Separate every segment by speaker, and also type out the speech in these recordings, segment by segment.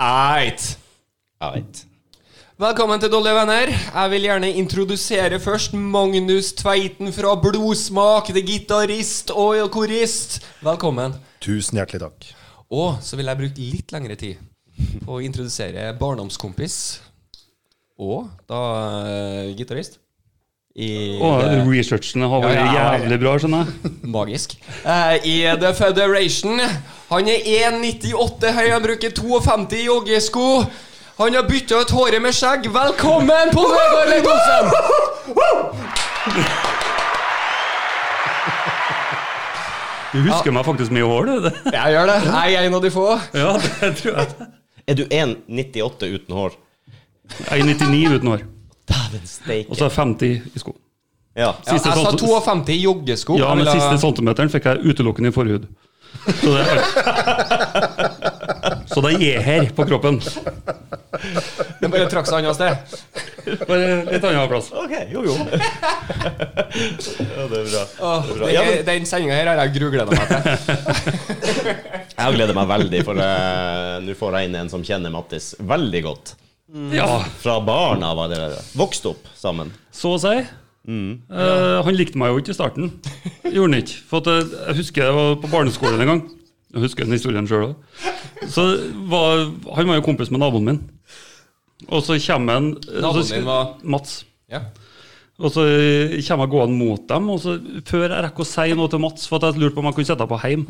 Speaker 1: Eit.
Speaker 2: Eit.
Speaker 1: Velkommen til Dårlige venner. Jeg vil gjerne introdusere først Magnus Tveiten fra Blodsmak. Det er gitarist og korist. Velkommen.
Speaker 3: Tusen hjertelig takk.
Speaker 1: Og så vil jeg bruke litt lengre tid på å introdusere barndomskompis og da eh, gitarist. I
Speaker 2: Å,
Speaker 1: det-
Speaker 2: researchene har vært
Speaker 1: Ja, ja, ja.
Speaker 2: jævlig bra, skjønner jeg.
Speaker 1: Magisk. Eh, I The Federation. Han er 1,98 høy, han bruker 52 joggesko. Han har bytta ut håret med skjegg. Velkommen, Pål Vegard Leidolfsen!
Speaker 2: Du husker meg faktisk med hår, du. det.
Speaker 1: Jeg gjør det. Jeg er en av de få.
Speaker 2: Ja, det tror jeg.
Speaker 4: Er du 1,98 uten hår?
Speaker 2: Jeg er 99 uten hår.
Speaker 4: Dæven
Speaker 2: Og
Speaker 4: steike.
Speaker 2: så er jeg 50 i sko.
Speaker 4: Ja.
Speaker 1: Ja, jeg
Speaker 2: Siste
Speaker 1: sa
Speaker 2: salto-
Speaker 1: 52 i joggesko. eh,
Speaker 2: Ja,
Speaker 1: Jeg
Speaker 2: men
Speaker 1: vil ha-
Speaker 2: siste centimeteren fikk jeg utelukkende i forhud. Så det er Så det er her på kroppen.
Speaker 1: Den bare trakk seg annet sted.
Speaker 2: Bare litt annen plass.
Speaker 4: Ok, jo, jo. ja, det er bra.
Speaker 1: Åh,
Speaker 4: Det er bra.
Speaker 1: det
Speaker 4: Ja,
Speaker 1: er,
Speaker 4: men-
Speaker 1: den sendinga her har jeg grugleda meg til.
Speaker 4: Jeg gleder meg veldig, for eh, nå får jeg inn en som kjenner Mattis veldig godt.
Speaker 2: Ja,
Speaker 4: Fra barna var det Vokst opp sammen.
Speaker 2: så å si. Eh, han likte meg jo ikke i starten. Gjorde han ikke. For at jeg, jeg husker jeg var på barneskolen en gang. Jeg husker den historien sjøl òg. Så var, han var jo kompis med naboen min. Og så kommer han og så
Speaker 1: Naboen din var-
Speaker 2: Mats.
Speaker 1: Ja.
Speaker 2: Og så eh, kommer jeg gående mot dem, og så før jeg rekker å si noe til Mats, for at jeg lurte på om jeg kunne sette deg på hjem,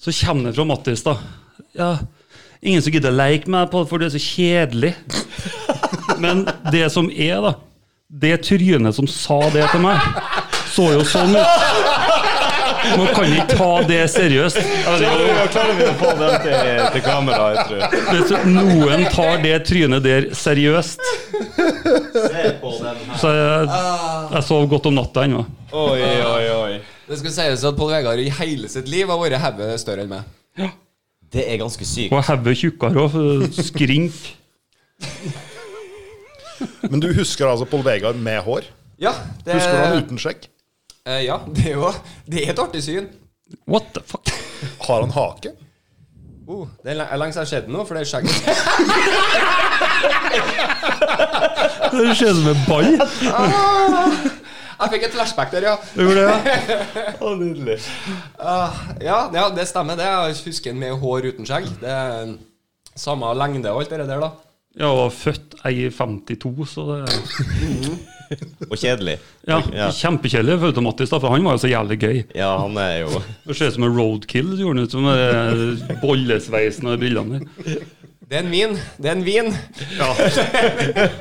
Speaker 2: så kommer det fra Mattis, da. Ja, ingen som gidder å leke med deg, på, for du er så kjedelig. Men det som er, da, det trynet som sa det til meg, så jo sånn ut. Man kan ikke ta det seriøst.
Speaker 4: klarer vi å få den til, til kamera, jeg tror.
Speaker 2: Hvis noen tar det trynet der seriøst,
Speaker 4: Se på den her.
Speaker 2: så jeg, jeg sov godt om natta ennå.
Speaker 4: Oi, oi, oi.
Speaker 1: Det skal sies at Pål Vegard i hele sitt liv har vært hodet større enn meg.
Speaker 4: Det er ganske sykt.
Speaker 2: Og hodet tjukkere òg. Skrink.
Speaker 3: Men du husker altså Pål Vegard med hår?
Speaker 1: Ja, det,
Speaker 3: Husker du han uten skjegg?
Speaker 1: Eh, ja, det er jo Det er et artig syn.
Speaker 2: What the fuck?
Speaker 3: Har han hake?
Speaker 1: Oh, det er le- lenge siden jeg har sett den nå, for det er skjegget.
Speaker 2: Det ser ut som en ball.
Speaker 1: Jeg fikk et flashback der, ja.
Speaker 4: Å, nydelig.
Speaker 1: Ah, ja. Ja, det stemmer, det. Jeg husker den med hår uten skjegg. Det er samme lengde og alt det der, da.
Speaker 2: Jeg var født jeg er 52, så det
Speaker 4: Og kjedelig.
Speaker 2: ja,
Speaker 4: Ja.
Speaker 2: Kjempekjedelig for til Mattis, da, for han var jo så jævlig gøy.
Speaker 4: Ja, han er jo
Speaker 2: Det ser ut som en roadkill. det gjorde han ut som eh, bollesveisen og brillene der.
Speaker 1: Det er en vin. Det er en vin.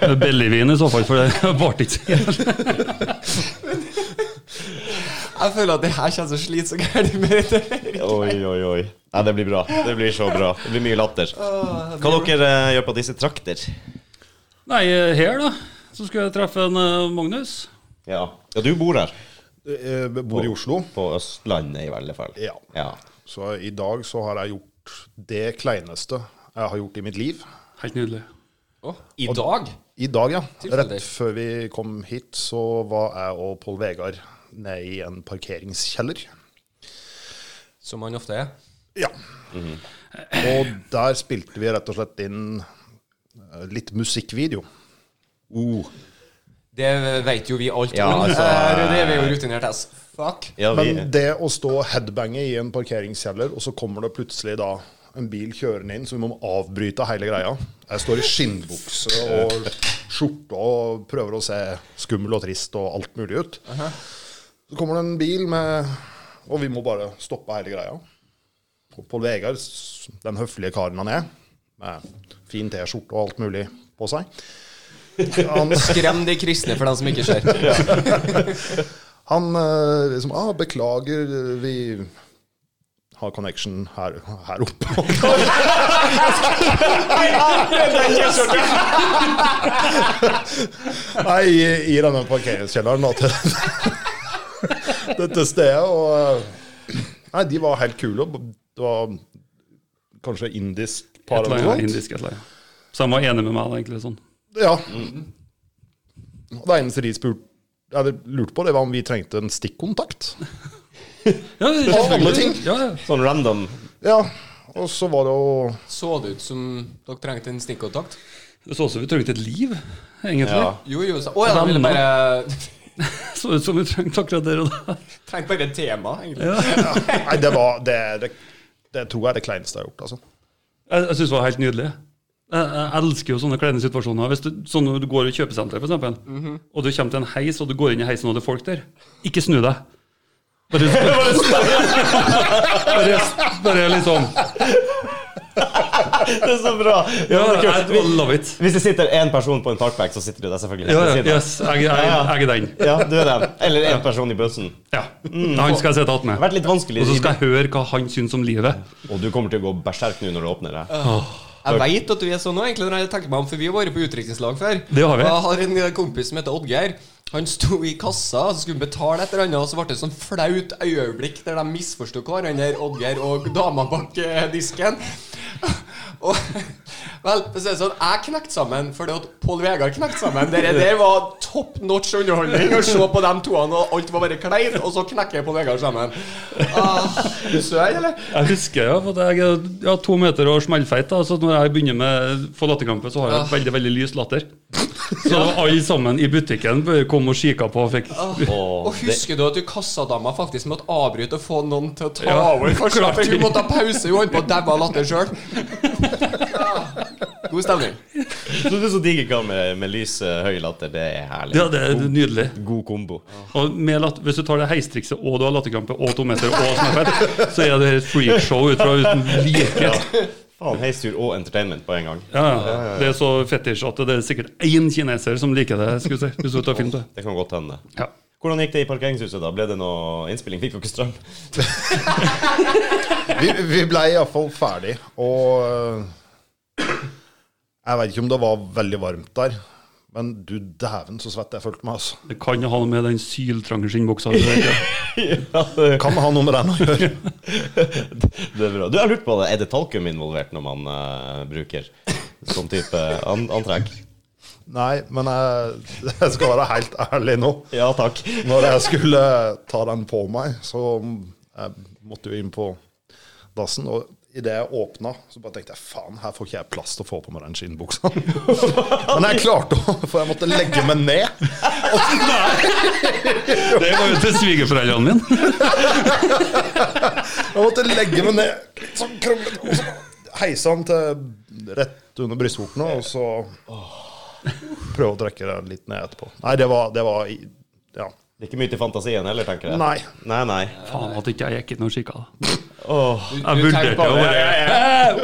Speaker 2: Med Bellyvin i så fall, for det varte ikke.
Speaker 1: Jeg føler at det her kommer til å slite så gærent med det. der.
Speaker 4: Oi, oi, oi. Nei, det blir bra. Det blir så bra. Det blir mye latter. Hva dere eh, gjør på disse trakter?
Speaker 2: Nei, eh, her, da, så skulle jeg treffe en eh, Magnus.
Speaker 4: Ja. ja, du bor her.
Speaker 3: Jeg Eh, bor i Oslo,
Speaker 4: På Østlandet, i hvert fall.
Speaker 3: Ja.
Speaker 4: ja.
Speaker 3: så i dag så har jeg gjort det kleineste jeg har gjort i mitt liv.
Speaker 2: Helt nydelig.
Speaker 1: Å, I dag?
Speaker 3: I dag, ja.
Speaker 1: Tilfeldig.
Speaker 3: Rett før vi kom hit, så var jeg og Pål Vegard nede i en parkeringskjeller.
Speaker 1: Som man ofte er.
Speaker 3: Ja. Og der spilte vi rett og slett inn eh, litt musikkvideo.
Speaker 1: Det vet jo vi alt
Speaker 4: Ja,
Speaker 1: om.
Speaker 4: altså,
Speaker 1: Eh, det er vi jo rutinert as fuck.
Speaker 4: Ja, vi,
Speaker 3: Men det å stå og headbange i en parkeringskjeller, og så kommer det plutselig da en bil kjørende inn, så vi må avbryte hele greia. Jeg står i skinnbukse og skjorte og prøver å se skummel og trist og alt mulig ut. Så kommer det en bil med Og vi må bare stoppe hele greia. Og Pål Vegard, s- den høflige karen han er, med fin T-skjorte og alt mulig på seg Han
Speaker 1: Skrem de kristne for dem som ikke ser.
Speaker 3: Han eh, liksom ah, 'Beklager, vi har connection her, her oppe'. Nei, i, i denne parkeringskjelleren da, til dette stedet. Og eh, Nei, de var helt kule. og Det var kanskje indisk
Speaker 2: Et
Speaker 3: par
Speaker 2: eller
Speaker 3: eller
Speaker 2: annet
Speaker 3: noe sånt.
Speaker 2: indisk et eller annet. Så han var enig med meg, egentlig. sånn.
Speaker 3: Ja.
Speaker 2: Mm.
Speaker 3: Og det eneste de spurte eller lurte på, det var om vi trengte en stikkontakt.
Speaker 2: Ja,
Speaker 3: alle ting.
Speaker 2: Ja, ja.
Speaker 4: sånn random
Speaker 3: Ja, Og så var det jo
Speaker 1: Så det ut som dere trengte en stikkontakt?
Speaker 2: Det så ut som vi trengte et liv, egentlig.
Speaker 4: Ja.
Speaker 1: Jo, jo, så Å ja, de ville bare
Speaker 2: Så ut som vi trengte akkurat der og da.
Speaker 1: Trengte bare et tema, egentlig.
Speaker 3: Nei, det var det, det, det tror jeg er det kleineste jeg har gjort, altså.
Speaker 2: Jeg, jeg syns det var helt nydelig. Jeg, jeg elsker jo sånne kleine situasjoner. Hvis du, sånn når du går i kjøpesenteret, f.eks., eksempel
Speaker 4: Mhm.
Speaker 2: og du kommer til en heis, og du går inn i heisen, og det er folk der. Ikke snu deg. Bare, bare, bare, bare litt sånn.
Speaker 4: Det er så bra! Ja,
Speaker 2: Ja,
Speaker 4: det er
Speaker 2: I
Speaker 4: kult.
Speaker 2: love it.
Speaker 4: Hvis det sitter én person på en parkbenk, så sitter du der selvfølgelig.
Speaker 2: Ja, ja,
Speaker 4: Ved siden av.
Speaker 2: yes, jeg, jeg, jeg er den.
Speaker 4: Ja, du er den. Eller én person i bussen.
Speaker 2: Ja. Han skal jeg sitte attmed.
Speaker 4: Det har Mm. vært litt vanskelig.
Speaker 2: Og så skal jeg høre hva han syns om livet.
Speaker 4: Og du kommer til å gå berserk nå når du åpner det.
Speaker 1: Jeg veit at du er sånn nå, egentlig, når jeg tenker meg om, for vi har vært på utdrikningslag før.
Speaker 2: Det har vi.
Speaker 1: Og Jeg har en eh, kompis som heter Oddgeir. Han sto i kassa, og så skulle han betale et eller annet, og så ble det et sånn flaut øyeblikk der de misforsto hverandre, Oddgeir og dama bak eh, disken. Og vel, så er det sånn, jeg knekte sammen fordi at Pål Vegard knekte sammen. Det der var top notch underholdning å se på de toene, og alt var bare kleint, og så knekker Pål Vegard sammen. Ah, du søren, eller?
Speaker 2: Jeg husker ja, for at jeg er ja, to meter og smellfeit. da, Så når jeg begynner med for latterkrampe, så har jeg et veldig veldig lys latter. Så alle sammen i butikken bør komme og kikke på. og Fikk,
Speaker 4: Og
Speaker 1: Og husker du at du kassadama faktisk måtte avbryte og få noen til å ta
Speaker 2: Ja,
Speaker 1: over? Kanskje
Speaker 2: klart.
Speaker 1: for hun måtte ha pause, hun holdt på å daue av latter sjøl. God stemning.
Speaker 4: Så du er så diger kar med, med lys eh, høy latter. Det er herlig.
Speaker 2: ja, det er nydelig.
Speaker 4: God kombo.
Speaker 2: Og med lat hvis du tar det heistrikset og du har latterkrampe og to meter og smellfeit, så er det et freakshow ut fra uten like.
Speaker 4: Faen, heistur og entertainment på en gang.
Speaker 2: Ja, det er så fetisj at det er sikkert én kineser som liker det. skulle jeg si, hvis du tar film til.
Speaker 4: Det kan godt hende.
Speaker 2: Ja.
Speaker 4: Hvordan gikk det i parkeringshuset, da? Ble det noe innspilling? Fikk dere strøm?
Speaker 3: Vi, vi ble iallfall ferdig, og øh, Jeg vet ikke om det var veldig varmt der, men du dæven så svett jeg følte meg, altså.
Speaker 2: Det kan jo ha noe med den syltrange skinnbuksa å gjøre.
Speaker 4: ja, det,
Speaker 3: Kan ha noe med den å gjøre.
Speaker 4: det er bra. Du, jeg har lurt på det. Er det talkum involvert når man eh, bruker sånn type an antrekk?
Speaker 3: Nei, men jeg, jeg skal være helt ærlig nå.
Speaker 4: Ja takk.
Speaker 3: Når jeg skulle ta den på meg, så jeg måtte jo inn på dassen. og Idet jeg åpna, så bare tenkte jeg faen, her får ikke jeg plass til å få på meg den skinnbuksa. Men jeg klarte å, for jeg måtte legge meg ned.
Speaker 2: Det var jo til svigerforeldrene mine.
Speaker 3: Jeg måtte legge meg ned litt sånn krummet, og så bare heise den til rett under brystvortene, og så prøve å trekke den litt ned etterpå. Nei, det var, det var i- Ja.
Speaker 4: Det er ikke mye til fantasien heller, tenker jeg.
Speaker 3: Nei.
Speaker 4: Nei, nei.
Speaker 2: Faen at ikke jeg gikk inn og kikka.
Speaker 4: Åh.
Speaker 1: Du,
Speaker 2: Jeg
Speaker 1: du tenkte
Speaker 2: vurderte å
Speaker 1: bare
Speaker 2: bare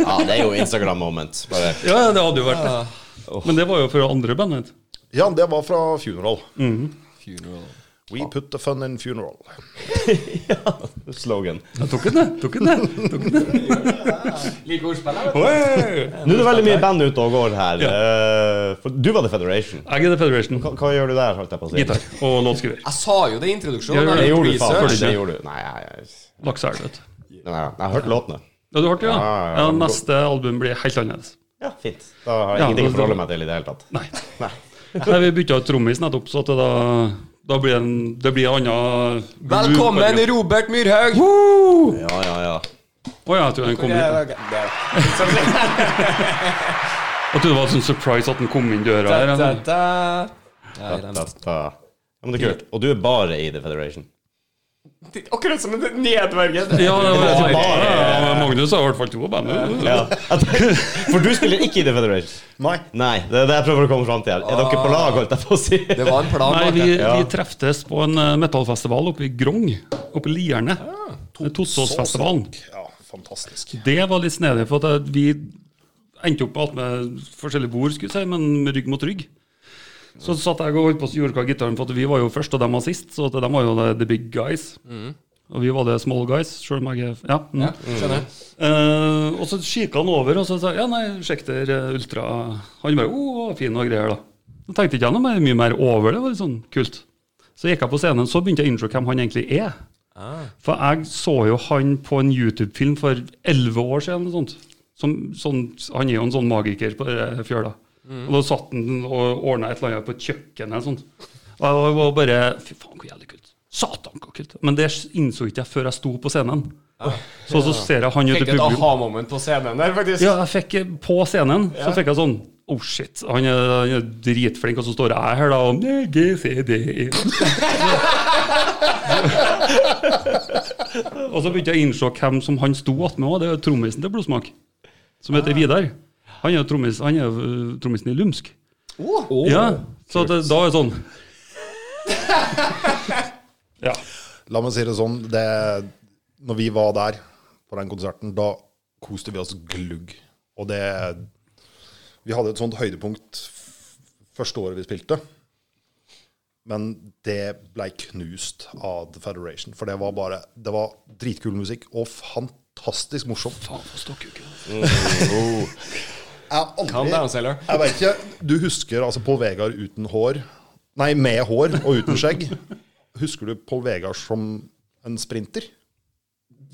Speaker 4: Ja, det er jo Instagram-moment. Bare
Speaker 2: Ja, det hadde jo vært det. Men det var jo fra andre bandet.
Speaker 3: Ja, det var fra Funeral.
Speaker 1: Funeral.
Speaker 3: We put the fun in funeral.
Speaker 4: slogan.
Speaker 2: Jeg tok den, jeg. Tok den, jeg. Tok den.
Speaker 1: Liker ordspill, jeg, vet
Speaker 4: Nå er det veldig mye band ute og går her. eh, For du var The Federation.
Speaker 2: Jeg er The Federation.
Speaker 4: Hva, hva gjør du der, holdt jeg på å si?
Speaker 2: Gitar og låtskriver.
Speaker 1: Jeg sa jo det i introduksjonen.
Speaker 2: Ja,
Speaker 1: jeg
Speaker 4: Det
Speaker 1: har
Speaker 4: gjorde du,
Speaker 1: gjort
Speaker 4: faen.
Speaker 1: research.
Speaker 4: Det gjorde du. Nei, jeg,
Speaker 2: Lakseelv, vet du.
Speaker 4: nei, jeg har hørt låtene.
Speaker 2: Ja, du har hørt det, ja?
Speaker 4: Ja, ja,
Speaker 2: Ja,
Speaker 4: ja.
Speaker 2: Neste album blir helt annerledes.
Speaker 4: Ja, fint. Da har
Speaker 2: Ja,
Speaker 4: jeg ingenting å
Speaker 2: da-
Speaker 4: forholde meg til i det hele tatt.
Speaker 2: Nei.
Speaker 4: Nei.
Speaker 2: Nei, vi bytta ut trommis nettopp, så at det da, da blir det en, det blir en annen
Speaker 1: Velkommen,
Speaker 2: Å
Speaker 1: Robert Myrhaug.
Speaker 4: Ja, ja,
Speaker 2: ja,
Speaker 4: ja.
Speaker 2: jeg tror den kom hit. ja.
Speaker 1: Da,
Speaker 2: Jeg trodde det var en sånn surprise at den kom inn døra her.
Speaker 1: da,
Speaker 2: ja.
Speaker 1: da.
Speaker 4: Da, da, da. Ja, men det er kult. Og du er bare i The Federation.
Speaker 1: Akkurat som en nedverget.
Speaker 2: Ja, det var,
Speaker 4: Det var bare-
Speaker 2: ja, Magnus har i hvert fall to band.
Speaker 4: Ja. For du spiller ikke i The Federation.
Speaker 3: Nei.
Speaker 4: Nei, det er det jeg prøver å komme fram til her. Er dere på lag, holdt jeg på å si?
Speaker 1: Det var en plan.
Speaker 2: Nei,
Speaker 1: bak
Speaker 2: vi,
Speaker 1: det.
Speaker 2: vi treftes på en eh, metallfestival oppe i Grong, oppe i Lierne. Det er Tossåsfestivalen.
Speaker 3: Ja, fantastisk.
Speaker 2: Det var litt snedig, for at eh, vi endte opp alt med forskjellige bord, skulle jeg si, men med rygg mot rygg. Så satt jeg og holdt på å gjorde hva gitaren, for at vi var jo først, og de var sist. Så at de var jo the, the big guys. Og vi var the small guys, sjøl om jeg er Ja. Mm.
Speaker 1: Ja, skjønner.
Speaker 2: Eh, og så kikket han over og så sa jeg, ja nei, sjekk der eh, Ultra. Han bare å, fin og greier, da. Da tenkte ikke jeg noe mer- mye mer over det. det var litt sånn kult. Så gikk jeg på scenen, så begynte jeg å innse hvem han egentlig er. For jeg så jo han på en YouTube-film for elleve år siden. eller Sånt. Som, sånn, han er jo en sånn magiker på eh, fjøla. Og da satt han og ordna et eller annet på et kjøkken eller sånt. Og jeg var bare Fy faen, hvor jævlig kult. Satan, hvor kult. Men det innså ikke jeg før jeg sto på scenen. Så, så ser jeg han ut i
Speaker 1: Fikk et
Speaker 2: publikum.
Speaker 1: aha-moment på scenen der, faktisk.
Speaker 2: Ja, jeg fikk eh, på scenen, så fikk jeg sånn Oh shit, han er, han er dritflink, og så står jeg her da og G, C, D, E. Og så begynte jeg å innse hvem som han sto attmed òg. Det er jo trommisen til Blodsmak, som heter Vidar. Han er jo trommis, han er jo, øh, trommisen i Lumsk. Ja, så det, da er det sånn Ja.
Speaker 3: La meg si det sånn, det, når vi var der på den konserten, da koste vi oss glugg. Og det Vi hadde et sånt høydepunkt f- første året vi spilte. Men det blei knust av The Federation. For det var bare Det var dritkul musikk og fantastisk morsomt. Jeg har
Speaker 1: Calm down,
Speaker 3: aldri
Speaker 1: Sailor.
Speaker 3: Jeg vet ikke. Du husker altså Pål Vegard uten hår Nei, med hår og uten skjegg. Husker du Pål Vegard som en sprinter?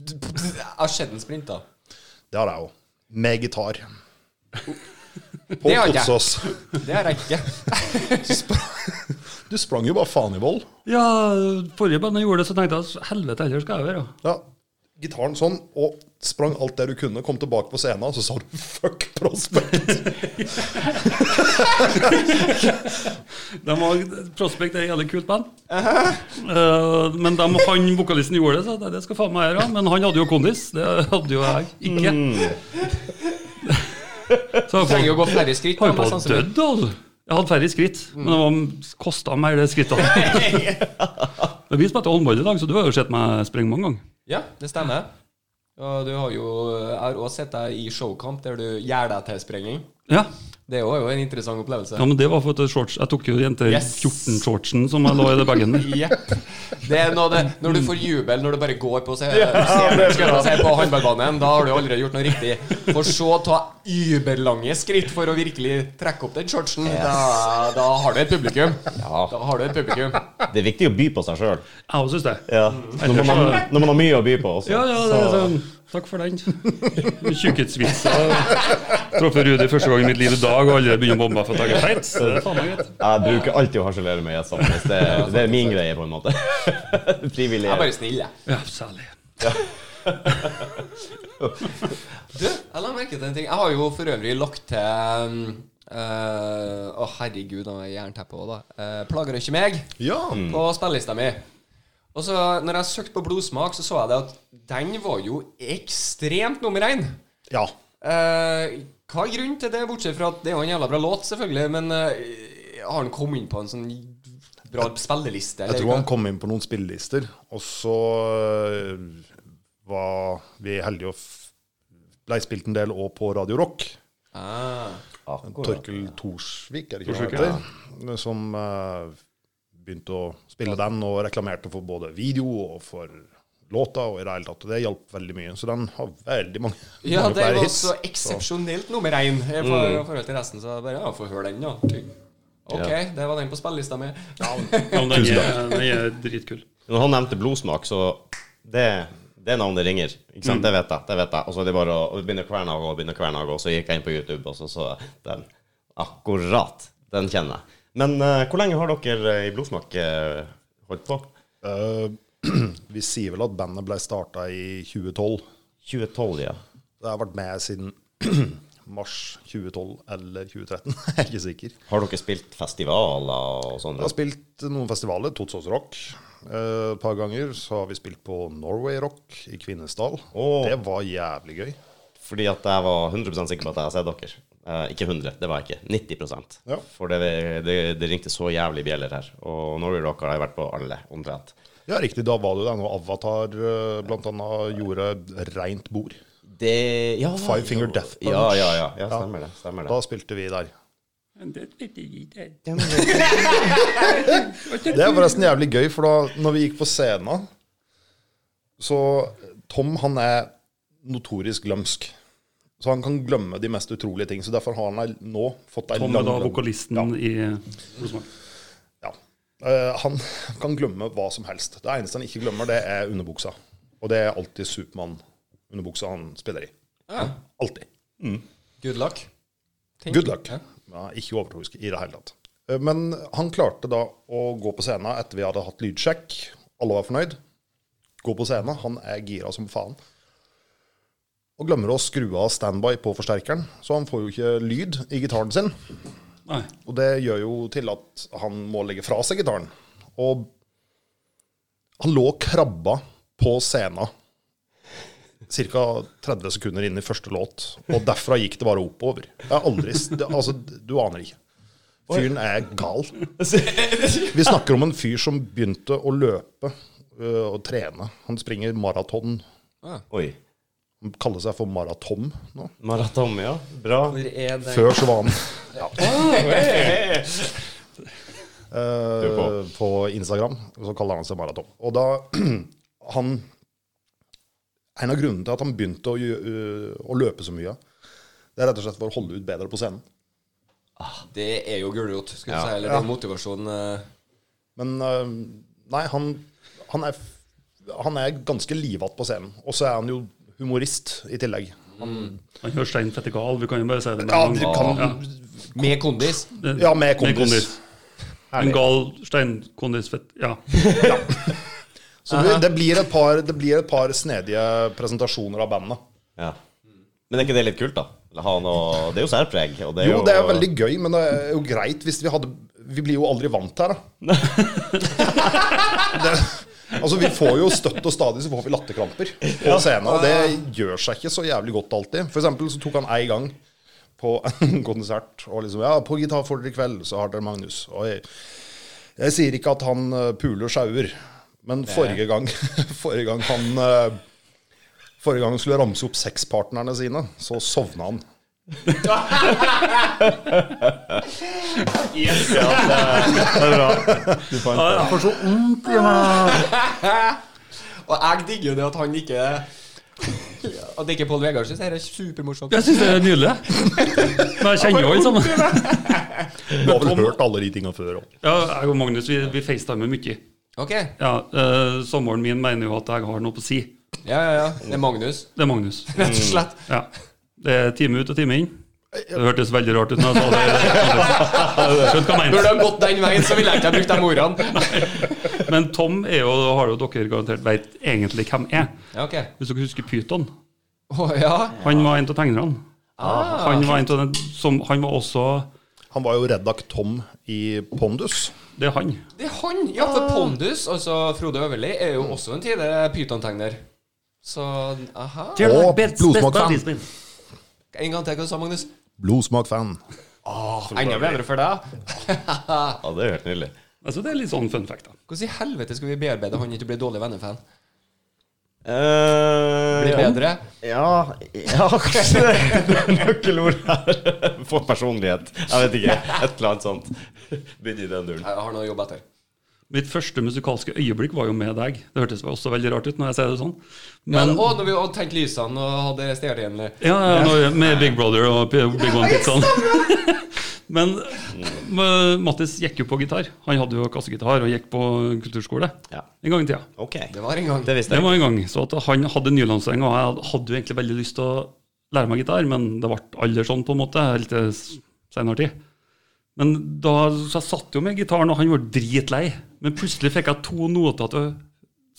Speaker 1: Jeg har sett en sprint, da.
Speaker 3: Det har jeg òg. Med gitar. På
Speaker 1: Det har jeg.
Speaker 3: Kotsås.
Speaker 1: Det har jeg ikke.
Speaker 3: Du sprang jo bare faen i vold.
Speaker 2: ja, forrige band jeg gjorde det, så tenkte jeg helvete heller skal jeg være.
Speaker 3: Ja. Gitaren sånn, og sprang alt det du kunne. Kom tilbake på scenen, og så sa du 'fuck Prospect'.
Speaker 2: De var, Prospect er et jævlig kult band. Eh, men de, han vokalisten gjorde det, så det, det skal faen meg gjøre. Men han hadde jo kondis. Det hadde jo jeg ikke. så
Speaker 1: Mm. Trenger
Speaker 2: jeg
Speaker 1: jo gå flere skritt.
Speaker 2: har jo
Speaker 1: da,
Speaker 2: på
Speaker 1: sannsynligvis.
Speaker 2: dødd, altså. Jeg hadde færre skritt, men det var kosta meg de skrittene. det blir som etter håndball i dag, så du har jo sett meg springe mange ganger.
Speaker 1: Ja, det stemmer. Og du har jo, jeg har også sett deg i showkamp der du gjør deg til sprenging.
Speaker 2: Ja.
Speaker 1: Det er jo en interessant opplevelse.
Speaker 2: ja, men det var for at shorts Jeg tok jo jenter
Speaker 1: Yes.
Speaker 2: 14-shortsen som jeg lå i det bagen min.
Speaker 1: Jepp. Det er noe av det, når du får jubel når du bare går på, se, skal jeg si, på håndballbanen, da har du allerede gjort noe riktig. For så å ta überlange skritt for å virkelig trekke opp den shortsen, da, da har du et publikum.
Speaker 4: Ja.
Speaker 1: Da har du et publikum.
Speaker 4: Det er viktig å by på seg sjøl.
Speaker 2: Jeg også synes det.
Speaker 4: Ja. Når, man har- når man har mye å by på. Også.
Speaker 2: Ja, ja, det er sånn. Takk for den. Tjukkhetsvitser. Truffet Rudi første gang i mitt liv i dag, og alle begynner å bombe meg for at jeg er feit. Så det er faen meg greit.
Speaker 4: Jeg bruker alltid å harselere med gjestene. hvis Det, er- det er min greie, på en måte. Frivillig.
Speaker 1: Jeg er bare snill, jeg.
Speaker 2: Ja, særlig.
Speaker 1: Du, jeg la merke til en ting. Jeg har jo for øvrig lagt til um, eh, Å, herregud, nå har jeg jernteppe òg, da. Eh, plager ikke meg
Speaker 3: Ja.
Speaker 1: på spillelista mi. Og så når jeg søkte på blodsmak, så så jeg det at den var jo ekstremt nummer én.
Speaker 3: ja.
Speaker 1: Eh, hva er grunnen til det, bortsett fra at det er jo en jævla bra låt, selvfølgelig, men eh, har han kommet inn på en sånn bra spilleliste?
Speaker 3: Jeg
Speaker 1: eller
Speaker 3: tror
Speaker 1: hva?
Speaker 3: han kom inn på noen spillelister, og så øh, var vi heldige og f- blei spilt en del òg på Radio Rock.
Speaker 1: Ah.
Speaker 3: Torkel Thorsvik, er det ikke
Speaker 2: Thorsvik,
Speaker 3: han heter? Som eh, begynte å spille den og reklamerte for både video og for låta og i det hele tatt. Og det hjalp veldig mye. Så den har veldig mange,
Speaker 1: Ja,
Speaker 3: mange
Speaker 1: det
Speaker 3: flere
Speaker 1: var
Speaker 3: hits.
Speaker 1: så eksepsjonelt nummer én i for- i forhold til resten, så jeg bare ja, få høre den, da. Tygg. Ok, det var den på spillelista mi.
Speaker 2: Ja, men den er, den er dritkul.
Speaker 4: Når han nevnte blodsmak, så det, det navnet ringer. Ikke sant? Det vet jeg. det vet jeg. Og så er det bare å å begynne å kverne og gå, begynne å kverne og gå. Så gikk jeg inn på YouTube, og så så jeg den. Akkurat. Den kjenner jeg. Men eh, hvor lenge har dere eh, i blodsmak eh, holdt på?
Speaker 3: Eh, vi sier vel at bandet ble starta i 2012.
Speaker 4: 2012, ja.
Speaker 3: Det har vært med siden mars 2012 eller 2013. Jeg er ikke sikker.
Speaker 4: Har dere spilt festivaler og sånn?
Speaker 3: Vi har spilt noen festivaler, Totsås Rock eh, et par ganger. Så har vi spilt på Norway Rock i Kvinesdal.
Speaker 4: Åh.
Speaker 3: Det var jævlig gøy.
Speaker 4: Fordi at jeg var 100 sikker på at jeg har sett dere. Eh, ikke 100, det var jeg ikke. 90
Speaker 3: Ja.
Speaker 4: For det, det, det ringte så jævlig bjeller her. Og Norway Rock har jeg vært på alle, omtrent.
Speaker 3: Ja, riktig. Da var du der når Avatar eh, blant annet gjorde reint bord.
Speaker 4: Det ja,
Speaker 3: Five Finger Death Punch.
Speaker 4: Ja, ja, ja. ja stemmer det. stemmer
Speaker 3: Da
Speaker 4: det.
Speaker 3: spilte vi der.
Speaker 2: Det
Speaker 3: Det er forresten jævlig gøy, for da når vi gikk på scenen, så Tom han er notorisk glømsk. Så han kan glemme de mest utrolige ting. Så derfor har han nå fått ei
Speaker 2: Tom er da vokalisten i
Speaker 3: Ja. Eh, han kan glemme hva som helst. Det eneste han ikke glemmer, det er underbuksa. Og det er alltid Supermann-underbuksa han spiller i.
Speaker 1: Ja,
Speaker 3: Alltid.
Speaker 1: good luck. Tenk.
Speaker 3: Good luck.
Speaker 1: Ja.
Speaker 3: Ja, ikke overtroisk i det hele tatt. Eh, Men han klarte da å gå på scenen etter vi hadde hatt lydsjekk. Alle var fornøyd. gå på scenen. Han er gira som faen. Og glemmer å skru av standby på forsterkeren, så han får jo ikke lyd i gitaren sin.
Speaker 2: Nei.
Speaker 3: Og det gjør jo til at han må legge fra seg gitaren. Og han lå og krabba på scenen ca. 30 sekunder inn i første låt. Og derfra gikk det bare oppover. Jeg har aldri s- det, Altså, du aner ikke. Fyren er gal. Vi snakker om en fyr som begynte å løpe øh, og trene. Han springer maraton.
Speaker 4: Oi.
Speaker 3: Han kaller seg for Maratom nå.
Speaker 4: Maraton, ja. Bra.
Speaker 1: Hvor er den?
Speaker 3: Før så var han
Speaker 4: Du på.
Speaker 3: Eh, på Instagram, og så kaller han seg Maraton. Og da han En av grunnene til at han begynte å, gjø- øh, å løpe så mye, det er rett og slett for å holde ut bedre på scenen.
Speaker 1: Det er jo gulrot, skal vi
Speaker 4: Ja.
Speaker 1: si. Eller det er motivasjon. eh.
Speaker 3: Men eh, nei, han, han, er, f- han er ganske livatt på scenen. Og så er han jo humorist i tillegg. Han,
Speaker 2: Han kjører stein fettikal, vi kan jo bare si det. med
Speaker 3: ja, du
Speaker 2: en gang.
Speaker 3: kan,
Speaker 1: Med kondis.
Speaker 2: Det-
Speaker 3: ja, med
Speaker 2: med
Speaker 3: kondis.
Speaker 2: En gal steinkondisfett... Ja.
Speaker 3: Så det, det, blir et par, det blir et par snedige presentasjoner av bandet.
Speaker 4: Ja. Men er ikke det litt kult, da? Eller Ha noe, det er jo særpreg. Og det er
Speaker 3: Jo,
Speaker 4: jo,
Speaker 3: det er veldig gøy, men det er jo greit hvis vi hadde Vi blir jo aldri vant her, da. det, altså, vi får jo støtt og stadig så får vi latterkramper på scenen, og det gjør seg ikke så jævlig godt alltid. For eksempel så tok han ei gang på en konsert og liksom Ja, på gitar får dere i kveld, så har dere Magnus. Og jeg, jeg sier ikke at han eh, puler sjauer, men forrige gang, forrige gang han eh, Forrige gang han skulle ramse opp sexpartnerne sine, så sovna han.
Speaker 2: Ja, jeg får så vondt i meg.
Speaker 1: Og jeg digger jo det at han ikke At ikke Pål Vegard syns det her er supermorsomt.
Speaker 2: Jeg syns det er nydelig. Men jeg kjenner jo alle sammen.
Speaker 3: Du har vel hørt alle de tinga før òg.
Speaker 2: Ja, jeg og Magnus vi, vi facetimer mye.
Speaker 1: Ok.
Speaker 2: Ja, eh, Samboeren min mener jo at jeg har noe på si.
Speaker 1: Ja, ja, ja. Det er Magnus,
Speaker 2: Det er Magnus.
Speaker 1: rett og slett.
Speaker 2: Ja. Det er time ut og time inn. Det hørtes veldig rart ut når jeg sa det. Skjønt hva jeg
Speaker 1: Burde
Speaker 2: mente.
Speaker 1: ha gått den veien, så ville jeg ikke ha brukt de ordene.
Speaker 2: Men Tom er jo, har jo dere garantert vet egentlig hvem er.
Speaker 1: Ja, ok.
Speaker 2: Hvis dere husker Pyton.
Speaker 1: Å ja. Ah.
Speaker 2: Han var en av tegnerne. Han, var en av den, som, han var også
Speaker 3: Han var jo reddak Tom i Pondus.
Speaker 2: Det er han.
Speaker 1: Det er han! Ja, for Pondus, altså Frode Øverli, er jo også en tidligere pytontegner. Så aha.
Speaker 3: Og blodsmakfan.
Speaker 1: En gang til, hva du sa Magnus?
Speaker 3: Blodsmakfan.
Speaker 1: Enda bedre for deg.
Speaker 4: Ja, det er jo helt nydelig.
Speaker 2: Altså, det er litt sånn fun fact. da.
Speaker 1: Hvordan i helvete skal vi bearbeide han ikke blir dårlig vennefan?
Speaker 4: Eh,
Speaker 1: Blir
Speaker 4: ja.
Speaker 1: bedre?
Speaker 4: Ja, ja kanskje det er nøkkelord her. For personlighet. Jeg vet ikke. Et eller annet sånt. Begynn i den duren.
Speaker 1: Jeg har noe å jobbe etter.
Speaker 2: Mitt første musikalske øyeblikk var jo med deg. Det hørtes også veldig rart ut når jeg sier det sånn.
Speaker 1: Men,
Speaker 2: Men,
Speaker 1: å, når vi hadde tent lysene og hadde stjernene
Speaker 2: Ja, ja når, med Big Brother og P- Big One Pizzaen. Men men Mattis gikk jo på gitar. Han hadde jo kassegitar og gikk på kulturskole
Speaker 4: Ja.
Speaker 2: en gang i tida.
Speaker 4: Ok.
Speaker 1: Det var en gang.
Speaker 4: Det visste
Speaker 2: Det
Speaker 4: jeg.
Speaker 2: var en gang. Så at han hadde nylandseng, og jeg hadde jo egentlig veldig lyst til å lære meg gitar, men det ble aldri sånn, på en måte, helt til s- senere tid. Men da, så jeg satt jo med gitaren, og han var dritlei. Men plutselig fikk jeg to noter til,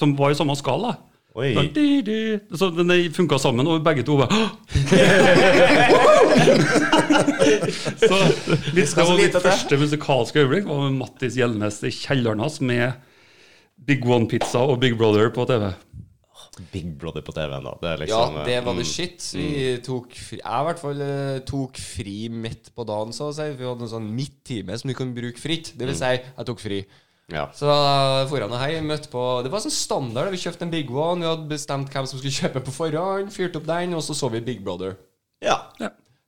Speaker 2: som var i samme skala.
Speaker 4: Oi.
Speaker 2: Sånn, di, di. Så den funka sammen, og begge to bare Så mitt, det var mitt første musikalske øyeblikk var med Mattis Gjelnes i kjelleren hans med Big One Pizza og Big Brother på TV.
Speaker 4: Big Brother på TV-en, da. Det er
Speaker 1: Ja,
Speaker 4: liksom
Speaker 1: det var
Speaker 4: mm,
Speaker 1: det shit. Vi tok fri, jeg i hvert fall eh, tok fri midt på dagen, så å si. Vi hadde en sånn midttime som du kan bruke fritt. Det vil si, jeg tok fri.
Speaker 4: Mm. Ja.
Speaker 1: Så da foran og hei, møtte på Det var sånn standard. Vi kjøpte en Big One. Vi hadde bestemt hvem som skulle kjøpe på forhånd. Fyrte opp den, og så så vi Big Brother.
Speaker 4: ja.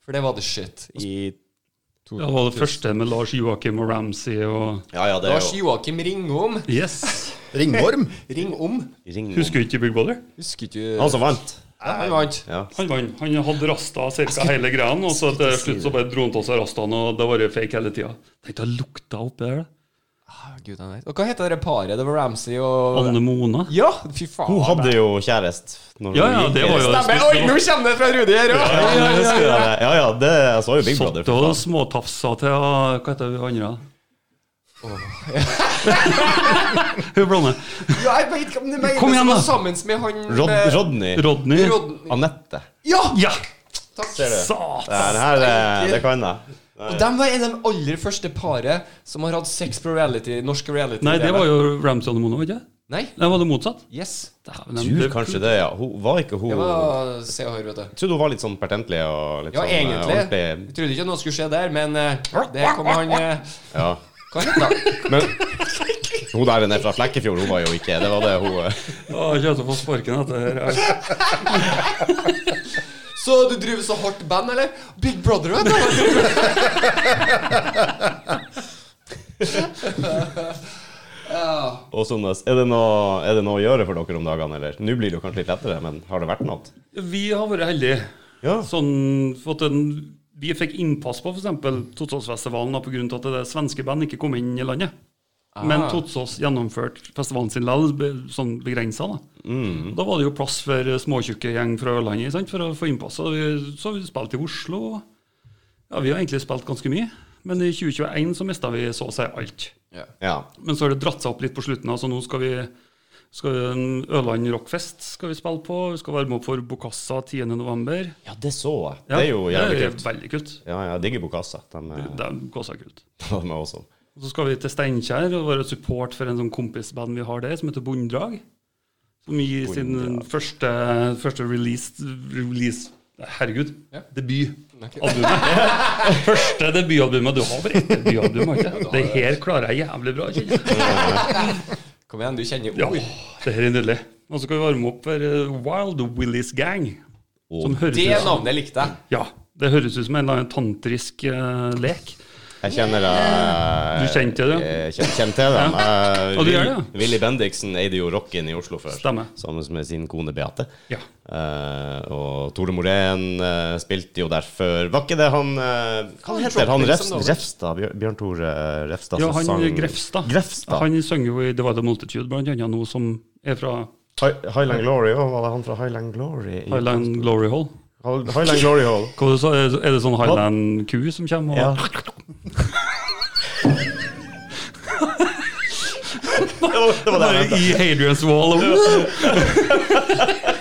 Speaker 1: For det var the shit i to
Speaker 2: Det var det første med Lars Joakim og Ramsey og
Speaker 4: Ja, ja, det er
Speaker 1: Lars
Speaker 4: jo
Speaker 1: Joakim Ringom.
Speaker 2: Yes!
Speaker 3: Ringorm.
Speaker 1: Ring om.
Speaker 4: Ring om-
Speaker 2: Husker du ikke Big Brother?
Speaker 1: Husker ikke
Speaker 4: Han som vant.
Speaker 1: Ja, Han vant.
Speaker 4: Ja.
Speaker 2: Han vant. Han hadde rasta ca. hele greia, og så til slutt så bare dro han av seg rastaen, og det var jo fake hele tida. Tenk, det lukta oppi der. da.
Speaker 1: Ah, Gud, han vet. Og hva heter det paret? Det var Ramsey og
Speaker 2: Anne Mona.
Speaker 1: Ja, fy faen.
Speaker 4: Hun hadde jo kjæreste. når
Speaker 2: Ja,
Speaker 4: hun
Speaker 2: ja,
Speaker 4: gikk
Speaker 2: det
Speaker 4: i
Speaker 2: var jo
Speaker 1: Stemmer. Oi, nå kommer det fra Rudi her òg!
Speaker 4: Ja, jeg husker det. ja, ja, det, jeg så jo Big Brother.
Speaker 2: Satt
Speaker 4: for
Speaker 2: og
Speaker 4: faen.
Speaker 2: småtafsa til ah, Hva heter vi andre? Hun blonde.
Speaker 1: Ja, jeg vet ikke om det er meg
Speaker 2: Kom igjen,
Speaker 1: som
Speaker 2: da.
Speaker 1: var Sammen med han
Speaker 4: Rod
Speaker 1: med-
Speaker 4: Rodney.
Speaker 2: Rodney.
Speaker 1: Rodney.
Speaker 4: Anette.
Speaker 1: Ja!
Speaker 2: Ja!
Speaker 1: Takk.
Speaker 4: Ser du? Det
Speaker 2: Satan!
Speaker 4: her, eh, det kan jeg.
Speaker 1: Og de var en av de aller første paret som har hatt sex på reality, norsk reality.
Speaker 2: Nei, det var jo Ramson og Mono, ikke
Speaker 1: Nei?
Speaker 2: Nei, var det motsatt?
Speaker 1: Yes.
Speaker 2: Dæven,
Speaker 4: Du,
Speaker 2: det-
Speaker 4: kanskje det, ja. Hun var ikke hun
Speaker 1: Det var Se og Hør, vet du.
Speaker 4: Jeg trodde hun var litt sånn pertentlig og litt
Speaker 1: Ja,
Speaker 4: sånn eh,
Speaker 1: egentlig. Jeg
Speaker 4: ordentlig.
Speaker 1: trodde ikke noe skulle skje der, men eh, det kom han eh,
Speaker 4: Ja.
Speaker 1: Hva het han?
Speaker 4: Men hun der nede fra Flekkefjord, hun var jo ikke Det var det hun eh,
Speaker 2: Å, jeg kommer til å få sparken etter det her.
Speaker 1: Så du driver så hardt band, eller? Big Brother, vet du.
Speaker 4: Og Sonnes, er det, noe, er det noe å gjøre for dere om dagene, eller? Nå blir det jo kanskje litt lettere, men har det vært noe?
Speaker 2: Vi har vært heldige.
Speaker 4: Ja.
Speaker 2: Sånn, fått en, vi fikk innpass på f.eks. Totsåsfestivalen da, på grunn av at det svenske band ikke kom inn i landet. Men Totsås gjennomførte festivalen sin likevel, be- sånn begrensa. Da. da var det jo plass for eh, småtjukke gjeng fra Ørlandet sant, for å få innpass. Så vi, så vi spilte i Oslo. Ja, vi har egentlig spilt ganske mye. Men i 2021 så mista vi så å si alt.
Speaker 1: Ja.
Speaker 4: Ja.
Speaker 2: Men så har det dratt seg opp litt på slutten. Altså nå skal vi skal vi en Ørland Rockfest skal vi spille på. Vi skal varme opp for Bokassa 10.11.
Speaker 4: ja, det så jeg. Det er jo
Speaker 2: det
Speaker 4: jævlig
Speaker 2: er
Speaker 4: kult.
Speaker 2: Veldig kult.
Speaker 4: Ja, jeg digger Bokassa. De, eh, er-
Speaker 2: Det er Bokassa er kult.
Speaker 4: de er awesome.
Speaker 2: Og Så skal vi til Steinkjer og være support for en sånn kompisband vi har der, som heter Bondedrag. Som gir sin første, første release, release Herregud.
Speaker 1: Ja.
Speaker 2: Debut. Albumet. første debutalbumet. Du har bare ett debutalbum, har du ikke? Det her klarer jeg jævlig bra. kjenner jeg.
Speaker 1: Kom igjen, du kjenner
Speaker 2: Ja,
Speaker 1: ord.
Speaker 2: det her er nydelig. Og så skal vi varme opp for eh, Wild Willies Gang. Som høres
Speaker 1: Det
Speaker 2: ut,
Speaker 1: navnet likte jeg.
Speaker 2: ja, det høres ut som en eller annen tantrisk eh, lek.
Speaker 4: Jeg kjenner eh,
Speaker 2: Du kjente det?
Speaker 4: Jeg kjen- kjenner til dem. Eh,
Speaker 2: Ja, du gjør
Speaker 4: Will-
Speaker 2: det, ja.
Speaker 4: Willy Bendiksen eide jo rocken i Oslo før.
Speaker 2: Stemmer.
Speaker 4: Sammen med sin kone Beate.
Speaker 2: Ja.
Speaker 4: Eh, og Tore Morén eh, spilte jo der før. Var ikke det han eh, Hva
Speaker 1: Han
Speaker 4: heter han?
Speaker 1: droppet
Speaker 4: Refs,
Speaker 1: liksom da, vet du.
Speaker 4: Refstad? Bjør- Bjørn Tore eh, Refstad?
Speaker 2: Ja,
Speaker 4: som
Speaker 2: han
Speaker 4: sang-
Speaker 2: Grefstad.
Speaker 4: Grefstad.
Speaker 2: Han synger jo i The Wild Multitude, blant annet nå som er fra
Speaker 4: Hi- Highland Glory òg, var det han fra Highland Glory? i-
Speaker 2: Highland Glory Hall.
Speaker 4: Hall- Highland Glory Hall.
Speaker 2: Hva du sa, er det- er det sånn Highland-ku som kommer?
Speaker 4: Ja.
Speaker 2: Og,
Speaker 4: det var det var det jeg
Speaker 2: Bare
Speaker 4: mente.
Speaker 2: I Hadrian's Wall. Og,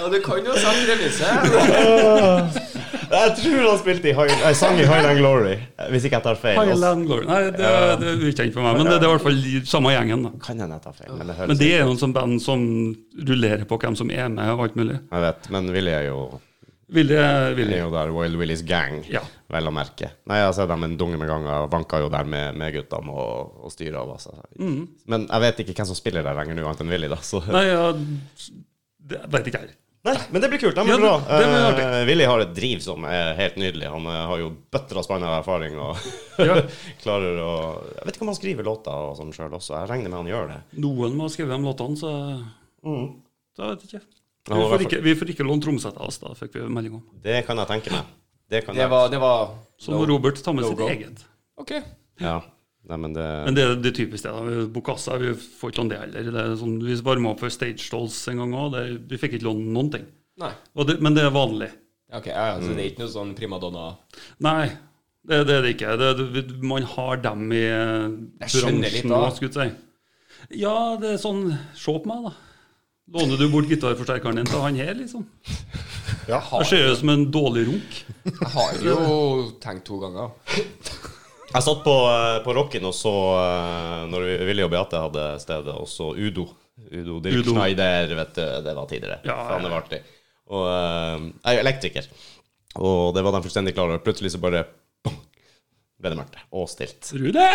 Speaker 1: Ja, du kan jo sette premisse.
Speaker 4: Jeg tror han spilte i Highland, jeg sang i Highland Glory, hvis ikke jeg tar feil.
Speaker 2: Highland Glory. Nei, det, det er ukjent for meg, men det, det er i hvert fall i samme gjengen. da.
Speaker 4: Kan hende jeg tar feil, men det høres
Speaker 2: Men det er jo en sånn band som rullerer på hvem som er med, og alt mulig.
Speaker 4: Jeg vet, men Willy er jo,
Speaker 2: Vil jeg,
Speaker 4: Willy er jo der, Wild Willys gang,
Speaker 2: Ja.
Speaker 4: vel å merke. Nei, jeg har sett dem en dunge med ganger, vanka jo der med, med guttene og, og styret av, altså. Men jeg vet ikke hvem som spiller der lenger nå, annet enn Willy, da. Så.
Speaker 2: Nei, ja, det vet ikke jeg.
Speaker 4: Nei, men det blir kult. Det blir
Speaker 2: Ja,
Speaker 4: bra.
Speaker 2: det- det blir artig.
Speaker 4: Eh, Willy har et driv som er helt nydelig. Han eh, har jo bøtter og spann av erfaring og
Speaker 2: Ja.
Speaker 4: klarer å Jeg vet ikke om han skriver låter og sånn sjøl også. Jeg regner med han gjør det.
Speaker 2: Noen må ha skrevet de låtene, så Da vet jeg ikke.
Speaker 4: Mm. Ja,
Speaker 2: Vi
Speaker 4: i
Speaker 2: får
Speaker 4: hvert fall.
Speaker 2: ikke, vi får ikke låne trommesett av oss, da, fikk vi melding om.
Speaker 4: Det kan jeg tenke meg. Det kan
Speaker 1: Det
Speaker 4: jeg.
Speaker 1: var, det var
Speaker 2: Så må Robert ta med sitt
Speaker 1: Logo.
Speaker 2: eget.
Speaker 1: Ok.
Speaker 4: Ja. Nei, men det
Speaker 2: Men det er det typiske det. da. Vi- Bokassa vi får ikke låne det heller. Det er sånn, vi varma opp for Stage Dolls en gang òg. Vi fikk ikke låne noen ting.
Speaker 1: Nei.
Speaker 2: Og det, men det er vanlig.
Speaker 1: Ok, ja, ja, Så det er ikke noe sånn primadonna
Speaker 2: Nei, det, det er det ikke. Det, det, man har dem i eh,
Speaker 1: Jeg skjønner litt,
Speaker 2: bransjen
Speaker 1: da.
Speaker 2: òg, skulle jeg si. Ja, det er sånn Se på meg, da. Låner du bort gitarforsterkeren din til han her, liksom?
Speaker 1: Jeg
Speaker 2: Jeg
Speaker 1: har,
Speaker 2: ser ut som en dårlig runk.
Speaker 1: jeg har jo tenkt to ganger.
Speaker 4: Jeg satt på, eh, på Rocken og så eh, Når vi- Willy og Beate hadde stedet, og så Udo. Udo Dirk
Speaker 2: Udo.
Speaker 4: Schneider, vet du. Det var tidligere.
Speaker 2: Ja,
Speaker 4: Faen,
Speaker 2: ja.
Speaker 4: det var artig. Og eh, Jeg er elektriker, og det var de fullstendig klar over. Plutselig så bare bang, ble det mørkt og stilt.
Speaker 2: Rune!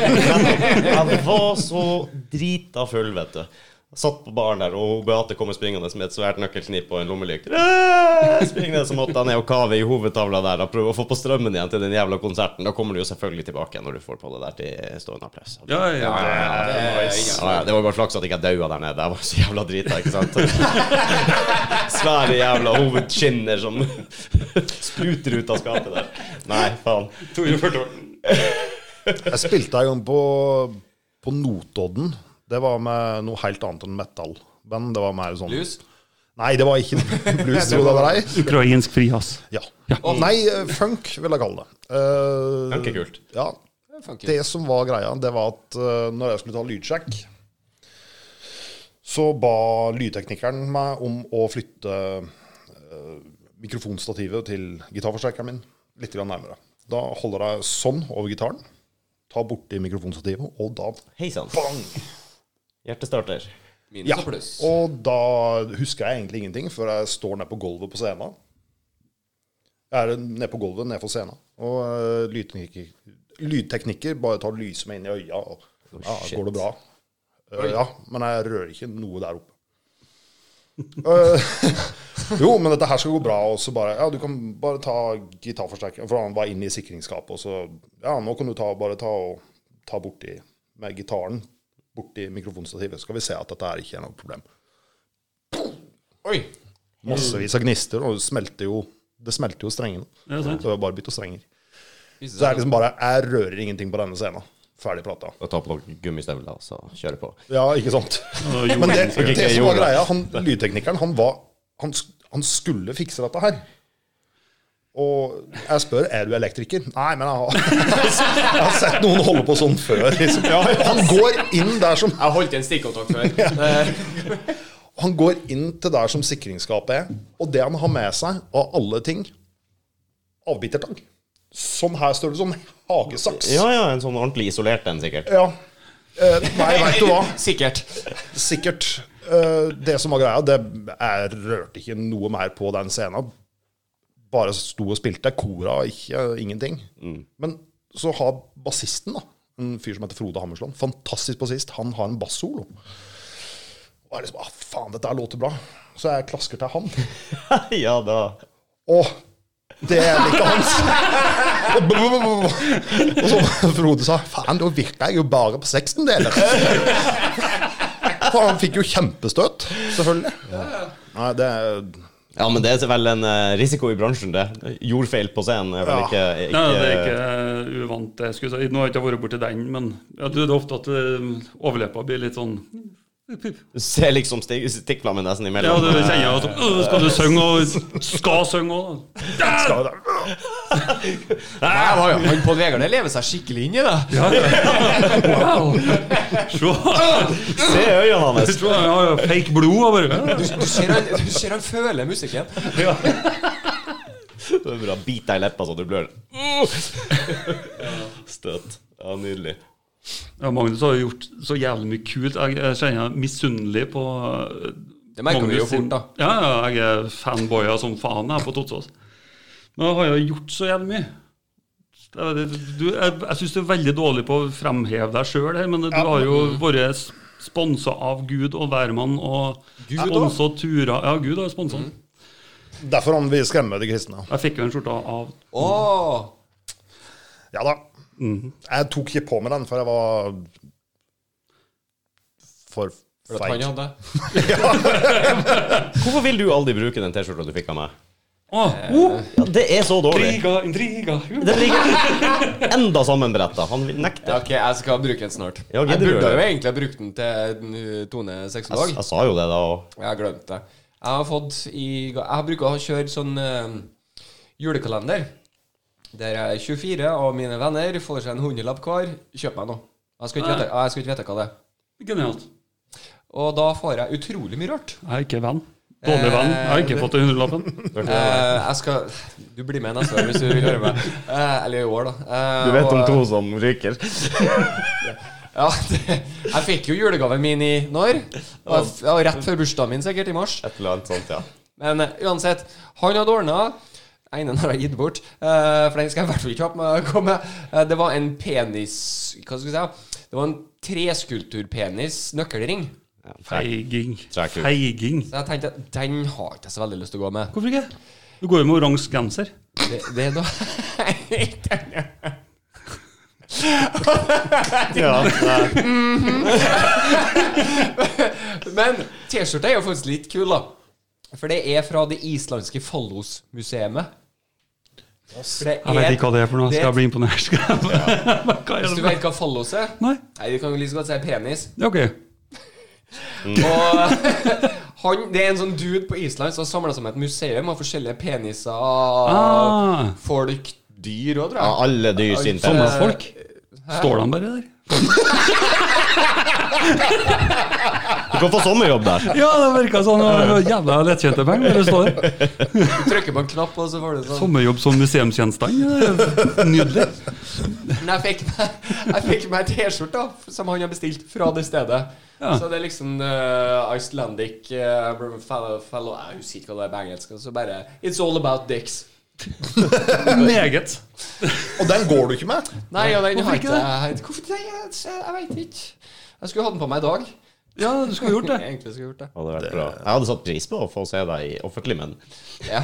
Speaker 4: Jeg var så drita full, vet du. Jeg Satt på baren der, og Beate kommer springende med et svært nøkkelknipp og en lommelykt. Øh, Springende så måtte jeg ned og kave i hovedtavla der og prøve å få på strømmen igjen til den jævla konserten. Da kommer du jo selvfølgelig tilbake når du får på det der til stående applaus.
Speaker 2: Ja, ja, ja.
Speaker 1: Det er ingen-
Speaker 4: Ja, ja, det var bare flaks at jeg ikke daua der nede. Jeg var så jævla drita, ikke sant? Svære jævla hovedskinner som spruter ut av skapet der. Nei, faen.
Speaker 2: 240
Speaker 3: Jeg spilte en gang på, på Notodden. Det var med noe helt annet enn metal-band. Det var mer sånn
Speaker 1: Blues?
Speaker 3: Nei, det var ikke blues. tror jeg det var deg.
Speaker 2: Ukrainsk frihas.
Speaker 3: Ja. Nei, eh, funk vil jeg kalle det. Eh,
Speaker 4: Funk er kult.
Speaker 3: Ja.
Speaker 1: funker.
Speaker 3: Det som var greia, det var at eh, når jeg skulle ta lydsjekk, så ba lydteknikeren meg om å flytte eh, mikrofonstativet til gitarforsterkeren min litt grann nærmere. Da holder jeg sånn over gitaren, tar borti mikrofonstativet, og da
Speaker 4: Hei sann.
Speaker 3: bang!
Speaker 4: Hjertestarter.
Speaker 1: Minus
Speaker 3: Ja.
Speaker 1: og pluss.
Speaker 3: Og da husker jeg egentlig ingenting før jeg står nede på gulvet på scenen. Jeg er nede på gulvet nede for scenen. Og eh, lydteknikker, lydteknikker bare tar lyset meg inn i øya, og
Speaker 1: Oh,
Speaker 3: ja,
Speaker 4: shit.
Speaker 3: går det bra? Eh, ja, men jeg rører ikke noe der oppe. Eh, jo, men dette her skal gå bra, og så bare Ja, du kan bare ta gitarforsterkeren, for han var inne i sikringsskapet, og så Ja, nå kan du ta, bare ta og ta borti med gitaren borti mikrofonstativet, så skal vi se at dette her ikke er noe problem.
Speaker 1: Oi!
Speaker 3: Massevis av gnister, og det smelter jo, det smelter jo strengene.
Speaker 2: Ja,
Speaker 3: Så
Speaker 2: sant.
Speaker 3: det var bare å bytte strenger.
Speaker 1: Viste
Speaker 3: Så det
Speaker 1: seg
Speaker 3: er liksom bare Jeg rører ingenting på denne scenen. Ferdig prata.
Speaker 4: Og ta på noen gummistøvler, og så kjøre på.
Speaker 3: Ja, ikke sant?
Speaker 2: Og jo,
Speaker 3: Men det,
Speaker 4: Ok,
Speaker 3: det som
Speaker 4: gjorde
Speaker 3: var
Speaker 4: det.
Speaker 3: greia, han, lydteknikeren, han var han, sk- han skulle fikse dette her. Og jeg spør er du elektriker. Nei, men jeg har, jeg har sett noen holde på sånn før. Liksom. Han går inn der som
Speaker 1: Jeg holdt i en stikkontakt før. Eh,
Speaker 3: Han går inn til der som sikringsskapet er, og det han har med seg av alle ting Avbitertang. Sånn her står det som hagesaks.
Speaker 4: Ja, ja, en sånn ordentlig isolert en, sikkert.
Speaker 3: Ja. Eh, nei, veit du hva.
Speaker 1: Sikkert.
Speaker 3: Sikkert. Eh, det som var greia, det jeg rørte ikke noe mer på den scenen. Bare sto og spilte. Kora ikke, ingenting. Men så har bassisten, da, en fyr som heter Frode Hammersland, fantastisk bassist, han har en bassolo. Og jeg liksom ah, faen, dette her låter bra. Så jeg klasker til han.
Speaker 4: ja da.
Speaker 3: Å, det er ikke hans. Og b- b- b- b- Og så Frode sa faen, da virka jeg jo bare på 16-deler. For han fikk jo kjempestøt, selvfølgelig. Nei, det er
Speaker 4: Ja, men det er vel en eh, risiko i bransjen, det. Jordfeil på scenen er vel
Speaker 3: Ja.
Speaker 4: ikke,
Speaker 2: Nei,
Speaker 4: ikke,
Speaker 2: det er ikke eh, uvant. det Jeg skulle si. Nå har jeg ikke vært borti den, men ja, det er ofte at eh, overleppa blir litt sånn
Speaker 4: Du ser liksom stik, stikkflammen nesten
Speaker 2: Ja,
Speaker 4: imellom.
Speaker 2: det kjenner jeg. Altså, «Åh, skal du synge og Skal synge òg?
Speaker 3: skal
Speaker 1: Nei, hva- Han Pål Vegard det lever seg skikkelig inn i det.
Speaker 2: Ja, ja. Wow! Se,
Speaker 4: Se øynene hans!
Speaker 2: se, han har jo fake blod og bare ja.
Speaker 1: Du ser han, du ser han føler musikken.
Speaker 4: Det er bra. Bit deg i leppa så du blør.
Speaker 2: Mm.
Speaker 4: Støt. Ja, nydelig.
Speaker 2: ja, Magnus har jo gjort så jævlig mye kult. Jeg, jeg kjenner jeg er misunnelig på eh,
Speaker 1: Det merker vi jo
Speaker 2: Magnus sin-
Speaker 1: fort, da.
Speaker 2: Ja, ja, jeg er fanboya som faen her på Totsås. Men jeg har jo gjort så jævlig mye. Det er- det- Du, jeg jeg syns du er veldig dårlig på å fremheve deg sjøl her, men du har jo vært sponsa av Gud og hvermann og sponsa turer Ja, Gud har sponsa
Speaker 4: Mm.
Speaker 2: den.
Speaker 3: Derfor han vil skremme de kristne.
Speaker 2: Jeg fikk jo en skjorte av
Speaker 1: Åh,
Speaker 3: Ja da. Jeg tok ikke på meg den, for jeg var for
Speaker 1: for at han
Speaker 3: feig.
Speaker 1: hadde
Speaker 4: Hvorfor vil du aldri bruke den T-skjorta du fikk av meg?
Speaker 2: Åh,
Speaker 4: Eh,
Speaker 2: oh,
Speaker 4: Ja, det er så dårlig.
Speaker 2: intriga, intriga. Hm,
Speaker 4: Den ligger enda sammenbretta. Han vil
Speaker 1: Ja,
Speaker 4: nekte.
Speaker 1: Ok, jeg skal bruke den snart.
Speaker 4: Ja, ok,
Speaker 1: jeg
Speaker 4: du gjør
Speaker 1: burde
Speaker 4: det.
Speaker 1: jo egentlig ha brukt den til den, uh, Tone
Speaker 4: Jeg,
Speaker 1: sexolog.
Speaker 4: jeg sa jo det da òg.
Speaker 1: Jeg har glemt det. Jeg har fått i ga- Jeg bruker å kjøre sånn eh, julekalender. Der jeg er 24 av mine venner får seg en hundrelapp hver. Kjøp meg noe. Jeg skal ikke vite,
Speaker 4: Ah.
Speaker 1: jeg skal ikke vite hva det er.
Speaker 2: Genialt.
Speaker 1: Og da får jeg utrolig mye rart.
Speaker 2: Jeg er ikke venn. Dårlig venn. Jeg har ikke fått den hundrelappen.
Speaker 1: Eh, jeg skal Du blir med neste år hvis du vil høre meg. Eh, eller i år, da. Eh,
Speaker 4: Du vet om
Speaker 1: og-
Speaker 4: to som ryker.
Speaker 1: Ja, det, jeg fikk jo julegaven min i når? Og jeg, f- ja, rett før bursdagen min, sikkert, i mars.
Speaker 4: Et eller annet sånt, ja.
Speaker 1: Men eh, uansett, han hadde ordna Einen har jeg gitt bort, eh, for den skal jeg i hvert fall ikke ha på meg. å komme. Eh, det var en penis Hva skal vi si? Det var en treskulpturpenis nøkkelring.
Speaker 4: Ja, trekk.
Speaker 2: Feiging.
Speaker 4: Trekk ut.
Speaker 2: Feiging.
Speaker 1: Så jeg tenkte at den har ikke jeg så veldig lyst til å gå med.
Speaker 2: Hvorfor ikke? Du går jo med oransje genser.
Speaker 1: Det, det er da
Speaker 4: Ja, nei.
Speaker 1: Men T-skjorta er jo faktisk litt kul, da. For det er fra det islandske fallosmuseet.
Speaker 2: Jeg vet ikke hva det er for noe. Skal jeg bli imponert? Skal jeg Hva er
Speaker 1: Hvis du
Speaker 2: det?
Speaker 1: vet hva fallos er?
Speaker 2: Nei?
Speaker 1: Nei, du kan jo like så godt si penis.
Speaker 2: Ja, Ok.
Speaker 1: Og han, det er en sånn dude på Island som har samla sammen et museum av forskjellige peniser av
Speaker 2: Ah.
Speaker 1: folk, dyr òg, tror
Speaker 4: Ja,
Speaker 1: jeg.
Speaker 4: alle dyr sin
Speaker 1: Sånn,
Speaker 4: penis.
Speaker 1: eh,
Speaker 2: Sommerfolk? Står de bare der?
Speaker 4: Du kan få sommerjobb der.
Speaker 2: Ja, det virka sånn. og det var Jævla lettkjente penger. Det står der.
Speaker 1: Trykker på en knapp, og så får du sånn.
Speaker 2: Sommerjobb som museumsgjenstand. det er Nydelig.
Speaker 1: Men jeg fikk meg, jeg fikk meg T-skjorte som han har bestilt fra det stedet.
Speaker 2: Ja.
Speaker 1: Så det er liksom eh, Icelandic eh, fellow, fellow Jeg husker ikke hva det er på engelsk. Så bare It's all about dicks.
Speaker 2: Meget.
Speaker 3: Og den går du ikke med?
Speaker 1: Nei, og den
Speaker 2: Hvorfor
Speaker 1: har
Speaker 2: ikke
Speaker 1: ikke jeg Hvorfor det? Jeg, jeg veit ikke. Jeg skulle hatt den på meg i dag.
Speaker 2: Ja, du skulle gjort det.
Speaker 1: Egentlig skulle jeg gjort det.
Speaker 4: Hadde vært bra. Jeg hadde satt pris på å få se deg i offentlig, men
Speaker 1: Ja.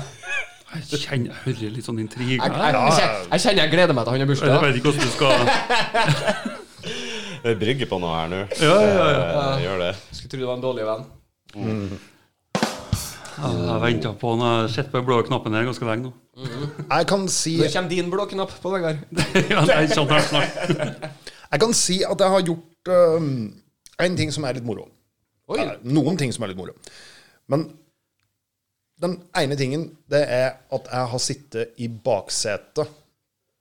Speaker 2: Jeg kjenner, jeg hører litt sånn intrigue
Speaker 1: Jeg,
Speaker 2: her.
Speaker 1: jeg, jeg, kjenner- jeg kjenner jeg gleder meg til han har
Speaker 2: Jeg
Speaker 1: bursdag.
Speaker 2: vet ikke hvordan du skal
Speaker 4: det er brygge på noe her nå.
Speaker 2: Ja, ja,
Speaker 4: Eh, Gjør det.
Speaker 1: Skulle tro det var en dårlig venn.
Speaker 2: ja. Jeg venta på den. Jeg har sett på den blå knappen her ganske lenge nå.
Speaker 3: Jeg kan si
Speaker 1: Nå kommer din blå knapp på Vegard.
Speaker 2: Ja, nei, sånn her snart.
Speaker 3: Jeg kan si at jeg har gjort øhm, en ting som er litt moro.
Speaker 1: Oi.
Speaker 3: Eller, noen ting som er litt moro. Men den ene tingen, det er at jeg har sittet i baksetet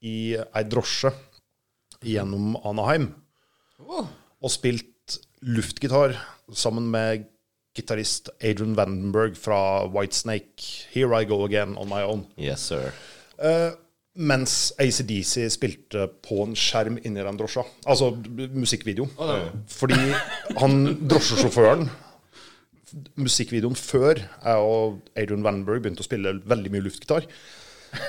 Speaker 3: i ei drosje gjennom Anaheim og spilt luftgitar sammen med gitarist Adrian Vandenberg fra Whitesnake, 'Here I Go Again On My Own'.
Speaker 4: Yes, sir.
Speaker 3: Eh, mens ACDC spilte på en skjerm inni den drosja. Altså b- musikkvideo. Fordi han drosjesjåføren Musikkvideoen før jeg og Adrian Vandenberg begynte å spille veldig mye luftgitar,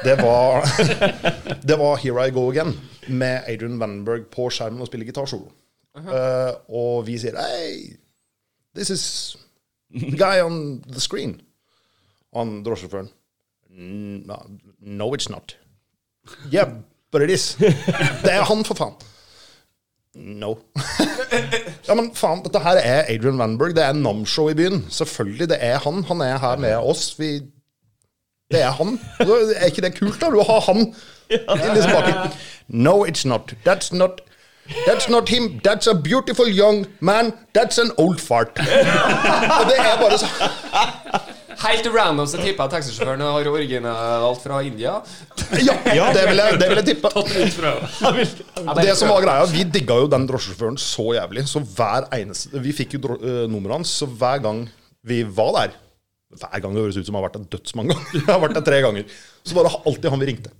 Speaker 3: det var, det var 'Here I Go Again' med Adrian Vandenberg på skjermen og spiller gitarsolo. Eh, og vi sier 'Hey, this is the guy on the screen'. Han drosjesjåføren no, no, it's not. Yeah, but it is. Det er han, for faen. No. ja, men faen, dette her er Adrian Vanberg. Det er Namshow i byen. Selvfølgelig, det er han. Han er her med oss. Vi det er han. Så Er ikke det kult, da? Du har han inni spaken. No, it's not. That's not That's not him. That's a beautiful young man. That's an old fart. Og det er bare så
Speaker 1: Helt random så tipper jeg taxisjåføren har originalt fra India.
Speaker 3: Ja, det vil jeg, det vil jeg tippe.
Speaker 1: Jeg
Speaker 3: Det
Speaker 1: bare-
Speaker 3: som var greia, Vi digga jo den drosjesjåføren så jævlig. Så hver eneste Vi fikk jo dro- eh, nummeret hans, så hver gang vi var der Hver gang det høres ut som jeg har vært der dødsmange ganger. Jeg har vært der tre ganger Så var det alltid han vi ringte.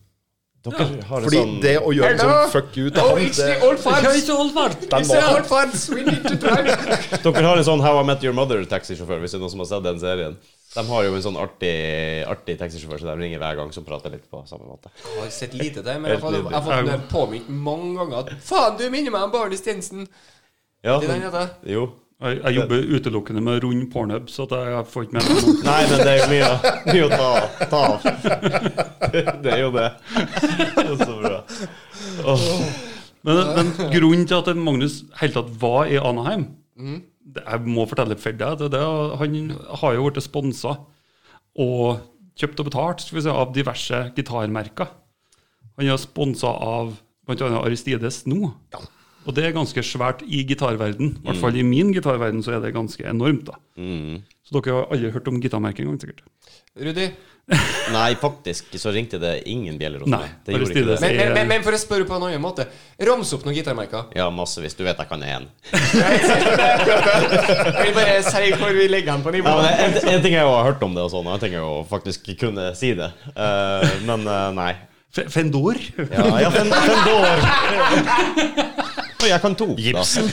Speaker 4: Dere har det
Speaker 3: Fordi
Speaker 4: sånn
Speaker 3: det å gjøre en
Speaker 1: Hello?
Speaker 3: sånn fuck you til
Speaker 1: Oh,
Speaker 3: han,
Speaker 1: it's the
Speaker 3: det,
Speaker 1: old farts. It's the old
Speaker 3: den var
Speaker 1: farts. We need to drive.
Speaker 4: Dere har en sånn How I Met Your Mother-taxisjåfør, hvis det er noen som har sett den serien. De har jo en sånn artig, artig taxisjåfør som de ringer hver gang, som prater litt på samme måte.
Speaker 1: Jeg har sett lite til, men jeg har fått- jeg har fått det påminnet mange ganger at Faen, du minner meg om Barne Stinsen.
Speaker 4: Ja,
Speaker 1: Det er den heter.
Speaker 4: jo.
Speaker 2: Jeg, jeg jobber utelukkende med rund pornhub, så at jeg får ikke med meg noe.
Speaker 4: Nei, men det er jo mye, mye å ta, ta av. Det er jo det. Det er så bra.
Speaker 2: Men, men grunnen til at Magnus helt tatt var i Anaheim
Speaker 3: Mhm.
Speaker 2: det, Jeg må fortelle for deg det, det, er- Han har jo blitt sponsa og kjøpt og betalt skal vi si, av diverse gitarmerker. Han er sponsa av bl.a. Aristides nå. Og det er ganske svært i gitarverden. I
Speaker 3: Mm.
Speaker 2: hvert fall i min gitarverden så er det ganske enormt. da. Så dere har alle hørt om gitarmerket engang, sikkert?
Speaker 1: Rudi.
Speaker 4: Nei, faktisk så ringte det ingen bjeller hos
Speaker 2: Nei,
Speaker 4: meg. Det gjorde
Speaker 2: bare
Speaker 4: ikke det.
Speaker 1: Men, men, men, men for å spørre på en annen måte, rams opp noen gitarmerker.
Speaker 4: Ja, massevis. Du vet jeg kan én.
Speaker 1: Jeg vil bare si hvor vi legger den på
Speaker 4: Ja, men
Speaker 1: nivå.
Speaker 4: en, en ting er jo å ha hørt om det, og sånn, og en ting er jo å faktisk kunne si det. Eh, men eh, nei.
Speaker 2: F Fendor?
Speaker 4: Ja, ja fem, fem år. Og jeg kan to. Gipsen.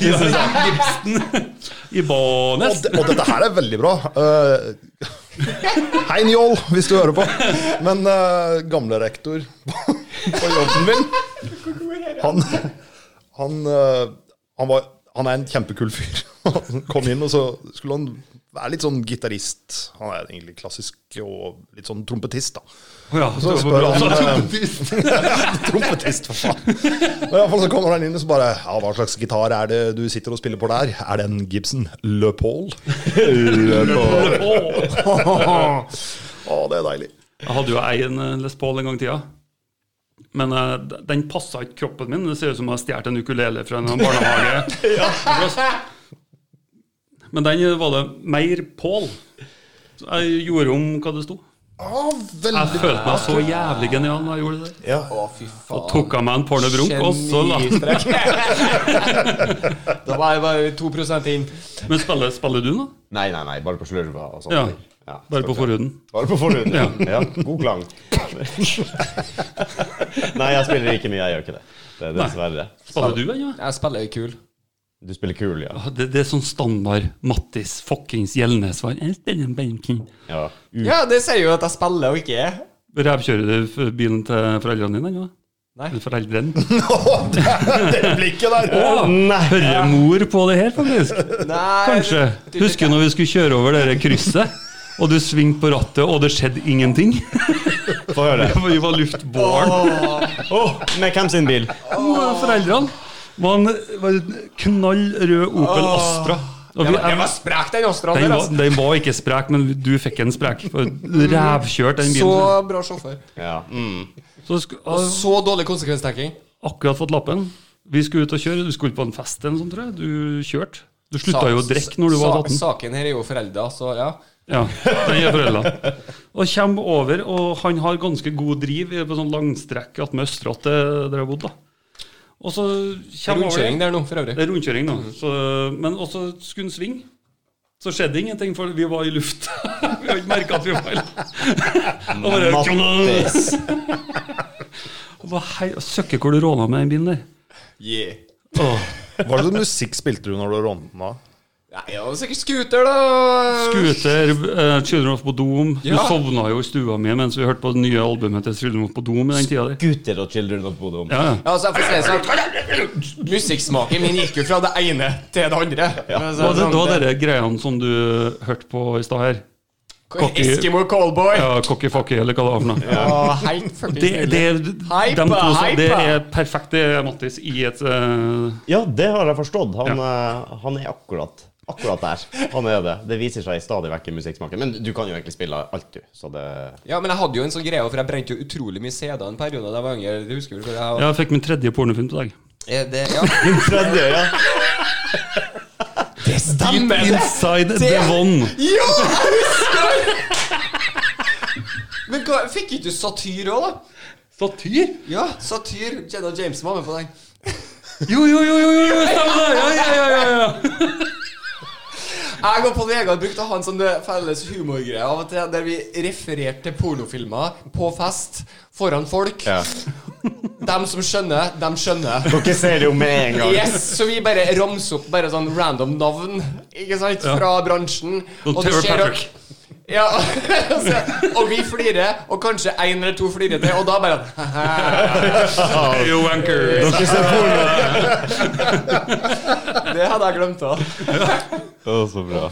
Speaker 2: Ibanez?
Speaker 3: og, det, og dette her er veldig bra. Eh, hei, Njål, hvis du hører på. Men eh, gamle rektor på, på jobben min Han, han, eh, han, var, han er en kjempekul fyr. Han kom inn, og så skulle han være litt sånn gitarist. Han er egentlig klassisk og litt sånn trompetist, da.
Speaker 2: Ja,
Speaker 3: Så spør han eh, Trompetist, for faen. Men i alle fall så kommer han inn og så bare Ja, hva slags gitar er det du sitter og spiller på der? Er det en Gibson Le Paul? Le Paul. Å, det er deilig.
Speaker 2: Jeg hadde jo ei en eh, Les Paul en gang i tida. Men eh, d- den passa ikke kroppen min. Det ser ut som jeg har stjålet en ukulele fra en eller annen barnehage. eh, Men den var det mer Paul. Så jeg gjorde om hva det sto.
Speaker 3: Ja,
Speaker 2: Jeg
Speaker 3: veldig
Speaker 2: følte meg så jævlig genial da jeg gjorde det.
Speaker 3: ja.
Speaker 1: Å, fy faen.
Speaker 2: Tok av meg en pornobrunk, og så la
Speaker 1: da var jeg bare 2 inn.
Speaker 2: Men spiller, spiller du nå?
Speaker 4: Nei, nei, nei, bare på slurva og sånne
Speaker 2: Ja.
Speaker 4: ting. Ja,
Speaker 2: Bare på
Speaker 4: selvfølgelig.
Speaker 2: forhuden?
Speaker 4: Bare på forhuden.
Speaker 2: Ja.
Speaker 4: Ja. god klang. Nei, jeg spiller ikke mye, jeg gjør ikke det. det er dessverre.
Speaker 2: Spiller du ennå?
Speaker 1: Jeg spiller jo kul.
Speaker 4: Du spiller kul, ja.
Speaker 2: Ja, Det, det er sånn standard Mattis fuckings Gjelnes-svar. Jeg spiller en benking.
Speaker 4: ja. U
Speaker 1: Ja, det sier jo at jeg spiller og ikke er.
Speaker 2: Rævkjører du f- bilen til foreldrene dine ennå?
Speaker 1: Nei.
Speaker 2: Eller foreldrene?
Speaker 3: Det blikket der!
Speaker 2: Å, Hører mor på det her, faktisk?
Speaker 1: Nei,
Speaker 2: Kanskje.
Speaker 1: det- det-
Speaker 2: Husker du når vi skulle kjøre over det der krysset, og du svingte på rattet, og det skjedde ingenting?
Speaker 4: Få høre.
Speaker 2: For vi var luftbåren.
Speaker 4: Åh, med hvem sin bil?
Speaker 2: Og Foreldrene var en, var en knall rød Opel Astra. Og
Speaker 1: Ja,
Speaker 2: vi,
Speaker 1: men Den var
Speaker 2: jeg,
Speaker 1: sprek, den Astra.
Speaker 2: den,
Speaker 1: der,
Speaker 2: var,
Speaker 1: altså.
Speaker 2: den var ikke sprek, men du fikk en sprek. For Rævkjørt, den
Speaker 1: Så
Speaker 2: bilen.
Speaker 1: bra sjåfør.
Speaker 4: Ja. Mm.
Speaker 2: Så sku, har
Speaker 1: Så dårlig konsekvenstenking.
Speaker 2: akkurat fått lappen. Vi skulle ut og kjøre. Du skulle på en fest eller noe sånt, tror jeg. Du kjørte. Du slutta jo å drikke når du var 18.
Speaker 1: Saken her er jo forelda, så ja.
Speaker 2: Ja, den er foreldra. Og kommer over, og han har ganske god driv i- på sånn langstrekk attmed Østerått eh, der jeg bodde. da. Og så kommer over
Speaker 1: Rundkjøring
Speaker 2: det.
Speaker 1: der nå, for
Speaker 2: Det
Speaker 1: øvrig.
Speaker 2: er rundkjøring, da. Så, men også skulle han svinge. Så skjedde ingenting, for vi var i luft. vi har ikke merka at vi var i Og bare-
Speaker 4: Mattis.
Speaker 2: Og bare, hei, Søkker hvor du råna med den bilen der.
Speaker 1: Yeah.
Speaker 2: Åh,
Speaker 3: Hva er det musikk spilte du når du rånte den? da?
Speaker 1: Nei, det var sikkert scooter, da.
Speaker 2: Scooter, eh, Children of Bodom.
Speaker 1: Ja.
Speaker 2: Du sovna jo i stua mi mens vi hørte på det nye albumet til Children of Bodom i den tida der.
Speaker 4: Gutter og children of Bodom.
Speaker 2: Ja, ja.
Speaker 1: Ja, altså, jeg får si det sånn Musikksmaken min gikk jo fra det ene til det andre. Men så-
Speaker 2: Hva det, det var dere greiene som du hørte på i stad her? cocky-
Speaker 1: sånn Eskimo Callboy.
Speaker 2: Ja, cocky fucky, eller hva det var for noe.
Speaker 1: Å, hei, fucking
Speaker 2: Det, det,
Speaker 1: nydelig.
Speaker 2: de to, sa- det er perfekt, det, Mattis, i et eh,
Speaker 4: Ja, det har jeg forstått. Han, eh, han er akkurat, akkurat der. Han er det. Det viser seg stadig vekk i musikksmaken. Men du kan jo egentlig spille alt, du. Så det
Speaker 1: Ja, men jeg hadde jo en sånn greie, for jeg brente jo utrolig mye CD-er en periode da jeg var yngre. Det husker du? For jeg,
Speaker 2: Jeg fikk min tredje pornofilm til deg.
Speaker 1: Er det, ja.
Speaker 4: Tredje, ja.
Speaker 1: det stemmer!
Speaker 2: Inside the One.
Speaker 1: Ja, jeg husker! Men hva, fikk ikke du satyr òg, da?
Speaker 2: Satyr?
Speaker 1: Ja, satyr. Jenna James var med på den.
Speaker 2: Jo, jo, jo, jo, jo, stemmer det! Ja, ja, ja, ja, ja.
Speaker 1: Jeg og Pål Vegard brukte å ha en sånn felles humorgreie av og til, der vi refererte til pornofilmer på fest foran folk.
Speaker 4: ja.
Speaker 1: Dem som skjønner, dem skjønner.
Speaker 4: Dere ser det jo med en gang.
Speaker 1: Yes, Så vi bare ramser opp bare sånn random navn ikke sant,
Speaker 2: Ja.
Speaker 1: fra bransjen.
Speaker 2: Sånn
Speaker 1: du
Speaker 2: Tara
Speaker 1: ser at-
Speaker 2: Patrick.
Speaker 1: Ja, så, og vi flirer, og kanskje én eller to flirer til, og da sånn, bare
Speaker 2: You wanker.
Speaker 4: Dere ser porno.
Speaker 1: Det hadde jeg glemt av.
Speaker 4: Å, så bra.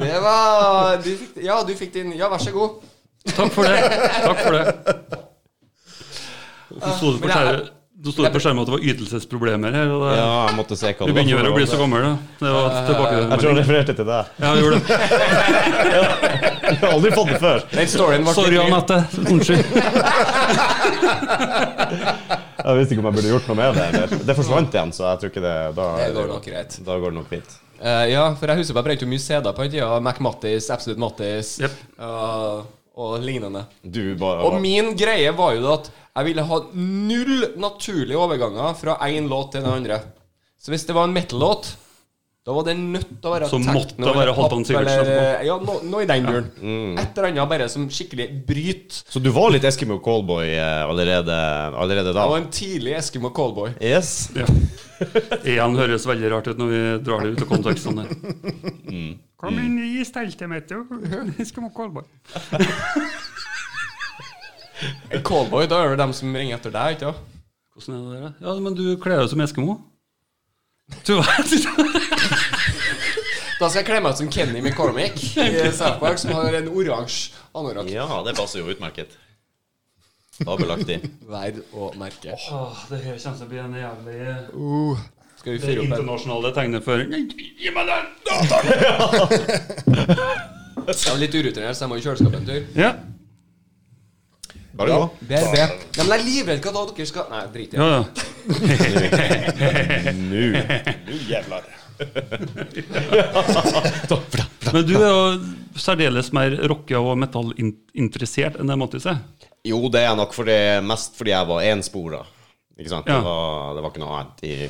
Speaker 1: Det var du fikk, Ja, du fikk din. Ja, vær så god.
Speaker 2: Takk for det. Takk for det. Så sto det på
Speaker 1: Men jeg-
Speaker 2: skjermen- så sto det på skjermen at det var ytelsesproblemer her. Og det,
Speaker 4: Ja, jeg måtte se hva
Speaker 2: Du
Speaker 4: det var
Speaker 2: begynner
Speaker 4: for
Speaker 2: vel å bli
Speaker 4: noe.
Speaker 2: så gammel, da. Det var tilbake til
Speaker 4: Jeg tror jeg refererte til deg.
Speaker 2: Ja, vi gjorde det.
Speaker 4: Jeg har aldri fått det før.
Speaker 1: Den storyen ble
Speaker 2: Sorry, Anette. Unnskyld.
Speaker 4: Jeg visste ikke om jeg burde gjort noe med det. Eller. Det forsvant igjen, så jeg tror ikke det Da,
Speaker 1: Det går nok greit.
Speaker 4: da går det nok fint.
Speaker 1: Eh, ja, for jeg husker på jeg brente jo mye CD-er på den tida. Mac Mattis, Absolute Mattis
Speaker 2: Jep.
Speaker 1: eh, og lignende.
Speaker 4: Du bare
Speaker 1: Og min greie var jo at jeg ville ha null naturlige overganger fra én låt til den andre. Så hvis det var en metal-låt, da var det nødt til å være
Speaker 2: Så
Speaker 1: techno
Speaker 2: måtte det være
Speaker 1: eller pop
Speaker 2: Halvdan Sivertsen
Speaker 1: eller- Ja, noe no i den duren. Et eller annet bare som skikkelig bryter.
Speaker 4: Så du var litt Eskimo Callboy eh, allerede, allerede da?
Speaker 1: Jeg var en tidlig Eskimo Callboy.
Speaker 4: Yes.
Speaker 2: Ja. Igjen høres veldig rart ut når vi drar det ut av konteksten. her. Kom inn i steltet mitt, jo. Skal man kolbe.
Speaker 1: En Callboy, da er det dem som ringer etter deg, ikke sant?
Speaker 2: Hvordan er det der, da? Ja, men du kler deg som Eskimo. Du vet.
Speaker 1: Da skal jeg kle meg ut som Kenny McCormick i South Park, som har en oransje anorakk.
Speaker 4: Ja, det passer jo utmerket. Fabelaktig.
Speaker 1: Verd å merke.
Speaker 2: Åh, det her kommer til å bli en jævlig
Speaker 1: Skal vi fyre opp en
Speaker 2: internasjonale tegneføring. Gi meg den!
Speaker 1: Jeg er litt urutinert, så jeg må i kjøleskapet en tur.
Speaker 2: Ja.
Speaker 4: Bare gå.
Speaker 1: BRB. Nei, men jeg er livredd hva da dere skal Nei, drit i det.
Speaker 2: ja, ja.
Speaker 4: Nå. Nå jævlar.
Speaker 2: Men du er jo særdeles mer rocke- og metallinteressert enn det Mattis er.
Speaker 4: Jo, det er nok fordi, mest fordi jeg var enspora. Ikke sant?
Speaker 2: Ja.
Speaker 4: Det, var, det var ikke noe annet i
Speaker 2: I,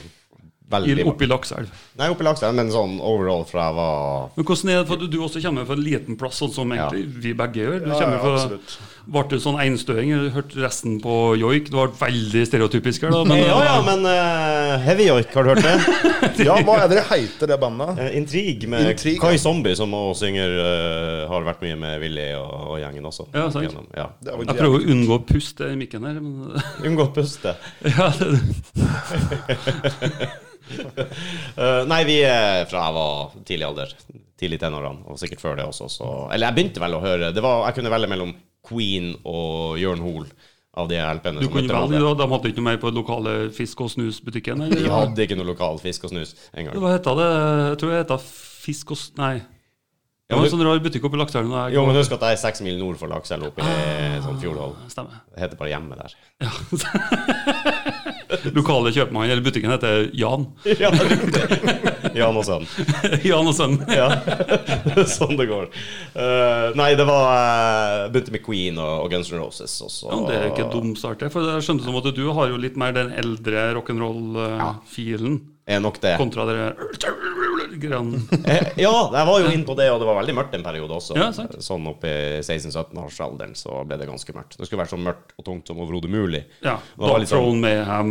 Speaker 4: veldig
Speaker 2: oppe i Lakselv.
Speaker 4: Nei, oppi Lakselv, men sånn overall fra jeg var
Speaker 2: Men hvordan er det for at du også kommer fra en liten plass, sånn som egentlig vi begge gjør? Du
Speaker 3: Ja,
Speaker 2: kommer
Speaker 3: ja,
Speaker 2: fra,
Speaker 3: absolutt.
Speaker 2: Ble du sånn einstøing? Du hørte resten på joik? Det var veldig stereotypisk her, da. Men,
Speaker 4: Ja, ja, men eh, Heavy York, har du hørt det?
Speaker 3: Ja, hva er det det heter, det bandet?
Speaker 4: Eh, Intrig med
Speaker 3: Intrig, ja.
Speaker 4: Kai Zombie, som også synger eh, Har vært mye med Willy og, og gjengen også.
Speaker 2: Ja, sant.
Speaker 4: Gjennom- ja.
Speaker 3: Det var
Speaker 2: eh, Jeg prøver å unngå å puste i mikken her, men eh,
Speaker 4: Unngått puste.
Speaker 2: ja, det,
Speaker 4: Eh, nei, vi er fra jeg var tidlig alder. Tidlig i tenårene, og sikkert før det også. Så. Eller jeg begynte vel å høre det var, Jeg kunne velge mellom Queen og Jørn Hoel av de LP-ene.
Speaker 2: Du
Speaker 4: som
Speaker 2: kunne
Speaker 4: heter
Speaker 2: velge,
Speaker 4: Rådet.
Speaker 2: da. De hadde ikke noe mer på lokale fisk- og snusbutikken? Eller?
Speaker 4: De hadde ikke noe lokal fisk og snus engang.
Speaker 2: Hva heta det? Jeg tror det heta Fisk og s- Nei. Det var en sånn rar butikk oppe i Lakselv. da jeg-
Speaker 4: Jo, men husk at jeg er seks mil nord for Lakselv, oppe i sånn Fjordhall.
Speaker 2: Stemmer.
Speaker 4: Det heter bare hjemme der.
Speaker 2: Ah. Lokale kjøpmann, eller butikken heter Jan.
Speaker 4: Ja, riktig. Jan og sønn.
Speaker 2: Jan og sønn.
Speaker 4: Ja, sånn det går. Eh, nei, det var eh, Begynte med Queen og, og Guns N' Roses. Og så,
Speaker 2: Ja, men det er jo ikke dum start, det. For jeg skjønte som at du har jo litt mer den eldre rock'n'roll-filen
Speaker 4: Er nok det.
Speaker 2: kontra dere greiene.
Speaker 4: Eh, Ja, jeg var jo inne på det, og det var veldig mørkt en periode også.
Speaker 2: Ja, sant.
Speaker 4: Sånn opp i 16-17-årsalderen så ble det ganske mørkt. Det skulle være så mørkt og tungt som overhodet mulig.
Speaker 2: Ja.
Speaker 4: Det var
Speaker 2: Dog
Speaker 4: litt sånn-
Speaker 2: Throne Mayhem,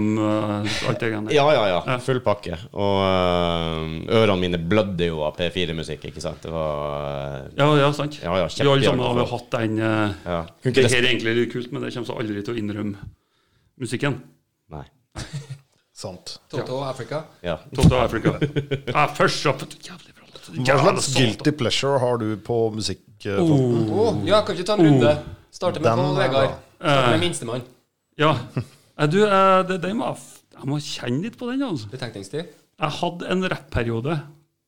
Speaker 2: eh, alt det greiene der.
Speaker 4: Ja, ja, ja. Full pakke. Og eh, ørene mine blødde jo av P4-musikk, ikke sant. Det var
Speaker 2: Ja, ja, sant.
Speaker 4: Ja, ja,
Speaker 2: vi alle sammen
Speaker 4: kjempegjerne.
Speaker 2: har jo hatt den eh,
Speaker 4: Ja. Kunne ikke
Speaker 2: Det her er egentlig litt kult, men det kommer så aldri til å innrømme musikken.
Speaker 4: Nei.
Speaker 3: Sant.
Speaker 1: Toto Africa.
Speaker 4: Ja.
Speaker 2: Toto Africa. Sånn Ja, først opp Jævlig bra.
Speaker 3: Hva
Speaker 2: Jævla
Speaker 3: slags
Speaker 2: salt.
Speaker 3: guilty pleasure har du på musikk? eh, Tom?
Speaker 1: Oh, ja, kan vi ikke ta en runde? Starte med
Speaker 3: Den
Speaker 1: Pål
Speaker 3: er
Speaker 1: Vegard.
Speaker 3: bra.
Speaker 1: Starte
Speaker 2: Eh.
Speaker 1: med minstemann.
Speaker 2: Ja. Eh, Du, eh, det, den var f- Jeg må kjenne litt på den, altså.
Speaker 1: Betenkningstid.
Speaker 2: Jeg hadde en rappperiode.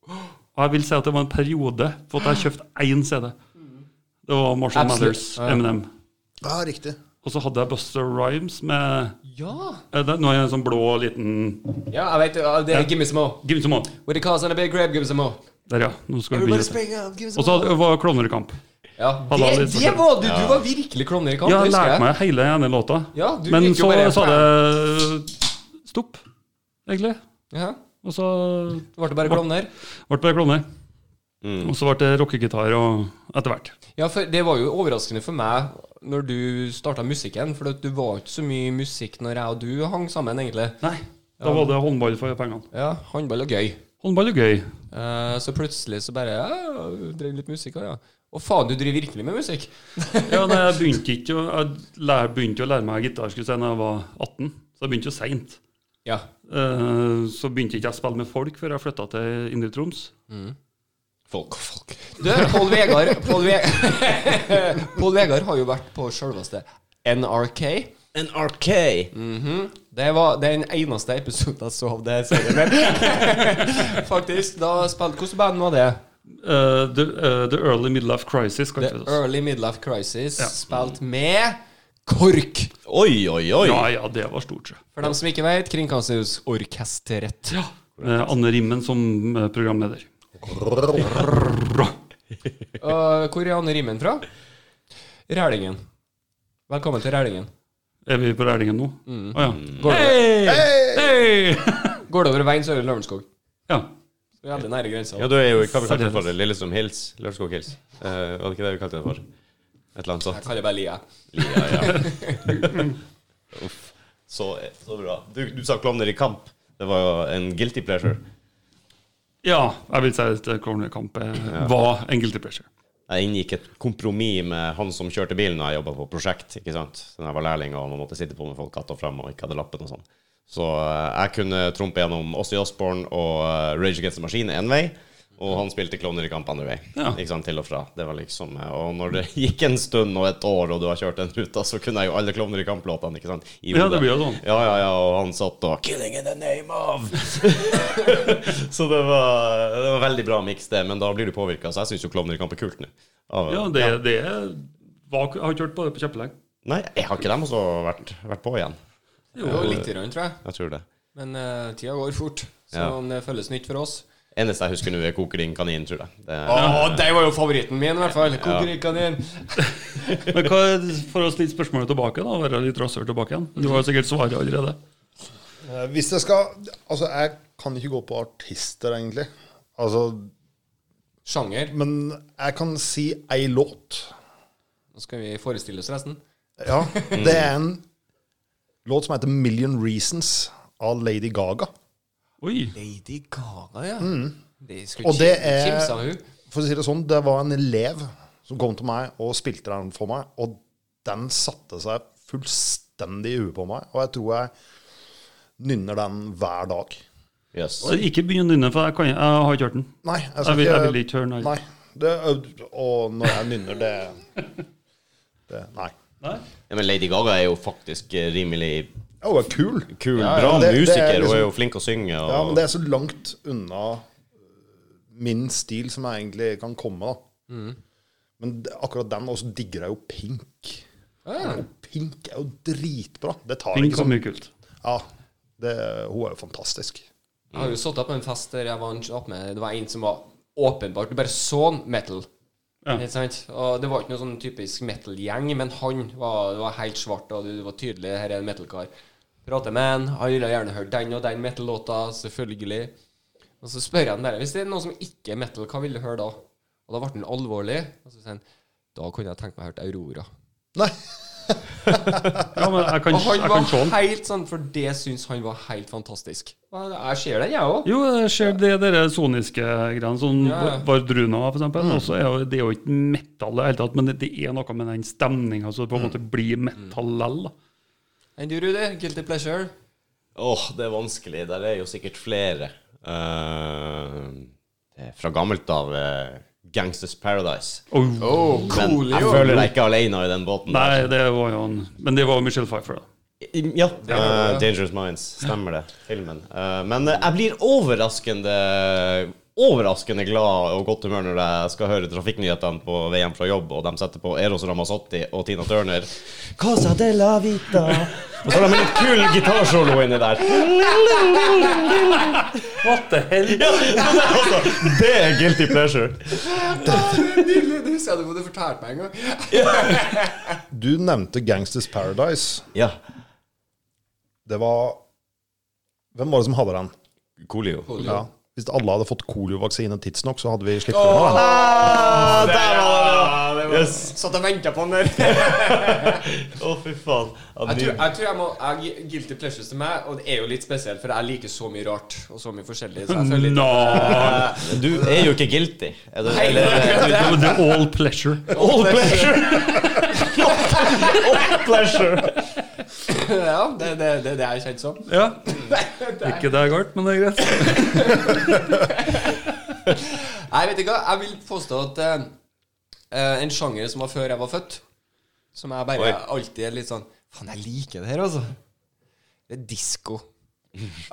Speaker 2: Og jeg vil si at det var en periode for at jeg kjøpte én CD. Det var Marshall
Speaker 1: Absolutt.
Speaker 2: Mathers,
Speaker 1: Ja, ja.
Speaker 2: Eminem.
Speaker 3: Ja, riktig.
Speaker 2: Og så hadde jeg Buster Rhymes med
Speaker 1: Ja.
Speaker 2: eh, det- Nå er jeg en sånn blå liten
Speaker 1: Ja, jeg vet det. Det er Gimme Some More.
Speaker 2: Give me some more.
Speaker 1: With the cars and a big grab, give us some more.
Speaker 2: Der, ja. Nå skal du bli
Speaker 1: Everybody
Speaker 2: Og
Speaker 1: spring up, give us
Speaker 2: så
Speaker 1: some more.
Speaker 2: hadde- var Klovnekamp.
Speaker 1: Ja,
Speaker 2: Han var
Speaker 1: det,
Speaker 2: litt
Speaker 1: det var du! Du var virkelig klovner i kamp,
Speaker 2: Ja, jeg
Speaker 1: husker
Speaker 2: lærte
Speaker 1: jeg.
Speaker 2: meg hele ene låta.
Speaker 1: Ja, du
Speaker 2: Men
Speaker 1: gikk jo
Speaker 2: så
Speaker 1: bare-
Speaker 2: sa det stopp, egentlig.
Speaker 1: Ja,
Speaker 2: Og så
Speaker 1: det ble bare klovner.
Speaker 2: ble det bare klovner. Og så ble det rockegitar og etter hvert.
Speaker 1: Ja, for det var jo overraskende for meg når du starta musikken, for at du var ikke så mye musikk når jeg og du hang sammen, egentlig.
Speaker 2: Nei. Da var det håndball for pengene.
Speaker 1: Ja, håndball og gøy.
Speaker 2: Håndball er gøy.
Speaker 1: Eh, så plutselig så bare ja, Drev litt musikk òg, ja. Å faen, du driver virkelig med musikk?
Speaker 2: Ja, nei, jeg begynte ikke å, jeg lær, begynte å lære meg gitar skulle jeg si, når jeg var 18, så jeg begynte jo seint.
Speaker 1: Ja.
Speaker 2: Eh, så begynte ikke jeg å spille med folk før jeg flytta til Indre Troms.
Speaker 4: Folk og folk.
Speaker 1: Du, Pål Vegard Pål Ve Pål Vegard har jo vært på sjølveste NRK.
Speaker 4: NRK.
Speaker 1: Det var den eneste episoden jeg så av det serien der. Faktisk. Da spilte Hvilket band var det?
Speaker 2: Eh, the, eh, the Early Midlife Crisis. Kan
Speaker 1: The
Speaker 2: ikke det? sånn.
Speaker 1: Early Midlife Crisis.
Speaker 2: Ja.
Speaker 1: Spilt med KORK.
Speaker 4: Oi, oi, oi.
Speaker 2: Ja, ja, det var stort, sjø.
Speaker 1: For dem som ikke vet, Kringkastingsorkesteret.
Speaker 2: Ja. Med Anne Rimmen som eh, programleder.
Speaker 1: Og hvor er Anne Rimmen fra? Rælingen. Velkommen til Rælingen.
Speaker 2: Er vi på Rælingen nå? Å
Speaker 1: Går
Speaker 2: ja.
Speaker 1: det,
Speaker 2: Hei!
Speaker 1: går det over veien, så er det Lørenskog.
Speaker 2: ja.
Speaker 1: Så Veldig nære grensa.
Speaker 4: Ja, du er jo Hva vi kalte det for? Lillestrøm Hills? Lørenskog Hills? Eh, var det ikke det vi kalte det for? Et eller annet
Speaker 1: Jeg
Speaker 4: sånt.
Speaker 1: kaller det bare Lia.
Speaker 4: Lia, ja. Uff. Så, så bra. Du, du sa klovner i kamp. Det var jo en guilty pleasure.
Speaker 2: ja. Jeg vil si at Cornerkamp eh, var en guilty pleasure.
Speaker 4: Jeg inngikk et kompromiss med han som kjørte bilen da jeg jobba på prosjekt. ikke sant? Da jeg var lærling og man måtte sitte på med folk katt og fram og ikke hadde lappen og sånn. Så eh, jeg kunne trumpe gjennom Ossie Osborne og eh, Rage Against the Machine én vei, og han spilte Klovner i kamp andre vei.
Speaker 2: Ja.
Speaker 4: Ikke sant, Til og fra. Det var liksom eh, Og når det gikk en stund og et år, og du har kjørt den ruta, så kunne jeg jo alle Klovner i kamp-låtene, ikke sant? I
Speaker 2: Ja,
Speaker 4: hodet.
Speaker 2: det blir jo sånn.
Speaker 4: Ja, ja, ja, og han satt og Killing in the name of Så det var, det var veldig bra miks, det. Men da blir du påvirka. Så jeg syns jo Klovner i kamp er kult nå. Av-
Speaker 2: Ja, det, det var, Jeg har ikke hørt på det på kjempelenge.
Speaker 4: Nei, jeg har ikke dem også vært, vært på igjen.
Speaker 1: Jo, litt, grann, tror jeg.
Speaker 4: Jeg tror det.
Speaker 1: Men eh, tida går fort, så
Speaker 4: Ja.
Speaker 1: om det føles nytt for oss
Speaker 4: Eneste jeg husker nå, er koker inn kanin, tror jeg. Det,
Speaker 1: Å,
Speaker 3: Ah.
Speaker 1: det var jo favoritten min, i hvert fall. Kokerikanin.
Speaker 2: Men hva, for å stille spørsmålet tilbake, da, være litt rassere tilbake igjen. Du har jo sikkert svaret allerede.
Speaker 3: Eh, Hvis jeg skal Altså, jeg kan ikke gå på artister, egentlig. Altså,
Speaker 1: Sjanger.
Speaker 3: men jeg kan si ei låt.
Speaker 1: Nå skal vi forestille oss resten.
Speaker 3: Ja, det er en låt som heter 'Million Reasons' av Lady Gaga.
Speaker 2: Oi.
Speaker 1: Lady Gaga, ja. Det Mm. skulle
Speaker 3: Og det
Speaker 1: kim-
Speaker 3: er-
Speaker 1: kimsa hun.
Speaker 3: For å si det sånn, det var en elev som kom til meg og spilte den for meg, og den satte seg fullstendig i huet på meg, og jeg tror jeg nynner den hver dag.
Speaker 4: Jøss.
Speaker 2: Så ikke begynn å nynne, for jeg, kan, jeg har ikke hørt den.
Speaker 3: Nei, jeg
Speaker 2: Jeg
Speaker 3: skal
Speaker 2: vil,
Speaker 3: ikke
Speaker 2: jeg vil ikke høre den.
Speaker 3: Nei. Det, og når jeg nynner, det, det Nei.
Speaker 2: Nei?
Speaker 4: Ja, men Lady Gaga er jo faktisk eh, rimelig
Speaker 3: Hun er kul.
Speaker 4: kul,
Speaker 3: Ja, ja,
Speaker 4: bra
Speaker 3: det- det er
Speaker 4: musiker. Hun er
Speaker 3: liksom-
Speaker 4: jo flink å synge. Og,
Speaker 3: Ja, men det er så langt unna øh, min stil som jeg egentlig kan komme, da. Men det- akkurat den, og så digger jeg jo pink. Og pink er jo dritbra. Det tar
Speaker 2: Ring
Speaker 3: ikke
Speaker 2: så
Speaker 3: sånn
Speaker 2: mye kult.
Speaker 3: Ja, det, hun er jo fantastisk.
Speaker 1: Jeg har jo satt opp på en fest der jeg var en kjapp med Det var en som var åpenbart Du bare så han metal.
Speaker 2: Ja.
Speaker 1: Ikke sant? Og det var ikke noen sånn typisk metal-gjeng, men han var, det var helt svart, og det var tydelig her er en metal-kar. Prater med han, han ville gjerne hørt den og den metal-låta, selvfølgelig. Og så spør jeg han bare Hvis det er noen som ikke er metal, hva vil du høre da? Og da ble han alvorlig. Og så sier han Da kunne jeg tenkt meg å høre Aurora.
Speaker 3: Nei,
Speaker 2: Ja, men jeg kan,
Speaker 1: Og han
Speaker 2: jeg kan se
Speaker 1: var
Speaker 2: den.
Speaker 1: helt sånn, for det syns han var helt fantastisk. Og Jeg ser den, jeg òg.
Speaker 2: Jo, jeg ser det dere soniske greiene, sånn
Speaker 1: Ja, Mm. ja.
Speaker 2: Vardruna for eksempel. Også er jo, det er jo ikke metal i det hele tatt, men det, det er noe med den stemninga som på
Speaker 1: Mm.
Speaker 2: en måte blir metal lell. da.
Speaker 1: Enn du, Rudi? Guilty pleasure?
Speaker 4: Åh, det er vanskelig. Der er jo sikkert flere. Eh, det er fra gammelt av eh, Gangsters Paradise.
Speaker 2: Oh.
Speaker 1: Oh,
Speaker 4: Men jeg føler deg ikke alene i den båten.
Speaker 2: Nei, det var jo en Men det var jo Michelle Pfeiffer, da.
Speaker 4: I- Ja.
Speaker 1: ja.
Speaker 4: eh, Dangerous Minds. Stemmer det. Filmen. Eh, men eh, jeg blir overraskende Overraskende glad og godt humør når jeg skal høre trafikknyhetene på vei hjem fra jobb, og de setter på Eros Ramazzotti og Tina Turner. Casa de la vita Og så har de en litt kul gitarsolo inni der.
Speaker 2: What the hell?
Speaker 4: Altså, det er guilty pleasure.
Speaker 1: Nydelig! Det husker jeg du hadde fortalt meg en gang.
Speaker 3: du nevnte Gangsters Paradise.
Speaker 4: Ja.
Speaker 3: Det var Hvem var det som hadde den?
Speaker 4: Coolio.
Speaker 3: Ja. Hvis alle hadde fått koliovaksine tidsnok, så hadde vi sluppet unna den.
Speaker 4: Ah, der var det! Yes.
Speaker 1: Satt og venta på den der.
Speaker 4: Å, fy faen. Ja,
Speaker 1: Jeg
Speaker 4: ny-
Speaker 1: tror jeg, tror jeg må jeg, Guilty pleasures til meg, og det er jo litt spesielt, for jeg liker så mye rart og så mye forskjellig. Så jeg føler litt
Speaker 2: No.
Speaker 4: Eh, Du er jo ikke guilty. Er du,
Speaker 1: Nei,
Speaker 4: eller,
Speaker 1: det er-
Speaker 2: The all pleasure.
Speaker 4: all pleasure! all pleasure!
Speaker 1: Ja, det er det, det, er det jeg er kjent som.
Speaker 2: Ja. Ikke det er galt, men det er greit.
Speaker 1: Nei, vet du hva, jeg vil påstå at eh, eh, en sjanger som var før jeg var født, som jeg bare
Speaker 4: Oi.
Speaker 1: alltid er litt sånn Faen, jeg liker det her, altså. Det er disko.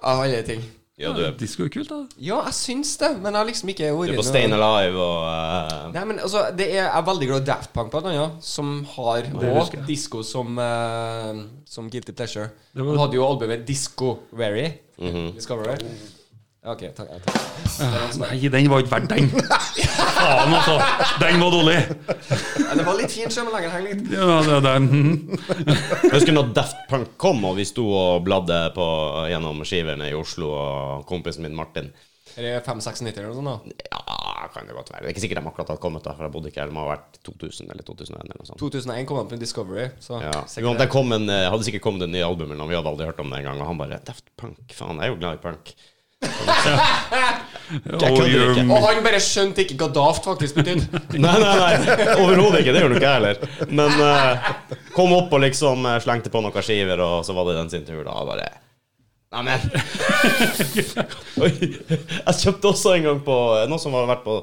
Speaker 1: Av alle ting.
Speaker 4: Ja, du er,
Speaker 2: Disko er kult, da.
Speaker 1: Ja, jeg syns det, men jeg har liksom ikke vært
Speaker 4: du er på
Speaker 1: noe-
Speaker 4: Stayin' Alive og eh,
Speaker 1: Nei, men altså, det er, jeg er veldig glad i Daft Punk, blant annet, som har òg
Speaker 2: husker jeg.
Speaker 1: disko som, eh, som guilty pleasure.
Speaker 2: Det var-
Speaker 1: Han hadde jo albumet Disco Very.
Speaker 4: Mhm.
Speaker 1: Discovery.
Speaker 2: Oh.
Speaker 1: Ok, takk. takk.
Speaker 2: Nei, den var ikke verdt den. Faen, altså. Den var dårlig.
Speaker 1: Ja, Det var litt fint, sjø, men lenger henger litt.
Speaker 2: Ja, det, det, mhm.
Speaker 4: Husker du når Daft Punk kom, og vi sto og bladde på, gjennom skiverne i Oslo, og kompisen min Martin
Speaker 1: Er det 5-96 eller noe sånt? da?
Speaker 4: Ja, kan det godt være. Det er ikke sikkert de akkurat har kommet, da, for jeg bodde ikke her. Det må ha vært 2000 eller 2001 eller noe sånt.
Speaker 1: 2001 kom han på Discovery, så
Speaker 4: Ja.
Speaker 1: sikkert-
Speaker 4: Uansett, det kom en, eh, hadde sikkert kommet en ny album, men vi hadde aldri hørt om det engang. Og han bare Daft Punk, faen, jeg er jo glad i punk. Jeg
Speaker 2: Oh,
Speaker 4: kødder
Speaker 2: you're
Speaker 4: ikke.
Speaker 1: Og han bare skjønte ikke hva daft faktisk betydde.
Speaker 4: Nei, nei, nei, overhodet ikke. Det gjør du ikke jeg heller. Men eh, kom opp og liksom eh, slengte på noen skiver, og så var det den sin tur, da. Og bare Neimen Oi. Jeg kjøpte også en gang på noen som har vært på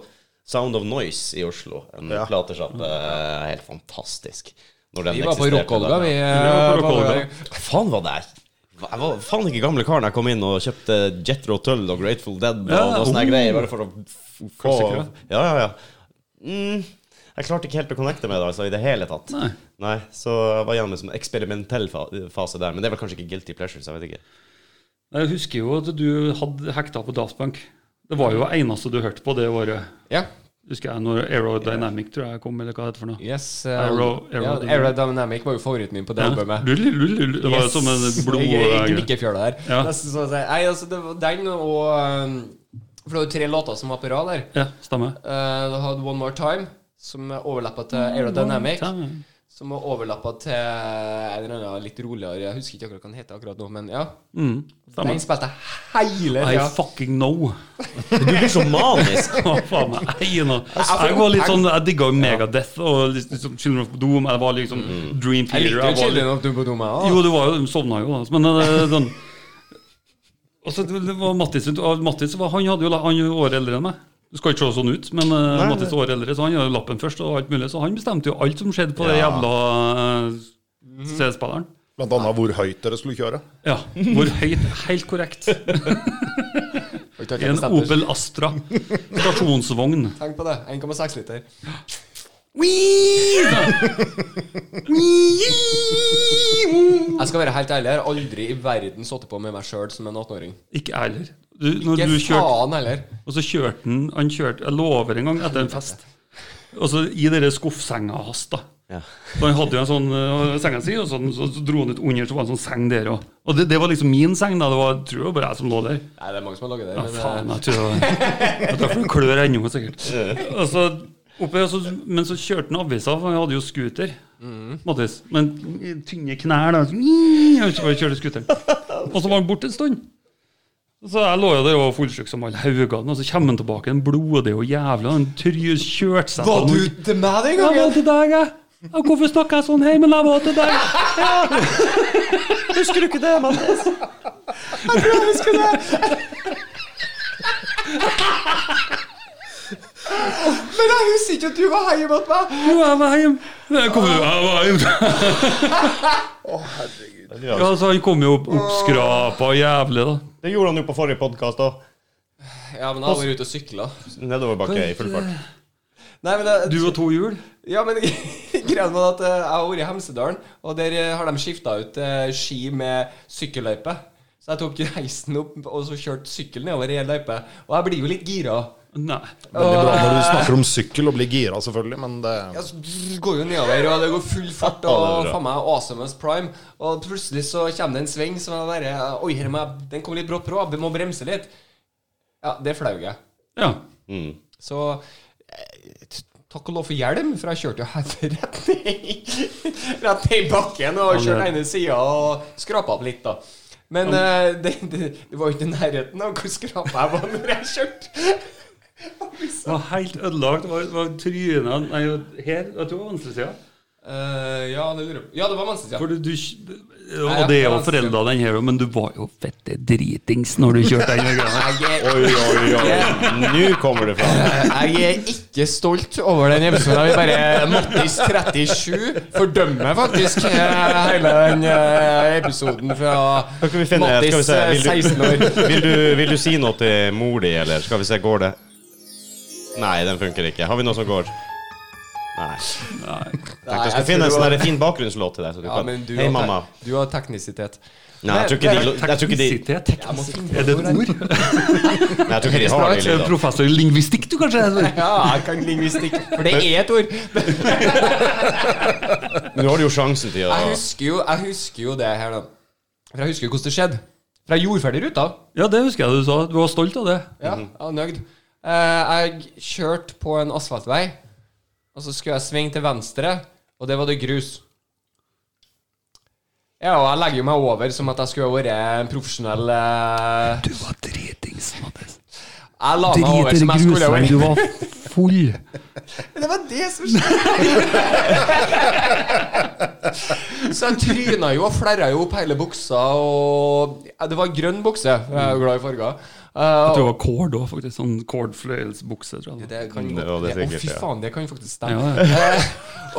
Speaker 4: Sound of Noise i Oslo. En
Speaker 3: Ja.
Speaker 4: platesjappe. eh, Helt fantastisk. Når den
Speaker 1: Vi var på
Speaker 4: eksisterte da.
Speaker 1: Rockolga, vi. eh,
Speaker 2: var på Rockholga.
Speaker 4: Hva faen var det her? Jeg var faen ikke gamle karen da jeg kom inn og kjøpte Jetro Tull og Grateful Dead og
Speaker 2: Ja,
Speaker 4: noe
Speaker 2: oh.
Speaker 4: sånne greier, bare for å f- få
Speaker 2: Klassikere.
Speaker 4: Ja, ja, ja. Mm, jeg klarte ikke helt å connecte med det altså, i det hele tatt.
Speaker 2: Nei.
Speaker 4: så jeg var gjennom en sånn eksperimentell fa fase der. Men det er vel kanskje ikke guilty pleasures, jeg vet ikke.
Speaker 2: Jeg husker jo at du hadde hekta på Daft Punk. Det var jo det eneste du hørte på det året.
Speaker 1: Ja.
Speaker 2: Husker jeg når Aerodynamic tror jeg kom, eller hva det heter for noe.
Speaker 1: Yes. eh,
Speaker 2: Aero-
Speaker 1: ja,
Speaker 2: aerodynamic.
Speaker 1: Aerodynamic var jo favoritten min på det albumet.
Speaker 2: Lull, lull, lull. Det var jo
Speaker 1: Yes.
Speaker 2: som en
Speaker 1: I- i
Speaker 2: blod...
Speaker 1: Gnikkefjøla der.
Speaker 2: Ja.
Speaker 1: Nesten sånn å si. Nei, altså, det var den og um, For det var jo tre låter som var på rad der.
Speaker 2: Ja, stemmer.
Speaker 1: Eh, Du hadde One More Time, som overlappa til Aerodynamic.
Speaker 2: Stemmer.
Speaker 1: Som var overlappa til en eller annen litt roligere Jeg husker ikke akkurat hva den heter akkurat nå, men ja.
Speaker 2: Mm,
Speaker 1: Den
Speaker 2: stemmer.
Speaker 1: spilte hele
Speaker 2: I
Speaker 1: tida.
Speaker 2: fucking know.
Speaker 4: Du blir så manisk.
Speaker 2: Å, faen meg, ei, nå.
Speaker 1: får
Speaker 2: Jeg var litt
Speaker 1: opp-
Speaker 2: sånn, jeg digga jo Megadeth og liksom Children of Doom. Jeg var liksom Dream
Speaker 1: Jeg likte
Speaker 2: Theater.
Speaker 1: jo
Speaker 2: Jeg var litt,
Speaker 1: Children of Doom på Doma.
Speaker 2: jo, det var jo, de sovna jo, da. Men eh, sånn Og så det det var Mattis, og Mattis var, han hadde jo la- han er jo året eldre enn meg. Du skal ikke se sånn ut, men eh, Mattis er året eldre, så han hadde jo lappen først, og alt mulig, så han bestemte jo alt som skjedde på det
Speaker 4: Ja.
Speaker 2: jævla eh, CD-spilleren.
Speaker 3: Blant annet hvor høyt dere skulle kjøre.
Speaker 2: Ja, hvor høyt? Helt korrekt. I en Opel Astra stasjonsvogn.
Speaker 1: Tenk på det. 1,6 liter. Jeg skal være helt ærlig, jeg har aldri i verden sittet på med meg sjøl som en 18-åring.
Speaker 2: Ikke jeg heller. Du, når
Speaker 1: Ikke
Speaker 2: du kjørte
Speaker 1: faen heller.
Speaker 2: Og så kjørte han Han kjørte, jeg lover en gang, etter en fest. Og så i dere skuffsenga hans, da.
Speaker 4: Ja.
Speaker 2: Så han hadde jo en sånn øh, senga si, og så, så, så dro han ut under, så var det en sånn seng der òg. Og det, det var liksom min seng, da. Det var, jeg tror det var bare jeg som lå der.
Speaker 1: Nei, det er mange som har laget det.
Speaker 2: Ja,
Speaker 1: men,
Speaker 2: faen,
Speaker 1: eh,
Speaker 2: jeg tror det var Det er derfor det klør ennå, sikkert. Og så, oppe, og så, men så kjørte han avisa, for han hadde jo scooter.
Speaker 1: Mm.
Speaker 2: Mattis. Men tynne knær, da. Så, og så bare kjørte scooteren. Og så var han borte en stund. Og Så jeg lå jo der og var fullsjuk som alle haugene, og så kommer han tilbake, en blodig og jævla Han tryr- kjørte seg
Speaker 1: Var
Speaker 2: på
Speaker 1: du
Speaker 2: noe-
Speaker 1: til meg den
Speaker 2: Jeg var
Speaker 1: gangen?
Speaker 2: til deg, jeg. Ja, Hvorfor snakker jeg sånn? Hei, men jeg var til deg.
Speaker 4: Husker du ikke det, Mattis?
Speaker 1: Men jeg husker ikke at du var hjemme hos meg!
Speaker 2: Jo, jeg var hjemme. Jeg kom, jo- jeg var hjemme. Ja, altså. så han kom jo opp, oppskrapa og jævlig, da.
Speaker 4: Det gjorde han jo på forrige podkast òg.
Speaker 1: Ja, men jeg har vært ute og sykla.
Speaker 4: Nedoverbakke i full fart.
Speaker 1: Nei, men jeg-
Speaker 2: Du og to hjul.
Speaker 1: Ja, men greia var at eh, jeg har vært i Hemsedalen, og der eh, har de skifta ut eh, ski med sykkelløype. Så jeg tok heisen opp og så kjørte sykkel nedover i ei løype. Og jeg blir jo litt gira. eh,
Speaker 2: Nei.
Speaker 3: Veldig bra når du snakker om sykkel og blir gira, selvfølgelig, men det
Speaker 1: Ja, så går jo nedover, og det går full fart,
Speaker 4: Ja, det er
Speaker 1: og
Speaker 4: bra.
Speaker 1: faen meg awesome as prime. Og plutselig så kommer det en sving som jeg bare eh, Oi, her må jeg, den kom litt brått på, jeg må bremse litt. Ja, det flaug jeg.
Speaker 2: Ja.
Speaker 4: Mm.
Speaker 1: Så eh, t- takk og lov for hjelm, for jeg kjørte jo her rett ned Rett ned i bakken og
Speaker 2: Ja,
Speaker 1: kjørte
Speaker 2: det-
Speaker 1: ene sida og skrapa opp litt, da. Men eh, det, det, det var jo ikke i nærheten av hvor skrapa jeg var når jeg kjørte.
Speaker 2: Det var helt ødelagt. Det var, det var trynet Nei, her. Jeg tror det var venstresida.
Speaker 1: Eh, ja, det lurer jeg på. Ja, det var venstresida.
Speaker 2: For du, du Og det er jo foreldra den her, men du var jo fette dritings når du kjørte den greia.
Speaker 1: Jeg er,
Speaker 4: Oi, oi, oi. Nå kommer det fram.
Speaker 1: jeg er ikke stolt over den episoden. Jeg vil bare Mattis 37 fordømmer faktisk eh, hele den eh, episoden fra
Speaker 4: Skal vi finne, skal vi
Speaker 1: Mattis
Speaker 4: se,
Speaker 1: eh,
Speaker 4: vil,
Speaker 1: 16 år.
Speaker 4: du, vil, du, vil du si noe til mor di, eller skal vi se, går det? Nei, den funker ikke. Har vi noe som går? Nei. Tenkte jeg skulle
Speaker 1: jeg
Speaker 4: finne en
Speaker 1: tror
Speaker 4: sånn
Speaker 1: det
Speaker 4: der fin bakgrunnslåt til deg. Så du
Speaker 1: Ja,
Speaker 4: kan,
Speaker 1: men du
Speaker 4: Hei,
Speaker 1: har,
Speaker 4: mamma.
Speaker 1: du har teknisitet.
Speaker 4: Nei, jeg tror ikke de, jeg tror ikke de,
Speaker 2: Teknisitet? teknisitet. Er det et ord?
Speaker 4: nei, jeg tror ikke de har det. i
Speaker 2: Er du
Speaker 4: lyden.
Speaker 2: Professor i lingvistikk, du, kanskje?
Speaker 1: Ja, jeg kan lingvistikk. For det er et ord.
Speaker 4: Men du har jo sjansen til å
Speaker 1: Jeg husker jo, jeg husker jo det her, da. For jeg husker jo hvordan det skjedde. For jeg gjorde ferdig ruta.
Speaker 2: Ja, det husker jeg du sa. Du var stolt av det.
Speaker 1: Mm-hmm. Ja, jeg var nøyd. Eh, Jeg kjørte på en asfaltvei, og så skulle jeg svinge til venstre, og det var det grus. Ja, og jeg legger jo meg over som at jeg skulle ha vært en profesjonell eh,
Speaker 2: Du var dritings, Mattis.
Speaker 1: Jeg la meg
Speaker 2: Drit
Speaker 1: over
Speaker 2: i
Speaker 1: som jeg skulle ha
Speaker 2: grusveien.
Speaker 1: vært.
Speaker 2: Du var full.
Speaker 1: Det var det som skjedde. så jeg tryna jo og flerra jo opp hele buksa, og ja, Det var grønn bukse, for jeg er jo glad i farger. Eh,
Speaker 2: Jeg tror det var kord òg, faktisk. Sånn kordfløyelsbukse, tror jeg. det
Speaker 1: det
Speaker 2: var.
Speaker 1: kan
Speaker 4: Det
Speaker 1: godt
Speaker 4: var det
Speaker 1: Å,
Speaker 4: sikkert,
Speaker 1: fy
Speaker 4: ja.
Speaker 1: faen, det kan faktisk stemme.
Speaker 2: Ja, ja.
Speaker 1: Eh,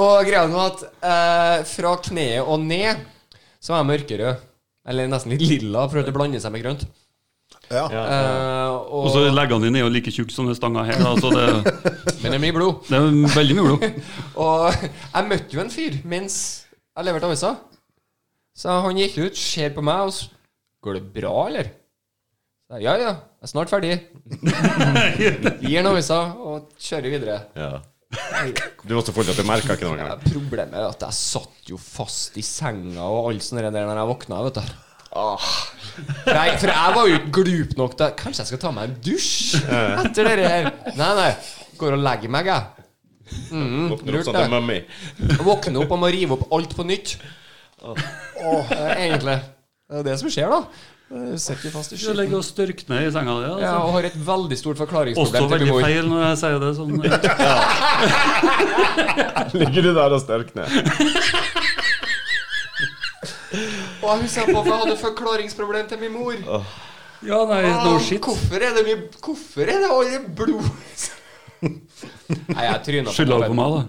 Speaker 1: og greia var at eh, fra kneet og ned så var jeg mørkerød. Eller nesten litt lilla, prøvde å blande seg med grønt.
Speaker 3: Ja.
Speaker 1: Eh,
Speaker 2: Og så
Speaker 1: og,
Speaker 2: leggene dine er jo like tjukke som den stanga her, da, så det,
Speaker 1: men det er mye blod.
Speaker 2: det er veldig mye blod.
Speaker 1: Og jeg møtte jo en fyr mens jeg leverte avisa. Så han gikk ut, ser på meg og s- Går det bra, eller? Så jeg, ja, ja. Jeg Jeg er snart ferdig. Gir den avisa og kjører videre.
Speaker 4: Ja. Du var så full at du merka ikke noe
Speaker 1: Ja,
Speaker 4: engang.
Speaker 1: problemet er at jeg satt jo fast i senga og alt sånt der når jeg våkna, vet du. Nei, for jeg var jo ikke glup nok til Kanskje jeg skal ta meg en dusj etter det her? Nei, nei. Går og legger meg, jeg.
Speaker 4: Våkner opp
Speaker 1: lurt
Speaker 4: sånn til
Speaker 1: det.
Speaker 4: mummy.
Speaker 1: Våkner opp og må rive opp alt på nytt. Åh, det er egentlig det er det som skjer, da. Eh, Du sitter fast i
Speaker 2: Du
Speaker 1: skitten.
Speaker 2: ligger og størkner i senga di.
Speaker 1: Ja,
Speaker 2: Altså.
Speaker 1: og har et veldig stort
Speaker 2: Også
Speaker 1: forklaringsproblem til
Speaker 2: veldig
Speaker 1: min mor.
Speaker 2: feil når jeg sier det sånn.
Speaker 4: Ligger du der og størkner?
Speaker 1: Og jeg husker på, for jeg hadde forklaringsproblem til min mor.
Speaker 2: Ja, nei, no
Speaker 1: Ah,
Speaker 2: shit.
Speaker 1: Hvorfor er det mye Hvorfor er det alle blod Nei, jeg tryna på
Speaker 2: Skylder du på
Speaker 1: mopeden.
Speaker 2: meg, da?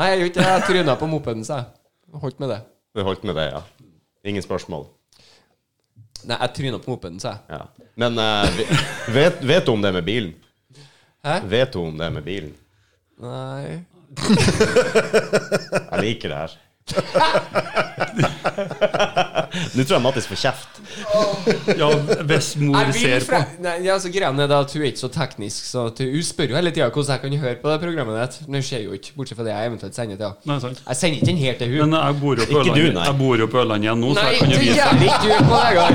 Speaker 1: Nei, jeg gjorde ikke det. Jeg tryna på mopeden, sa jeg. Holdt med det.
Speaker 4: Det holdt med det, ja. Ingen spørsmål.
Speaker 1: Nei, jeg tryna på mopeden, sa jeg.
Speaker 4: Ja. Men eh, vi- vet, vet du om det med bilen?
Speaker 1: Hæ?
Speaker 4: Vet du om det med bilen?
Speaker 1: Nei
Speaker 4: Jeg liker det her. Nå tror jeg Mattis får kjeft.
Speaker 2: Ja, hvis mor
Speaker 1: Jeg vil
Speaker 2: ser på.
Speaker 1: fra... Nei, altså, greia er det at hun er ikke så teknisk, så at hun spør jo hele tida hvordan jeg kan høre på det programmet ditt. Men hun ser jo ikke, bortsett fra det jeg eventuelt sender til henne.
Speaker 2: Nei, sant.
Speaker 1: Jeg sender ikke den her til hun.
Speaker 2: Men jeg bor jo på
Speaker 4: Ikke du,
Speaker 2: Ørlandet
Speaker 4: nei.
Speaker 2: Jeg bor jo på Ørlandet igjen nå, så
Speaker 1: Nei,
Speaker 2: jeg kan jo
Speaker 1: du
Speaker 2: vise
Speaker 1: gjør ikke du på deg, Gar.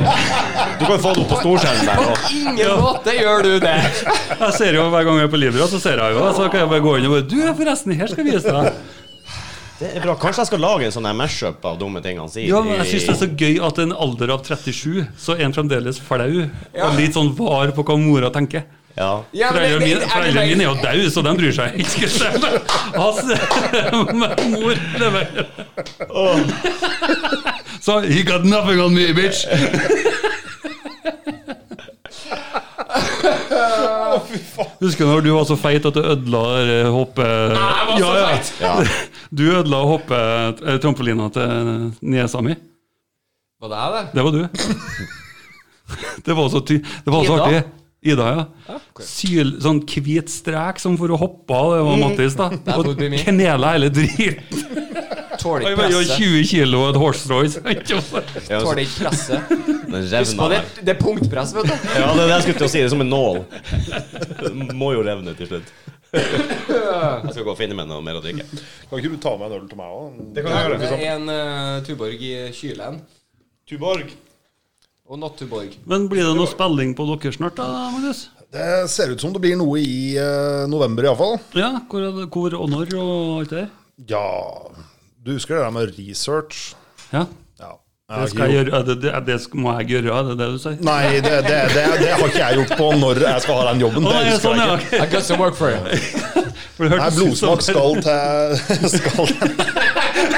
Speaker 4: Du kan få det opp på storskjermen der
Speaker 1: På
Speaker 4: òg.
Speaker 1: ingen måte gjør du det.
Speaker 2: Jeg ser jo hver gang jeg er på Libra, så ser jeg jo Så kan jeg bare gå inn og bare Du, forresten, her skal jeg vise deg.
Speaker 4: Det er bra. Kanskje jeg skal lage en sånn her mashup av dumme ting han sier.
Speaker 2: Ja, men jeg syns det er
Speaker 4: i-
Speaker 2: så gøy at en alder av 37, så er en fremdeles flau. Og litt sånn var på hva mora tenker.
Speaker 4: ja.
Speaker 1: Ja, men
Speaker 2: Foreldrene
Speaker 1: det-
Speaker 2: mine,
Speaker 1: det-
Speaker 2: foreldrene mine er jo døde, så de bryr seg ikke. skal jeg si. Men hans- men mor det var- Så he got nothing on me, bitch. Husker du når du var så feit at du ødela det der hoppe...
Speaker 1: Jeg var så
Speaker 2: Ja, ja.
Speaker 1: feit.
Speaker 2: Du ødela hoppe eh, trampolina til niesa mi.
Speaker 1: Var det jeg, det?
Speaker 2: Det var du. Det var så, ty det var så
Speaker 1: Ida?
Speaker 2: artig. Ida, ja.
Speaker 1: ok.
Speaker 2: Syl, sånn hvit strek som for å hoppe av, det
Speaker 3: Mm.
Speaker 2: var Mattis, da. Og
Speaker 1: would be me.
Speaker 2: knela hele driten.
Speaker 1: Tåler
Speaker 2: Han
Speaker 1: ikke
Speaker 2: veier
Speaker 1: presset.
Speaker 2: 20 kilo og et horse royce. Ja,
Speaker 4: Ja, så-
Speaker 1: Tåler ikke presset.
Speaker 4: Den
Speaker 1: Husk på det,
Speaker 4: revna der.
Speaker 1: det er sånn. punktpress, vet du.
Speaker 4: Ja, det er det jeg skulle til å si. Det er som en nål. Må jo revne til slutt. Jeg skal gå og finne meg noe mer å drikke.
Speaker 3: Kan ikke du ta med en øl til meg òg?
Speaker 1: Det er en eh, Tuborg i Kylen.
Speaker 4: Tuborg.
Speaker 1: Og Natt-Tuborg.
Speaker 2: Men blir det noe spilling på dere snart, da, Magnus?
Speaker 3: Det ser ut som det blir noe i eh, november iallfall.
Speaker 2: Ja, hvor, er det- hvor og når og alt det der?
Speaker 3: Ja Du husker det der med research?
Speaker 2: Ja.
Speaker 3: Ja.
Speaker 2: Det skal jeg gjøre. Er Det, det, er det sk- må jeg gjøre, er det det du sier?
Speaker 3: Nei, det, det, det, det har ikke jeg gjort på når jeg skal ha den jobben.
Speaker 2: Å,
Speaker 3: Det
Speaker 2: nei,
Speaker 3: husker
Speaker 2: sånn,
Speaker 3: jeg
Speaker 2: ja,
Speaker 3: ikke.
Speaker 2: ok.
Speaker 1: I got some work for you.
Speaker 2: For det
Speaker 3: Nei,
Speaker 2: hørtes ut som-
Speaker 3: blodsmak skal til skal.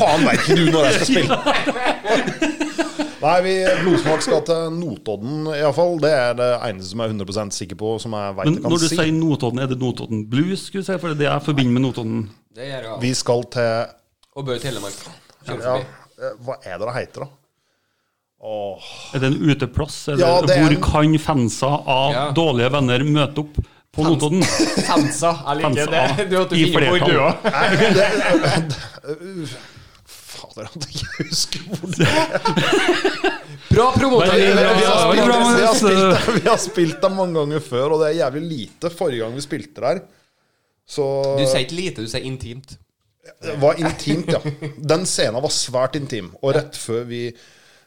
Speaker 3: Faen, veit ikke du når jeg skal spille! Nei, vi, blodsmak skal til Notodden, iallfall. Det er det eneste som jeg er 100 sikker på, som jeg veit
Speaker 2: Men
Speaker 3: jeg kan
Speaker 2: når du
Speaker 3: si.
Speaker 2: sier Notodden, er det Notodden Blues? Skulle jeg si, for det er det jeg forbinder med Notodden.
Speaker 1: Det gjør jeg.
Speaker 3: Vi skal til
Speaker 1: Og Bø Telemark. Kjør
Speaker 3: ja,
Speaker 1: forbi.
Speaker 3: eh, Hva er det det heter, da? Åh,
Speaker 2: Er det en uteplass eller,
Speaker 3: Ja, det er
Speaker 2: hvor
Speaker 3: en-
Speaker 2: kan fansa av
Speaker 1: Ja.
Speaker 2: dårlige venner møte opp på Notodden?
Speaker 1: Hansa. Jeg liker
Speaker 2: Hansa.
Speaker 1: det. Du måtte
Speaker 2: I
Speaker 1: finne hvor du
Speaker 2: flertall.
Speaker 1: òg.
Speaker 3: Nei, det, uh, Fader, at jeg ikke husker hvor det er.
Speaker 1: Bra promoter.
Speaker 2: Veldig
Speaker 3: Vi
Speaker 2: bra.
Speaker 3: har
Speaker 2: Ja, det
Speaker 3: spilt- vi
Speaker 2: var bra,
Speaker 3: har
Speaker 2: Magnus.
Speaker 3: spilt det- vi har spilt det mange ganger før, og det er jævlig lite forrige gang vi spilte der. Så
Speaker 1: Du sier ikke lite, du sier intimt.
Speaker 3: det var intimt, ja. Den scenen var svært intim. Og rett før vi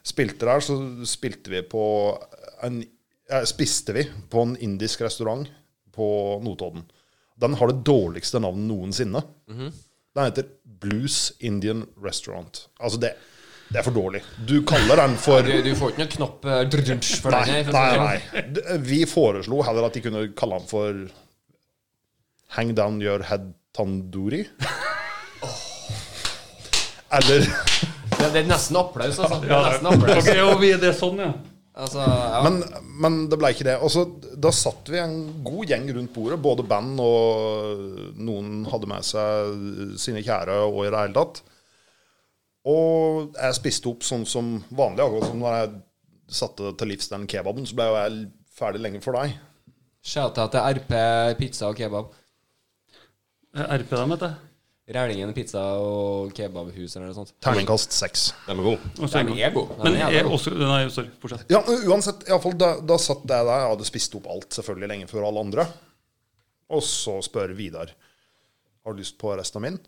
Speaker 3: spilte der, så spilte vi på en eh, Spiste vi på en indisk restaurant på Notodden. Den har det dårligste navnet noensinne. Den heter Blues Indian Restaurant. Altså, det, det er for dårlig. Du kaller den for
Speaker 1: Du, du får ikke noen knapp eh, drrrrrrr for den
Speaker 3: Nei,
Speaker 1: her, for å si
Speaker 3: nei,
Speaker 1: det sånn.
Speaker 3: nei. D- Vi foreslo heller at de kunne kalle han for Hang down your head tandoori. Eller
Speaker 1: Det, det er nesten applaus, altså. Det er nesten applaus.
Speaker 2: Ok, og vi, det er sånn, ja.
Speaker 1: Altså, ja.
Speaker 3: men, men det ble ikke det. Og så, da satt vi en god gjeng rundt bordet, både band og noen hadde med seg sine kjære og i det hele tatt. Og jeg spiste opp sånn som vanlig. Akkurat som når jeg satte til livs den kebaben, så ble jo jeg ferdig lenge for deg.
Speaker 1: Shout-out til RP pizza og kebab.
Speaker 2: RP dem, heter det.
Speaker 1: Rælingen pizza og kebabhus eller noe sånt.
Speaker 3: Terningkast seks.
Speaker 4: De er gode.
Speaker 2: Og så
Speaker 1: Den er god. Den
Speaker 2: Men
Speaker 1: er
Speaker 2: er
Speaker 1: jævla god.
Speaker 2: også Nei, sorry. Fortsett.
Speaker 3: Ja, men uansett, i alle fall, da, da satt jeg der. Jeg hadde spist opp alt selvfølgelig lenge før alle andre. Og så spør Vidar Har du lyst på resten av min.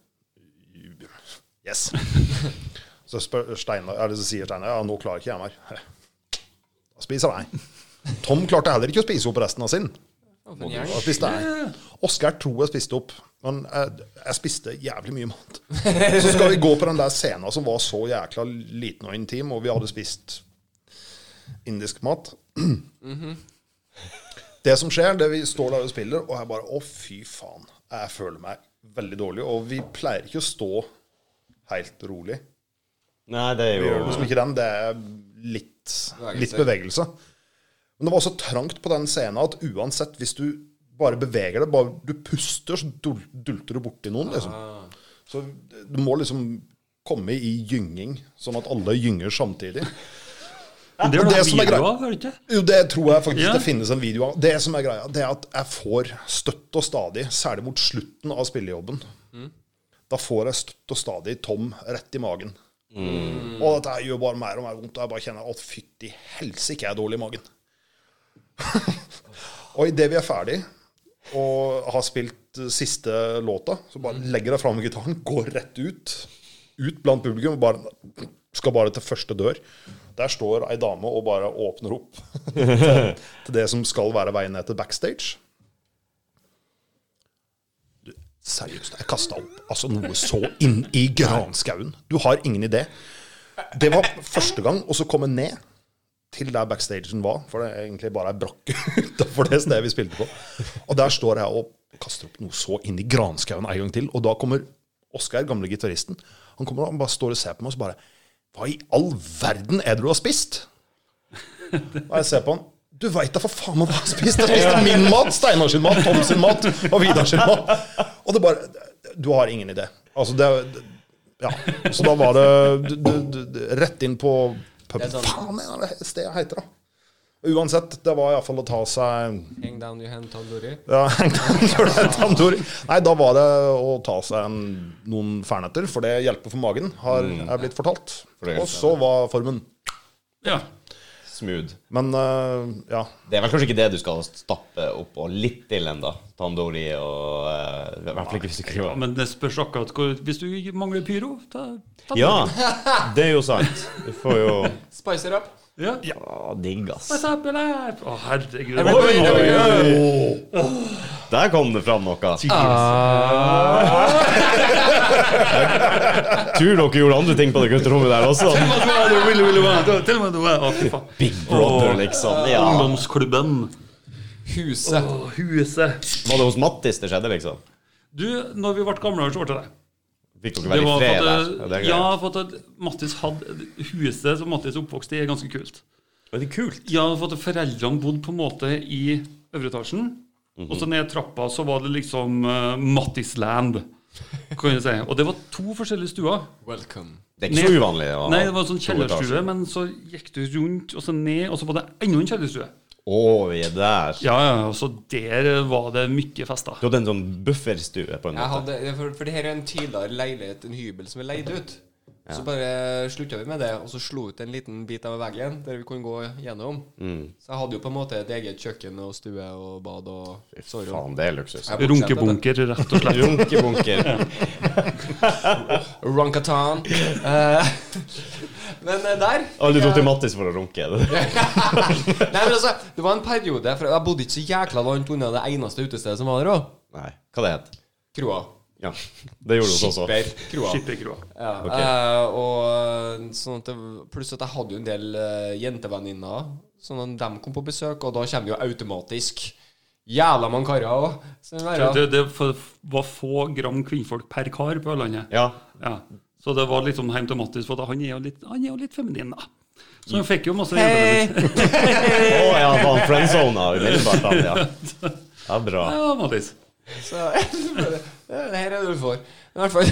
Speaker 3: Yes. Så, spør Steinar, eller så sier Steinar ja, nå klarer ikke jeg mer. Da spiser jeg. Tom klarte heller ikke å spise opp resten av sin.
Speaker 1: Ja, for en
Speaker 3: Da
Speaker 1: gjeng.
Speaker 3: spiste jeg. Oskar tror jeg spiste opp, men jeg, jeg spiste jævlig mye mat. Så skal vi gå på den der scenen som var så jækla liten og intim, og vi hadde spist indisk mat. Det som skjer, det vi står der og spiller, og jeg bare Å, fy faen. Jeg føler meg veldig dårlig. Og vi pleier ikke å stå helt rolig.
Speaker 4: Nei, det er
Speaker 3: Vi gjør
Speaker 4: jo
Speaker 3: liksom ikke den. Det er litt, litt bevegelse. Men det var så trangt på den scenen at uansett, hvis du bare beveger deg, bare du puster, så dul- dulter du borti noen, liksom. Så du må liksom komme i gynging, sånn at alle gynger samtidig.
Speaker 2: Men
Speaker 3: Men
Speaker 2: det er jo
Speaker 3: det
Speaker 2: det
Speaker 3: som er
Speaker 2: video
Speaker 3: greit.
Speaker 2: av, er det ikke?
Speaker 3: Jo, det tror jeg faktisk
Speaker 2: Ja.
Speaker 3: det finnes en video av. Det som er greia, det er at jeg får støtt og stadig, særlig mot slutten av spillejobben. Da får jeg støtt og stadig Tom rett i magen. Og dette her gjør bare mer og mer vondt. Og jeg bare kjenner at fytti helsike, jeg er dårlig i magen. og idet vi er ferdig og har spilt eh, siste låta, så bare legger jeg fram gitaren, går rett ut. Ut blant publikum. og Bare, skal bare til første dør. Der står ei dame og bare åpner opp til det som skal være veien ned til backstage. Du, Seriøst, jeg kasta opp altså noe så inn i granskauen. Du har ingen idé. Det var første gang, og så kom jeg ned til der backstagen var, for det er egentlig bare ei brakke utafor det stedet vi spilte på. Og der står jeg og kaster opp noe så inn i granskauen en gang til, og da kommer Oskar, gamle gitaristen, han kommer og han bare står og ser på meg og så bare Hva i all verden er det du har spist? Og jeg ser på han. Du veit da for faen hva du har spist! Jeg spiste min mat, Steinar sin mat, Tom sin mat og Vidar sin mat. Og det bare Du har ingen idé. Altså, det Ja. Så da var det du, du, du, du, rett inn på puben.
Speaker 1: Det er sånn-
Speaker 3: Faen, hva er det stedet heter, da? Uansett, det var iallfall å ta seg
Speaker 1: Hang down your hand, Tandoori.
Speaker 3: ja, gjør det, tandoori. Nei, da var det å ta seg en, noen fernetter, for det hjelper for magen, har jeg blitt fortalt.
Speaker 4: Mm. For det-
Speaker 3: Og så var formen.
Speaker 2: Ja.
Speaker 4: smooth.
Speaker 3: Men eh, ja.
Speaker 4: Det er vel kanskje ikke det du skal stappe oppå litt til ennå. Tandori og eh, I hvert fall ikke hvis du
Speaker 2: ja,
Speaker 4: ikke
Speaker 2: men det spørs akkurat hvor Hvis du mangler pyro, ta, ta
Speaker 4: Ja, det er jo sant. Du får jo
Speaker 1: Spice it up.
Speaker 2: ja.
Speaker 4: Ja, digg, ass.
Speaker 2: What's up, alive? Å, herregud.
Speaker 1: Everybody,
Speaker 2: Oi, oi,
Speaker 1: everybody.
Speaker 2: oi.
Speaker 4: Der kom det fram noe. Ah. Tror dere gjorde andre ting på det gutterommet der også.
Speaker 2: Tell me what you really, really want. Tell me what you want. Å, fy faen.
Speaker 4: Big Brother,
Speaker 2: Åh.
Speaker 4: liksom. Ja.
Speaker 2: Ungdomsklubben.
Speaker 1: Huset.
Speaker 2: Å, huset.
Speaker 4: Var det hos Mattis det skjedde, liksom?
Speaker 2: Du, når vi ble gamlere, så ble det det.
Speaker 4: Fikk dere
Speaker 2: Det
Speaker 4: være i
Speaker 2: var
Speaker 4: fred
Speaker 2: for at, eh,
Speaker 4: der? det er
Speaker 2: ja,
Speaker 4: greit.
Speaker 2: for at Mattis hadde Huset som Mattis oppvokste i, er ganske kult.
Speaker 4: Var det kult?
Speaker 2: Ja, for at foreldrene bodde på en måte i øvre etasjen.
Speaker 4: Mhm.
Speaker 2: Og så ned trappa så var det liksom eh, Mattisland, kan du si. Og det var to forskjellige stuer.
Speaker 1: Welcome.
Speaker 4: Det er ikke så
Speaker 2: Nei.
Speaker 4: uvanlig. å ha
Speaker 2: Nei, det var sånn
Speaker 4: to etasjer.
Speaker 2: kjellerstue, men så gikk du rundt, og så ned, og så var det enda en kjellerstue.
Speaker 4: Å, vi er der.
Speaker 2: Ja, ja, og så der var det mye fester.
Speaker 4: Du hadde en sånn bufferstue, på en
Speaker 1: Jeg
Speaker 4: måte.
Speaker 1: hadde, det er for, for det her er en tidligere leilighet, en hybel som er leid ut. Så bare slutta vi med det, og så slo ut en liten bit av veggen der vi kunne gå gjennom.
Speaker 4: Mm.
Speaker 1: Så jeg hadde jo på en måte et eget kjøkken og stue og bad og soverom.
Speaker 4: Faen, det er luksus.
Speaker 1: Jeg bortskjemte
Speaker 2: Runkebunker, rett og slett.
Speaker 4: Runkebunker.
Speaker 1: det. Runkatan. Eh, men eh, der
Speaker 4: Alle dro til Mattis for å runke.
Speaker 1: Nei, men altså, Det var en periode for Jeg bodde ikke så jækla langt unna det eneste utestedet som var der òg.
Speaker 4: Nei, hva det het
Speaker 1: Kroa.
Speaker 4: Ja, det gjorde hun også.
Speaker 1: Skipper. Kroa.
Speaker 2: Skipperkroa.
Speaker 1: Ja,
Speaker 4: Ok.
Speaker 1: eh, og eh, sånn at det, Pluss at jeg hadde jo en del eh, jentevenninner. Sånn at de kom på besøk, og da kommer det jo automatisk jævla mange karer òg.
Speaker 2: Det, det f- var få gram kvinnfolk per kar på Ørlandet.
Speaker 4: Ja.
Speaker 2: Ja. Så det var liksom heim til Mattis, for at han er jo litt, han er jo litt feminin, da. Så han fikk jo masse
Speaker 1: Hei!
Speaker 2: jenter.
Speaker 4: Å ja, faen, friendzona umiddelbart. da, Ja. ja, bra.
Speaker 2: Ja, Mattis.
Speaker 1: Så bare, ja, det her er det du får. Men I hvert fall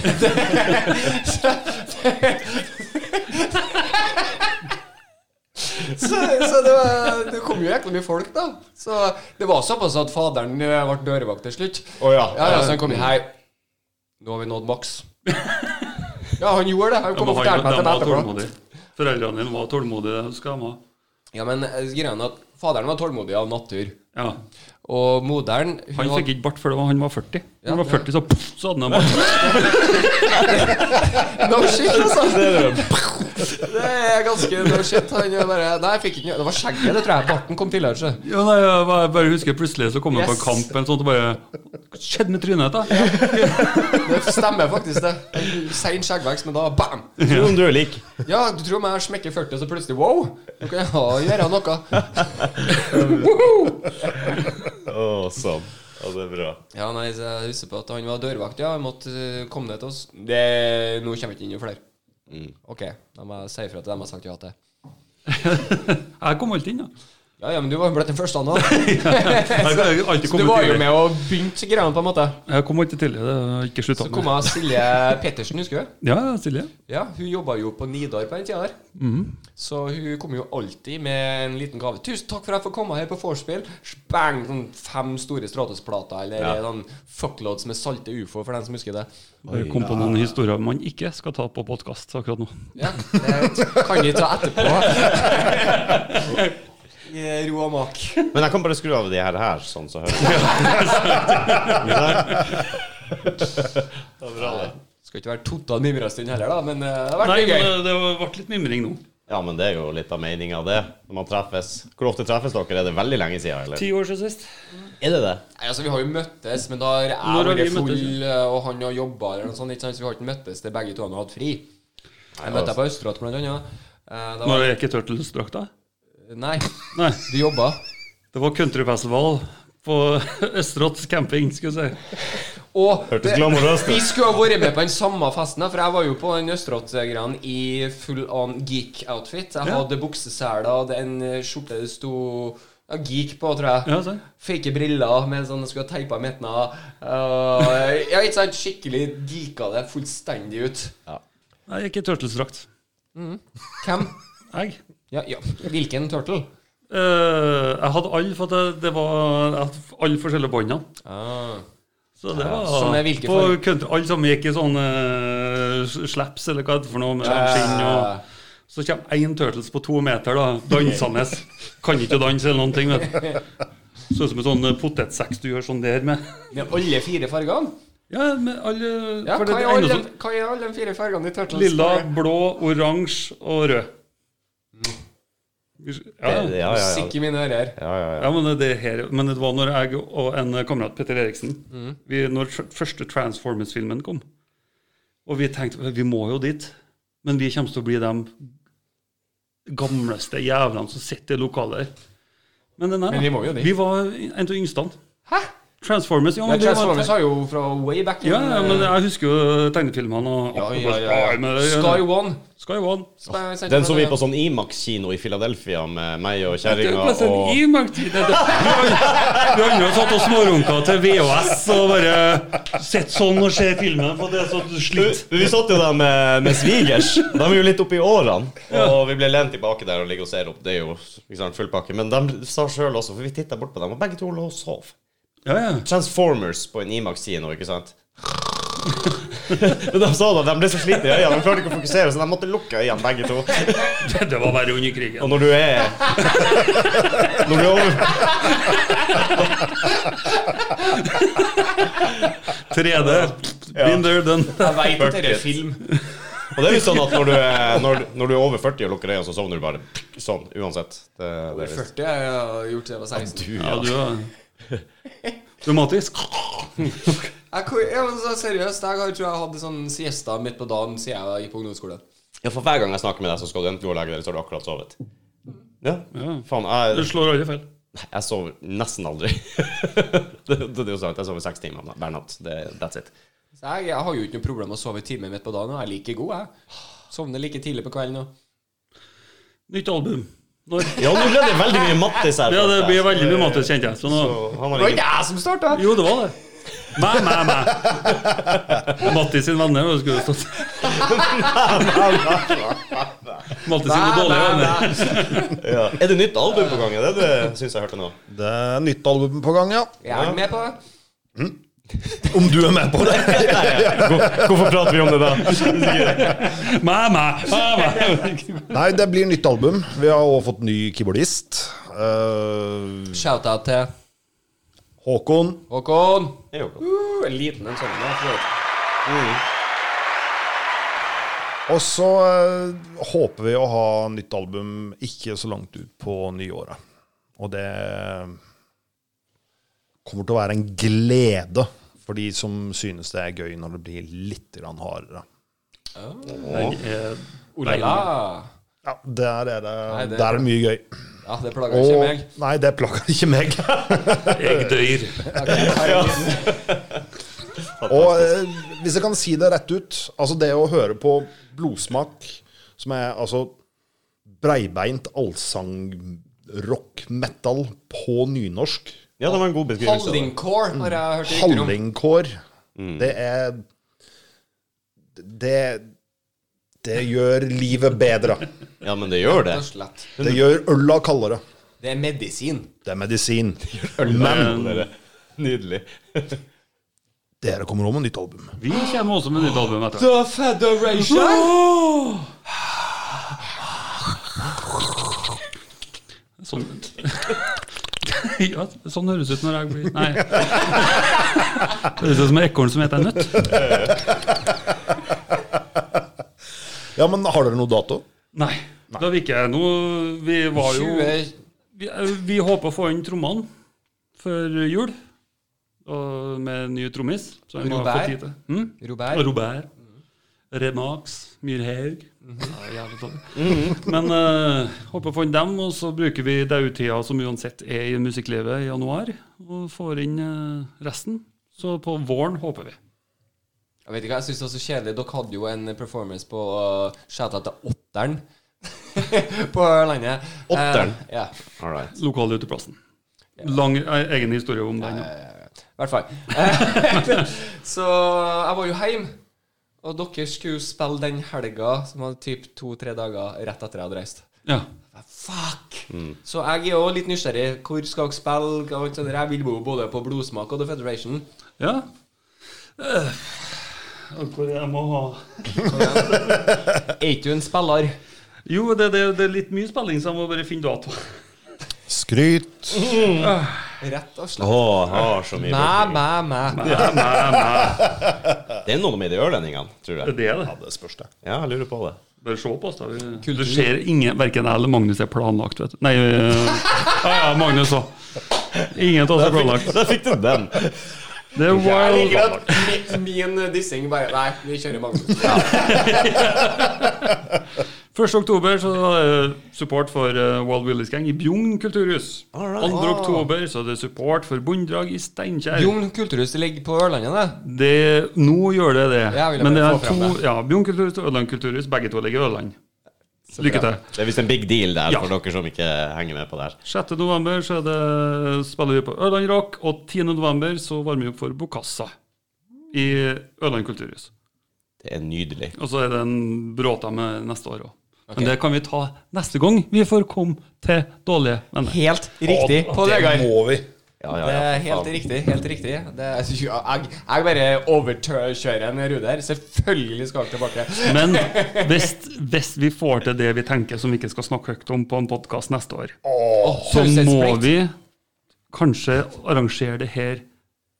Speaker 1: Så, så det, var, det kom jo jækla mye folk, da. Så det var såpass at faderen eh, ble dørvakt til slutt.
Speaker 4: Å ja.
Speaker 1: Ja, ja, så han kom inn her. Nå har vi nådd maks. Ja, han gjorde det. Han
Speaker 2: Ja,
Speaker 1: kom og
Speaker 2: men han-
Speaker 1: fortalte meg
Speaker 2: de
Speaker 1: det
Speaker 2: var
Speaker 1: etterpå.
Speaker 2: tålmodige. Foreldrene dine var tålmodige. de Skal ha.
Speaker 1: Ja, men eh, greia er at faderen var tålmodig av natur.
Speaker 2: Ja.
Speaker 1: Og moderen hun
Speaker 2: Han
Speaker 1: hadde-
Speaker 2: fikk ikke bart før det var- han var 40. Når
Speaker 1: Ja,
Speaker 2: han var 40, så, pff, så hadde han bart.
Speaker 1: No shit, altså. Det er ganske no shit. Han er bare Nei, jeg fikk ikke Det var skjegget, det tror jeg. Barten kom tidligere. så.
Speaker 2: Ja, nei, jeg bare- bare husker plutselig så kom han på
Speaker 1: Yes.
Speaker 2: en kamp eller noe sånt og bare Hva skjedde med trynet ditt, da?
Speaker 1: Det stemmer faktisk, det. Sein skjeggvekst, men da bam!
Speaker 4: Tror om du er lik.
Speaker 1: Ja, du tror om jeg smekker 40, så plutselig wow! Nå kan jeg ha, gjøre noe.
Speaker 4: sånn. Ja, det er bra.
Speaker 1: Ja, nei, så jeg husker på at han var dørvakt, ja. Han måtte eh, komme ned til oss. Mm. Det, nå kommer vi ikke inn i flere. OK, da må jeg si ifra til dem jeg har sagt ja til.
Speaker 2: Jeg kom alltid inn, da.
Speaker 1: Ja, ja, men du var jo blitt den første, han da.
Speaker 2: Jeg har alltid
Speaker 1: Du
Speaker 2: kommet
Speaker 1: var jo
Speaker 2: tidlig.
Speaker 1: med og begynte greiene, på en måte.
Speaker 2: Jeg kom alltid tidlig. Det har ikke slutta
Speaker 1: Så kom jeg og Silje Pettersen, husker du?
Speaker 2: Ja, ja, Silje.
Speaker 1: Ja, hun jobba jo på Nidar på den tida der. Så hun kom jo alltid med en liten gave. 'Tusen takk for at jeg får komme her på vorspiel.' Bang! Sånn fem store Stratos-plater, eller
Speaker 4: Ja.
Speaker 1: sånn fuckloads med salte ufo, for den som husker det.
Speaker 2: Jeg kom på noen historier man ikke skal ta på podkast akkurat nå.
Speaker 1: Ja, Det kan vi ta etterpå. I ro og mak.
Speaker 4: Men jeg kan bare skru av de her, her sånn så hører jeg.
Speaker 1: Skal ikke være total mimrestund heller, da, men eh, det har vært
Speaker 2: Nei,
Speaker 1: mye gøy.
Speaker 2: men det var- ble litt mimring nå.
Speaker 4: Ja, men det er jo litt av meninga, det. Når man treffes. Hvor ofte treffes dere? Er det veldig lenge siden, eller?
Speaker 2: Ti år siden sist.
Speaker 4: Er det det?
Speaker 1: Nei, altså Vi har jo møttes, men da har
Speaker 2: Når
Speaker 1: jeg vært
Speaker 2: har vi møttes?
Speaker 1: full, og han har jobba, eller noe sånt. Ikke sant? Så vi har ikke møttes til begge to har hatt fri. Jeg møtte deg på Østerått, blant annet. Eh, Da
Speaker 2: Når
Speaker 1: var,
Speaker 2: jeg gikk i turtles-drakta?
Speaker 1: nei,
Speaker 2: Nei.
Speaker 1: du jobba.
Speaker 2: Det var countryfestival på Østerått camping, skulle jeg si.
Speaker 1: Og
Speaker 4: Hørtes glamorøst
Speaker 1: vi
Speaker 4: ut.
Speaker 1: skulle ha vært med på den samme festen, da, for jeg var jo på den Østerått-greia i full on geek-outfit. Jeg
Speaker 2: Ja.
Speaker 1: hadde bukseseler, det en eh, skjorte det sto ja, geek på, tror jeg.
Speaker 2: Ja, se.
Speaker 1: Fake briller med sånn skulle ha teipa i midten av. Eh, ja, ikke sant? Skikkelig geeka det fullstendig ut.
Speaker 2: Jeg gikk i turtles-drakt.
Speaker 1: Hvem?
Speaker 2: Jeg.
Speaker 1: Ja, ja. Hvilken turtle?
Speaker 2: Eh, jeg hadde alle, for at det, det var jeg hadde alle forskjellige båndene. Så det var
Speaker 1: som er hvilke
Speaker 2: på
Speaker 1: farger?
Speaker 2: country, Alle som gikk i sånne eh, slaps eller hva det er for noe, med
Speaker 1: Eh,
Speaker 2: skinn og Så kommer én turtles på to meter, da, dansende. Kan ikke danse eller noen ting, vet du. Sånn som en sånn eh, potetsekk du gjør sånn der med.
Speaker 1: Med alle fire fargene?
Speaker 2: Ja, med alle
Speaker 1: Ja, hva,
Speaker 2: for det
Speaker 1: er
Speaker 2: er
Speaker 1: alle,
Speaker 2: ene
Speaker 1: de- hva er alle de fire fargene i
Speaker 2: som-
Speaker 1: Turtles?
Speaker 2: Lilla, blå, oransje og rød.
Speaker 1: Mm.
Speaker 2: Ja,
Speaker 4: Ja, ja, ja.
Speaker 1: Musikk i mine ører.
Speaker 4: ja, ja, ja.
Speaker 2: Ja, men det, her, men det var når jeg og en kamerat, Petter Eriksen
Speaker 1: Mm.
Speaker 2: vi, Når tr- første Transformers-filmen kom Og vi tenkte, vi må jo dit Men vi kommer til å bli de Gamleste jævlene som sitter i lokaler Men, den her,
Speaker 1: Men vi må jo dit.
Speaker 2: Vi var en av yngstene
Speaker 1: Hæ?
Speaker 2: Transformers, ja,
Speaker 1: Ja,
Speaker 2: men det var-
Speaker 1: Transformers har jo fra way back in eh,
Speaker 2: ja, ja, men jeg husker jo tegnefilmene og,
Speaker 1: ja, ja,
Speaker 2: og-
Speaker 1: ja,
Speaker 2: Ai, men det-
Speaker 1: Sky One.
Speaker 2: Sky One
Speaker 1: Sp- Sp-
Speaker 4: Den så vi på sånn Imax-kino i Philadelphia med meg og kjerringa
Speaker 2: Det sånn er plassen
Speaker 4: og
Speaker 2: i markedet. Det- det- Vi andre har satt og smårunka til VHS og bare sett sånn og ser filmen, for det er så slitt.
Speaker 4: Vi satt jo der med, med svigers. De er jo litt oppi årene. Og vi ble lent tilbake der og ligger og ser opp. Det er jo ikke sant, full pakke. Men de sa sjøl også, for vi titta bort på dem, og begge to lå og sov.
Speaker 2: Ja, ja.
Speaker 4: Transformers på en Imax-kino, ikke sant? Men de sa da, de ble så slitne i øynene, de klarte ikke å fokusere, så de måtte lukke øynene begge to.
Speaker 2: Det, det var bare under krigen.
Speaker 4: Og når du er Når du er over
Speaker 2: 3D. Been there, done.
Speaker 1: Jeg vet at det er film.
Speaker 4: Og det er visst sånn at når du er, når, når du er over 40 og lukker øynene, så sovner du bare sånn, uansett. Det, det er visst.
Speaker 1: 40 har jeg gjort siden jeg var 16.
Speaker 2: Ja, du er dramatisk.
Speaker 1: Jeg, ko- ja, men så seriøst, jeg har- tror jeg hadde sånn siesta midt på dagen siden jeg gikk på ungdomsskolen.
Speaker 4: Ja, for hver gang jeg snakker med deg, så skal du enten gå og legge deg, eller så har du akkurat sovet. Ja, faen,
Speaker 2: Du
Speaker 4: jeg,
Speaker 2: slår alle feil.
Speaker 4: jeg sover nesten aldri. det, det, det er jo sant, jeg sover seks timer hver natt. Det, that's it.
Speaker 1: Så jeg, jeg har jo ikke noe problem med å sove timer midt på dagen, og jeg er like god, jeg. Sovner like tidlig på kvelden og
Speaker 2: Nytt album. Når?
Speaker 4: Ja, nå ble det veldig mye Mattis her.
Speaker 2: Ja, det blir veldig mye Mattis, kjente jeg. Så nå,
Speaker 4: Så Han
Speaker 1: Det
Speaker 4: har
Speaker 1: var
Speaker 4: ingen
Speaker 1: ikke jeg som starta!
Speaker 2: jo, det var det. Mæ, mæ, mæ. Mattis sin venner, hva skulle det stått? Mattis sine dårlige venner.
Speaker 4: Ja. Er det nytt album på gang? Er det det synes jeg hørte nå?
Speaker 3: Det er nytt album på gang, ja.
Speaker 1: Jeg er med på det.
Speaker 3: Om du er med på det?
Speaker 4: Hvorfor prater vi om det da?
Speaker 2: Mæ, mæ, mæ.
Speaker 3: Nei, det blir nytt album. Vi har også fått ny keyboardist. Eh,
Speaker 1: Shout-out til
Speaker 3: Håkon.
Speaker 1: Håkon.
Speaker 4: Det er jo godt.
Speaker 1: Uh, en liten en sånn. da, for øvrig.
Speaker 3: Og så eh, håper vi å ha nytt album ikke så langt ut på nyåret. Og det eh, kommer til å være en glede for de som synes det er gøy når det blir litt grann hardere.
Speaker 2: Jeg er-
Speaker 1: Olala.
Speaker 3: Ja, der er det,
Speaker 1: Nei, det-
Speaker 3: der er det mye gøy.
Speaker 1: Ja, det plager ikke
Speaker 3: Og,
Speaker 1: meg.
Speaker 3: nei, det plager ikke meg.
Speaker 2: Jeg dør.
Speaker 3: Og eh, hvis jeg kan si det rett ut Altså det å høre på blodsmak Som er altså Breibeint allsang Rock metal På nynorsk
Speaker 4: Ja, det var en god beskrivelse. da.
Speaker 1: Hallingcore har jeg hørt
Speaker 3: Mm.
Speaker 1: rykter om.
Speaker 3: Hallingkår Det er Det Det gjør livet bedre
Speaker 4: Ja, men det gjør det.
Speaker 1: Rett og slett.
Speaker 3: Det gjør ølla kaldere
Speaker 1: Det er medisin.
Speaker 3: Det er medisin
Speaker 4: Men Nydelig.
Speaker 3: Dere kommer om med nytt album
Speaker 2: Vi kommer også med nytt album etter.
Speaker 1: The Federation.
Speaker 2: Sånn ja, Sånn høres det ut når jeg blir Nei. Det høres ut som et ekorn som heter en nøtt.
Speaker 3: Ja, men har dere noe dato?
Speaker 2: Nei. Da vil ikke jeg noe Vi var jo
Speaker 1: 20
Speaker 2: Vi, eh, vi håper å få inn trommene før jul. Og med ny trommis. Så vi må få
Speaker 1: Robert?
Speaker 2: tid til. Hm?
Speaker 1: Robert.
Speaker 2: Robert. Remarks. Myrhaug. Ja, jævlig dårlig. Men eh, håper å få inn dem, og så bruker vi dautida som uansett er i musikklivet i januar, og får inn eh, resten. Så på våren håper vi.
Speaker 1: Jeg vet ikke, jeg synes det er så kjedelig. Dere hadde jo en performance på uh, Shoutout til Åtteren på Ørlandet. Eh,
Speaker 4: Åtteren?
Speaker 1: ja.
Speaker 4: All right.
Speaker 2: Lokale uteplassen. Lang e- egen historie om den. ja.
Speaker 1: I hvert fall. Eh, så jeg var jo hjemme, og dere skulle jo spille den helga som var typ to-tre dager rett etter jeg hadde reist.
Speaker 2: Ja.
Speaker 1: Fuck! Så jeg er jo litt nysgjerrig. Hvor skal dere spille? Hva alt sånt der? Jeg vil bo både på Blodsmak og The Federation.
Speaker 2: ja. Eh, hvor jeg må ha
Speaker 1: Er ikke du en spiller?
Speaker 2: Jo, det, det, det er litt mye spilling, så jeg må bare finne dato.
Speaker 3: Skryt
Speaker 1: Rett og
Speaker 4: Å,
Speaker 1: slett.
Speaker 4: har så mye
Speaker 1: Mæ,
Speaker 4: forskning.
Speaker 1: mæ, mæ.
Speaker 2: Nei, nei, nei.
Speaker 4: Det er noe med de ørlendingene, tror jeg.
Speaker 2: Det er det.
Speaker 3: Ja, det spørs det
Speaker 4: Ja, jeg lurer på det.
Speaker 2: Bare se på oss, da. Vi- Det skjer ingen Verken jeg eller Magnus er planlagt, vet du. Nei, øh, ja, ja, Magnus òg. Ingen av oss er planlagt.
Speaker 4: Der fikk du den.
Speaker 2: Det er
Speaker 1: Jeg liker
Speaker 2: wild.
Speaker 1: at mi- min dissing bare Nei, vi kjører Magnus.
Speaker 2: 1. oktober så er det support for eh, Wild Willies Gang i Bjugn kulturhus. 2. oktober så er det support for Bondelag i Steinkjer.
Speaker 1: Jon Kulturhus ligger på Ørlandet, det.
Speaker 2: Det, nå gjør det det.
Speaker 1: Ja, jeg ville
Speaker 2: Men det
Speaker 1: bare
Speaker 2: er
Speaker 1: få frem
Speaker 2: to ja, Bjugn kulturhus og Ørland kulturhus. Begge to ligger i Ørland. Lykke til.
Speaker 4: Det er visst en big deal der
Speaker 2: Ja.
Speaker 4: for dere som ikke henger med på det her.
Speaker 2: 6. november så er det, spiller vi på Ørland Rock, og 10. november så varmer vi opp for Bokassa i Ørland kulturhus.
Speaker 4: Det er nydelig.
Speaker 2: Og så er det en bråta med neste år òg. Men det kan vi ta neste gang vi får komme til dårlige venner.
Speaker 1: Helt riktig på Vegard.
Speaker 3: må vi
Speaker 4: Ja, ja,
Speaker 1: Det
Speaker 4: ja.
Speaker 1: er helt riktig. helt riktig det er, ja, jeg, jeg bare overkjører en rude her. Selvfølgelig skal jeg tilbake.
Speaker 2: Men hvis, hvis vi får til det vi tenker som vi ikke skal snakke høyt om på en podkast neste år, så må vi kanskje arrangere det her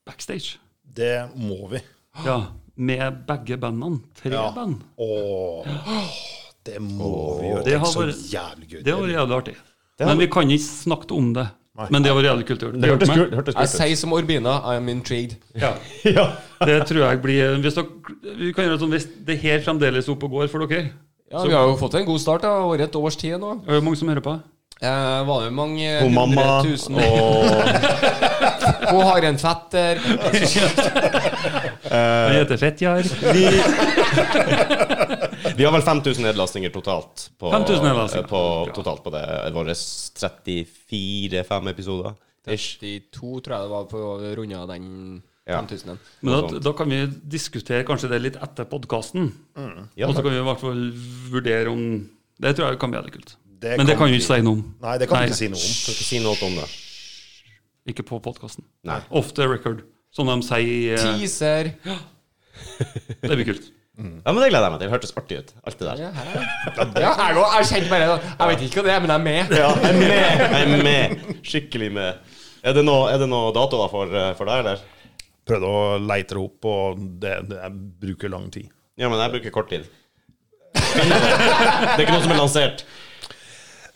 Speaker 2: backstage.
Speaker 3: Det må vi
Speaker 2: Ja, Med begge bandene. Tre
Speaker 3: Ja.
Speaker 2: band.
Speaker 3: Åh, det må vi gjøre.
Speaker 2: Det
Speaker 3: Det er
Speaker 2: har
Speaker 3: så
Speaker 2: vært-
Speaker 3: jævlig gøy.
Speaker 2: Det har vært jævlig artig. Men vi kan ikke snakke om det. Men det har vært jævlig kultur. Det,
Speaker 4: Hørtes
Speaker 2: meg.
Speaker 4: kult hørtes
Speaker 1: Jeg
Speaker 4: kult ut.
Speaker 1: sier som Orbina, I'm intrigued.
Speaker 4: Ja.
Speaker 2: det tror jeg blir hvis dere, Vi kan gjøre det sånn hvis det her fremdeles opp og går for dere.
Speaker 1: Ja, Vi har jo fått en god start da, over et års tid nå.
Speaker 2: Er det mange som hører på?
Speaker 1: Eh, var det mange
Speaker 4: Og mamma
Speaker 1: hundretusen
Speaker 4: og
Speaker 1: Hun har en fetter.
Speaker 2: Han heter Fettjar.
Speaker 4: vi, vi har vel 5000 nedlastninger totalt på,
Speaker 2: 5000 nedlastninger.
Speaker 4: på, totalt på det våre 34-5 episoder. Ish.
Speaker 1: De to tror jeg det var på runda den
Speaker 4: Ja.
Speaker 1: 5000-en.
Speaker 2: Men da, da kan vi diskutere kanskje det litt etter podkasten.
Speaker 4: Ja,
Speaker 2: og så kan vi i hvert fall vurdere om Det tror jeg kan bli jævlig kult.
Speaker 3: Det
Speaker 2: Men det
Speaker 3: kan
Speaker 2: kan vi ikke si noe om.
Speaker 3: Nei, det kan
Speaker 2: Nei.
Speaker 3: vi ikke si noe om.
Speaker 4: Skal ikke si noe om det.
Speaker 2: Ikke på podkasten.
Speaker 4: Nei.
Speaker 2: Off the record. Som de sier eh,
Speaker 1: Teaser.
Speaker 2: Det blir kult.
Speaker 4: Ja, men Det gleder jeg meg til. Det hørtes artig ut. Alt det der.
Speaker 1: Ja, her. ja jeg, går, jeg kjente bare det. Jeg vet ikke hva det er, men jeg er med.
Speaker 4: Ja, jeg er med. Jeg er med. Skikkelig med. Er det noe, er det noe datoer for, eh, for deg, eller?
Speaker 3: Prøvde å leite det opp, og det, det, jeg bruker lang tid.
Speaker 4: Ja, men jeg bruker kort tid. Det er ikke noe som er lansert.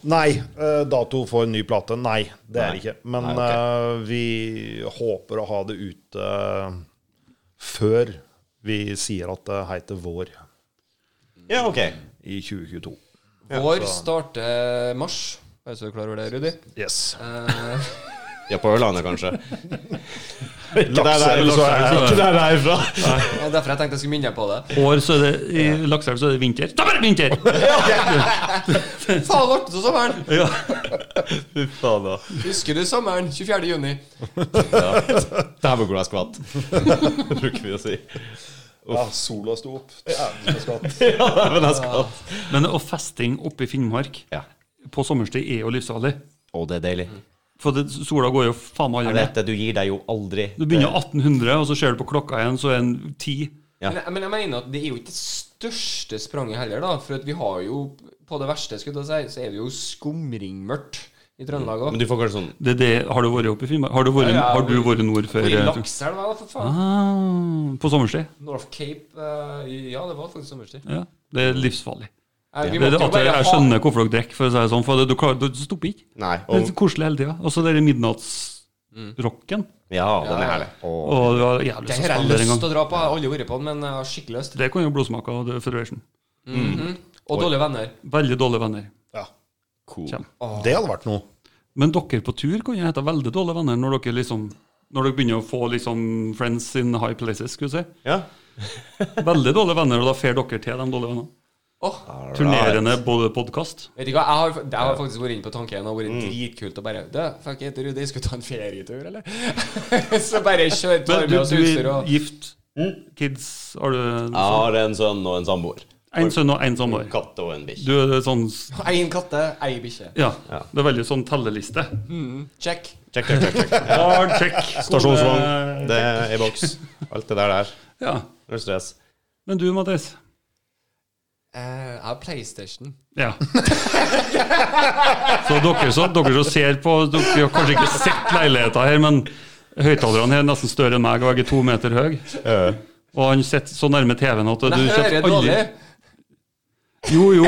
Speaker 3: Nei. eh, Dato for en ny plate? Nei, det er
Speaker 4: Nei.
Speaker 3: det ikke. Men
Speaker 4: Nei, ok.
Speaker 3: eh, vi håper å ha det ute eh, før vi sier at det heter vår
Speaker 4: Ja, ok.
Speaker 3: i 2022.
Speaker 1: Vår starter mars. Bare så du er klar over det, Rudi.
Speaker 3: Yes.
Speaker 1: Eh,
Speaker 4: Ja, på Ørlandet, kanskje. Ikke der, der,
Speaker 3: Lakselv, så er
Speaker 4: ikke der jeg er fra.
Speaker 1: det var derfor jeg tenkte jeg skulle minne deg på det.
Speaker 2: År så er det i Lakselv så er det vinter. Da er det vinter!
Speaker 1: Faen, det ble så sommeren!
Speaker 2: Ja.
Speaker 4: Fy faen, da.
Speaker 1: Husker du sommeren? 24. juni.
Speaker 4: Dæven hvor jeg skvatt. Det bruker vi å si.
Speaker 3: Ja, sola sto opp. Ja, det skal skatt.
Speaker 4: Ja, dæven, jeg skvatt.
Speaker 2: Men å festing oppe i Finnmark
Speaker 4: Ja.
Speaker 2: på sommerstid er jo livsfarlig.
Speaker 4: Å, det er deilig.
Speaker 2: For det, sola går jo faen meg
Speaker 4: Jeg
Speaker 2: aldri
Speaker 4: vet
Speaker 2: ned.
Speaker 4: det, du gir deg jo aldri.
Speaker 2: Du begynner 1800, og så ser du på klokka igjen, så er den 10.
Speaker 4: Ja.
Speaker 1: Men, jeg- men jeg mener at det er jo ikke det største spranget heller, da. For at vi har jo, på det verste, skulle jeg si, så er det jo skumringmørkt i Trøndelag òg.
Speaker 4: Men du får kanskje sånn
Speaker 2: Det, er det, har du vært oppe i Finnmark? Har du vært,
Speaker 1: Ja, ja,
Speaker 2: har du
Speaker 1: vi-
Speaker 2: vært nord
Speaker 1: Hvor
Speaker 2: før?
Speaker 1: i
Speaker 2: eh, tror-
Speaker 1: Lakselv var det, for faen?
Speaker 2: Ah, på sommerstid.
Speaker 1: North Cape eh, i- Ja, det var faktisk sommerstid.
Speaker 2: Ja. Det er livsfarlig.
Speaker 1: Eh, vi
Speaker 2: Det,
Speaker 1: måtte jo
Speaker 2: det, at jeg,
Speaker 1: bare
Speaker 2: jeg
Speaker 1: ha-
Speaker 2: skjønner hvorfor dere drikker, for å si det sånn. For det, du, klarer, du stopper ikke.
Speaker 4: Nei.
Speaker 2: Det er
Speaker 4: Og,
Speaker 2: så koselig hele tida. Og så den midnattsrocken.
Speaker 4: ja, den er herlig. Å.
Speaker 2: Og det var jævlig
Speaker 1: Mm. Det
Speaker 2: lyst
Speaker 1: her har jeg
Speaker 2: til å spille det
Speaker 1: lyst
Speaker 2: en gang.
Speaker 1: til å dra på. Jeg har aldri vært på den, men jeg har skikkelig lyst.
Speaker 2: Det kan jo blodsmake av The Federation.
Speaker 1: Og dårlige venner.
Speaker 2: Veldig dårlige venner.
Speaker 3: Ja.
Speaker 4: Cool.
Speaker 2: Kjem.
Speaker 3: Det hadde vært noe.
Speaker 2: Men dere på tur kan jo hete veldig dårlige venner når dere liksom når dere begynner å få liksom friends in high places. skulle jeg si.
Speaker 4: Ja.
Speaker 2: Veldig dårlige venner, og da fer dere til de dårlige vennene.
Speaker 1: Åh,
Speaker 2: Turnerende både podkast.
Speaker 1: vet du hva, jeg har, jeg har faktisk vært inne på tanken. Det har vært
Speaker 2: Mm.
Speaker 1: dritkult å bare Du, fuck it, Rudi, skal vi ta en ferietur, eller? så bare kjør, tar med
Speaker 2: Men du,
Speaker 1: oss
Speaker 2: du
Speaker 1: utstyr
Speaker 2: er
Speaker 1: og Mm.
Speaker 2: gift, kids Har du
Speaker 4: Jeg har en sønn og en samboer.
Speaker 2: en sønn og en samboer?
Speaker 4: Katt og en bikkje.
Speaker 2: Du er sånn
Speaker 1: Én katte, ei bikkje.
Speaker 2: Ja. Det er veldig sånn telleliste.
Speaker 1: Check.
Speaker 4: Check, check, check, check.
Speaker 2: Hard check.
Speaker 4: Stasjonsvogn. Det er i boks. Alt det der der.
Speaker 2: Ja.
Speaker 4: Null stress.
Speaker 2: Men du, Mathias.
Speaker 1: Eh, jeg har PlayStation.
Speaker 2: Ja. Så dere som, dere som ser på Dere har kanskje ikke sett leiligheta her, men høyttalerne er nesten større enn meg, og jeg er to meter høy. Og han sitter så nærme TV-en at du
Speaker 1: Men jeg hører
Speaker 2: sitter
Speaker 1: dårlig.
Speaker 2: aldri Jo, jo.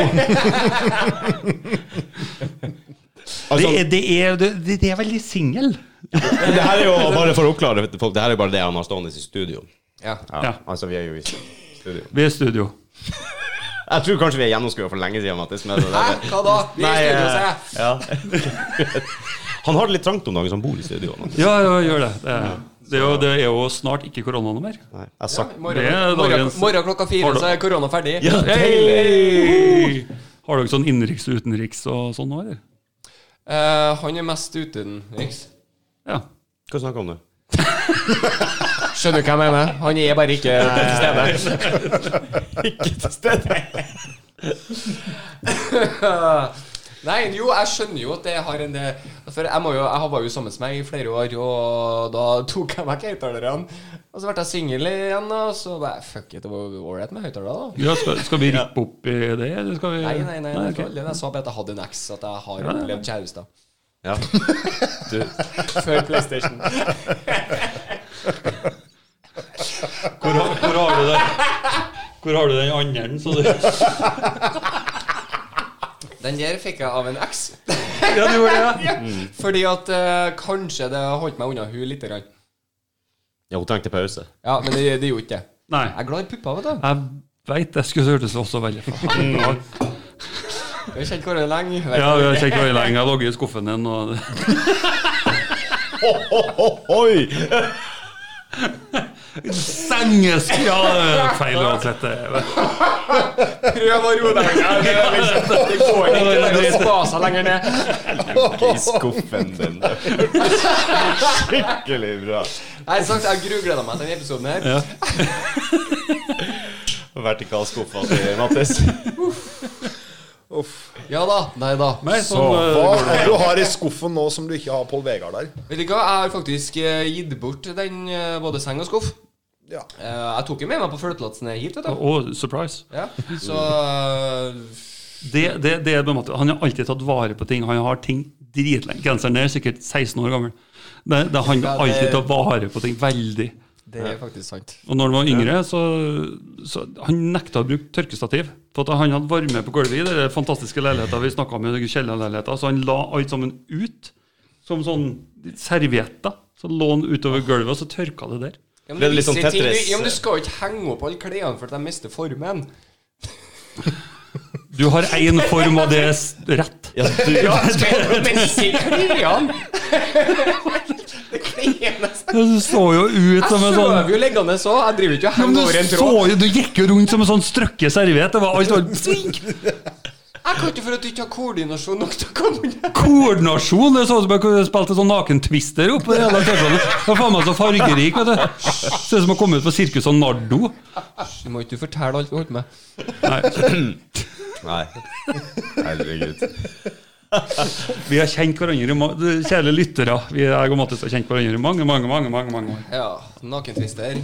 Speaker 2: Det
Speaker 1: Altså-
Speaker 2: er, det er, det, det er veldig singel.
Speaker 4: Det her er jo bare for å oppklare det folk, det her er jo bare det han har stående i studio.
Speaker 1: Ja.
Speaker 4: Ja.
Speaker 2: Ja.
Speaker 4: Altså, vi er jo i studio.
Speaker 2: Vi er i studio.
Speaker 4: Jeg tror kanskje vi er gjennomskua for lenge siden, Mattis. Med det
Speaker 1: Hæ?
Speaker 4: der.
Speaker 1: Hva da? Vi er i studio, sier jeg.
Speaker 4: ja. Han har det litt trangt om dagen, så han bor i studio. nå.
Speaker 2: Ja, ja, gjør det. Det er, det er, jo, det er jo snart ikke korona noe mer.
Speaker 4: Nei, jeg sa
Speaker 1: I
Speaker 2: Det er
Speaker 1: Morgen, morgen,
Speaker 2: dagens-
Speaker 1: morgen klokka fire,
Speaker 2: Har du-
Speaker 1: så er korona ferdig.
Speaker 4: Ja,
Speaker 2: Hei! Har dere sånn innenriks og utenriks og sånn nå, eller?
Speaker 1: Eh, han er mest utenriks.
Speaker 2: Ja.
Speaker 4: Hva snakker du om nå?
Speaker 1: Skjønner du hva jeg mener? Han er bare ikke til stede.
Speaker 4: Ikke til stede.
Speaker 1: Nei, jo, jeg skjønner jo at det har en del For jeg, må jo, jeg var jo sammen med meg i flere år, og da tok jeg meg høyttalerne. Og så ble jeg singel igjen, og så bare Fuck it, det var ålreit med høyttalere, da.
Speaker 2: ja skal, skal vi rippe opp i det, eller skal vi
Speaker 1: Nei, nei, nei. nei
Speaker 2: ok.
Speaker 1: okay. Jeg sa bare at jeg hadde en eks, at jeg har
Speaker 2: Ja.
Speaker 1: opplevd kjærester.
Speaker 4: Ja. Du,
Speaker 1: Før PlayStation.
Speaker 2: Hvor, har- hvor har du den? Hvor har du den andre? Så det,
Speaker 1: Den der fikk jeg av en eks.
Speaker 2: ja, du gjorde det, ja.
Speaker 1: Fordi at eh, kanskje det holdt meg unna hun lite grann.
Speaker 4: ja, hun trengte pause.
Speaker 1: Ja, men det, det gjorde ikke det.
Speaker 2: Nei.
Speaker 1: Jeg er glad i pupper, vet du.
Speaker 2: Jeg veit jeg skulle hørtes også veldig faen bra ut.
Speaker 1: Vi har kjent hverandre lenge. vet
Speaker 2: Ja, vi har kjent veldig lenge. Jeg har ligget i skuffen din, og
Speaker 4: Ho, ho, ho, hoi!
Speaker 2: Senges! Ja, det er feil uansett. det.
Speaker 1: du. Prøv å roe deg ned. Det er liksom- det går ikke det er å spa seg lenger ned.
Speaker 4: I skuffen din. Skikkelig bra.
Speaker 1: Nei, som sagt, Jeg grugleda meg til denne episoden her.
Speaker 2: Ja.
Speaker 4: Vertikalskuffa til Mattis.
Speaker 1: Ja da. Nei da.
Speaker 2: Nei, sånn, eh,
Speaker 3: Hva
Speaker 2: går
Speaker 3: er
Speaker 2: det.
Speaker 3: det du har i skuffen nå som du ikke har Pål Vegard der?
Speaker 1: Vet du hva, jeg har faktisk eh, gitt bort den eh, både seng og skuff.
Speaker 3: Ja.
Speaker 1: Eh, Jeg tok den med meg på flyplassen hit, vet du.
Speaker 2: Å, surprise.
Speaker 1: Ja, så eh,
Speaker 2: Det, det, det er på en måte, Han har alltid tatt vare på ting. Han har ting dritlenge. Genseren er sikkert 16 år gammel. Det, det, han har
Speaker 1: Ja, det-
Speaker 2: alltid tatt vare på ting veldig.
Speaker 1: Det er faktisk sant.
Speaker 2: Og når han var yngre, så, så Han nekta å bruke tørkestativ. For at han hadde varme på gulvet i den der fantastiske leiligheten vi snakka om. i den kjellerleiligheten, Så han la alt sammen ut som sånn servietter. Så lå han utover gulvet, og så tørka det der.
Speaker 1: Ja,
Speaker 4: Det er litt sånn
Speaker 1: viser ting-
Speaker 4: Tetris.
Speaker 1: Ja, men Du skal jo ikke henge opp alle klærne for at de mister formen.
Speaker 2: Du har én form av det s- rett.
Speaker 4: Ja, du,
Speaker 1: Men ikke klærne! Det kler nesten
Speaker 2: Du så jo ut som
Speaker 1: Jeg
Speaker 2: en sånn
Speaker 1: sover jo liggende så. Jeg driver ikke og
Speaker 2: Ja, men
Speaker 1: henger
Speaker 2: du,
Speaker 1: over en
Speaker 2: så
Speaker 1: tråd.
Speaker 2: jo, du gikk jo rundt som en sånn strøkket serviett. Det var alt var svink.
Speaker 1: Jeg kan ikke for at du ikke har koordinasjon nok til å komme unna.
Speaker 2: Koordinasjon! Det så ut som jeg spilte sånn nakentwister oppå det hele tøffene. Det var faen meg så fargerik, vet du. Ser ut som å komme ut på sirkuset Nardo.
Speaker 1: Du må ikke fortelle alt du holder med.
Speaker 2: Nei,
Speaker 4: Nei. Herregud.
Speaker 2: vi har kjent hverandre, i ma- du, kjære lyttere. Vi jeg og Mattis har kjent hverandre i mange, mange, mange, mange, mange år.
Speaker 1: Ja, nakentwister.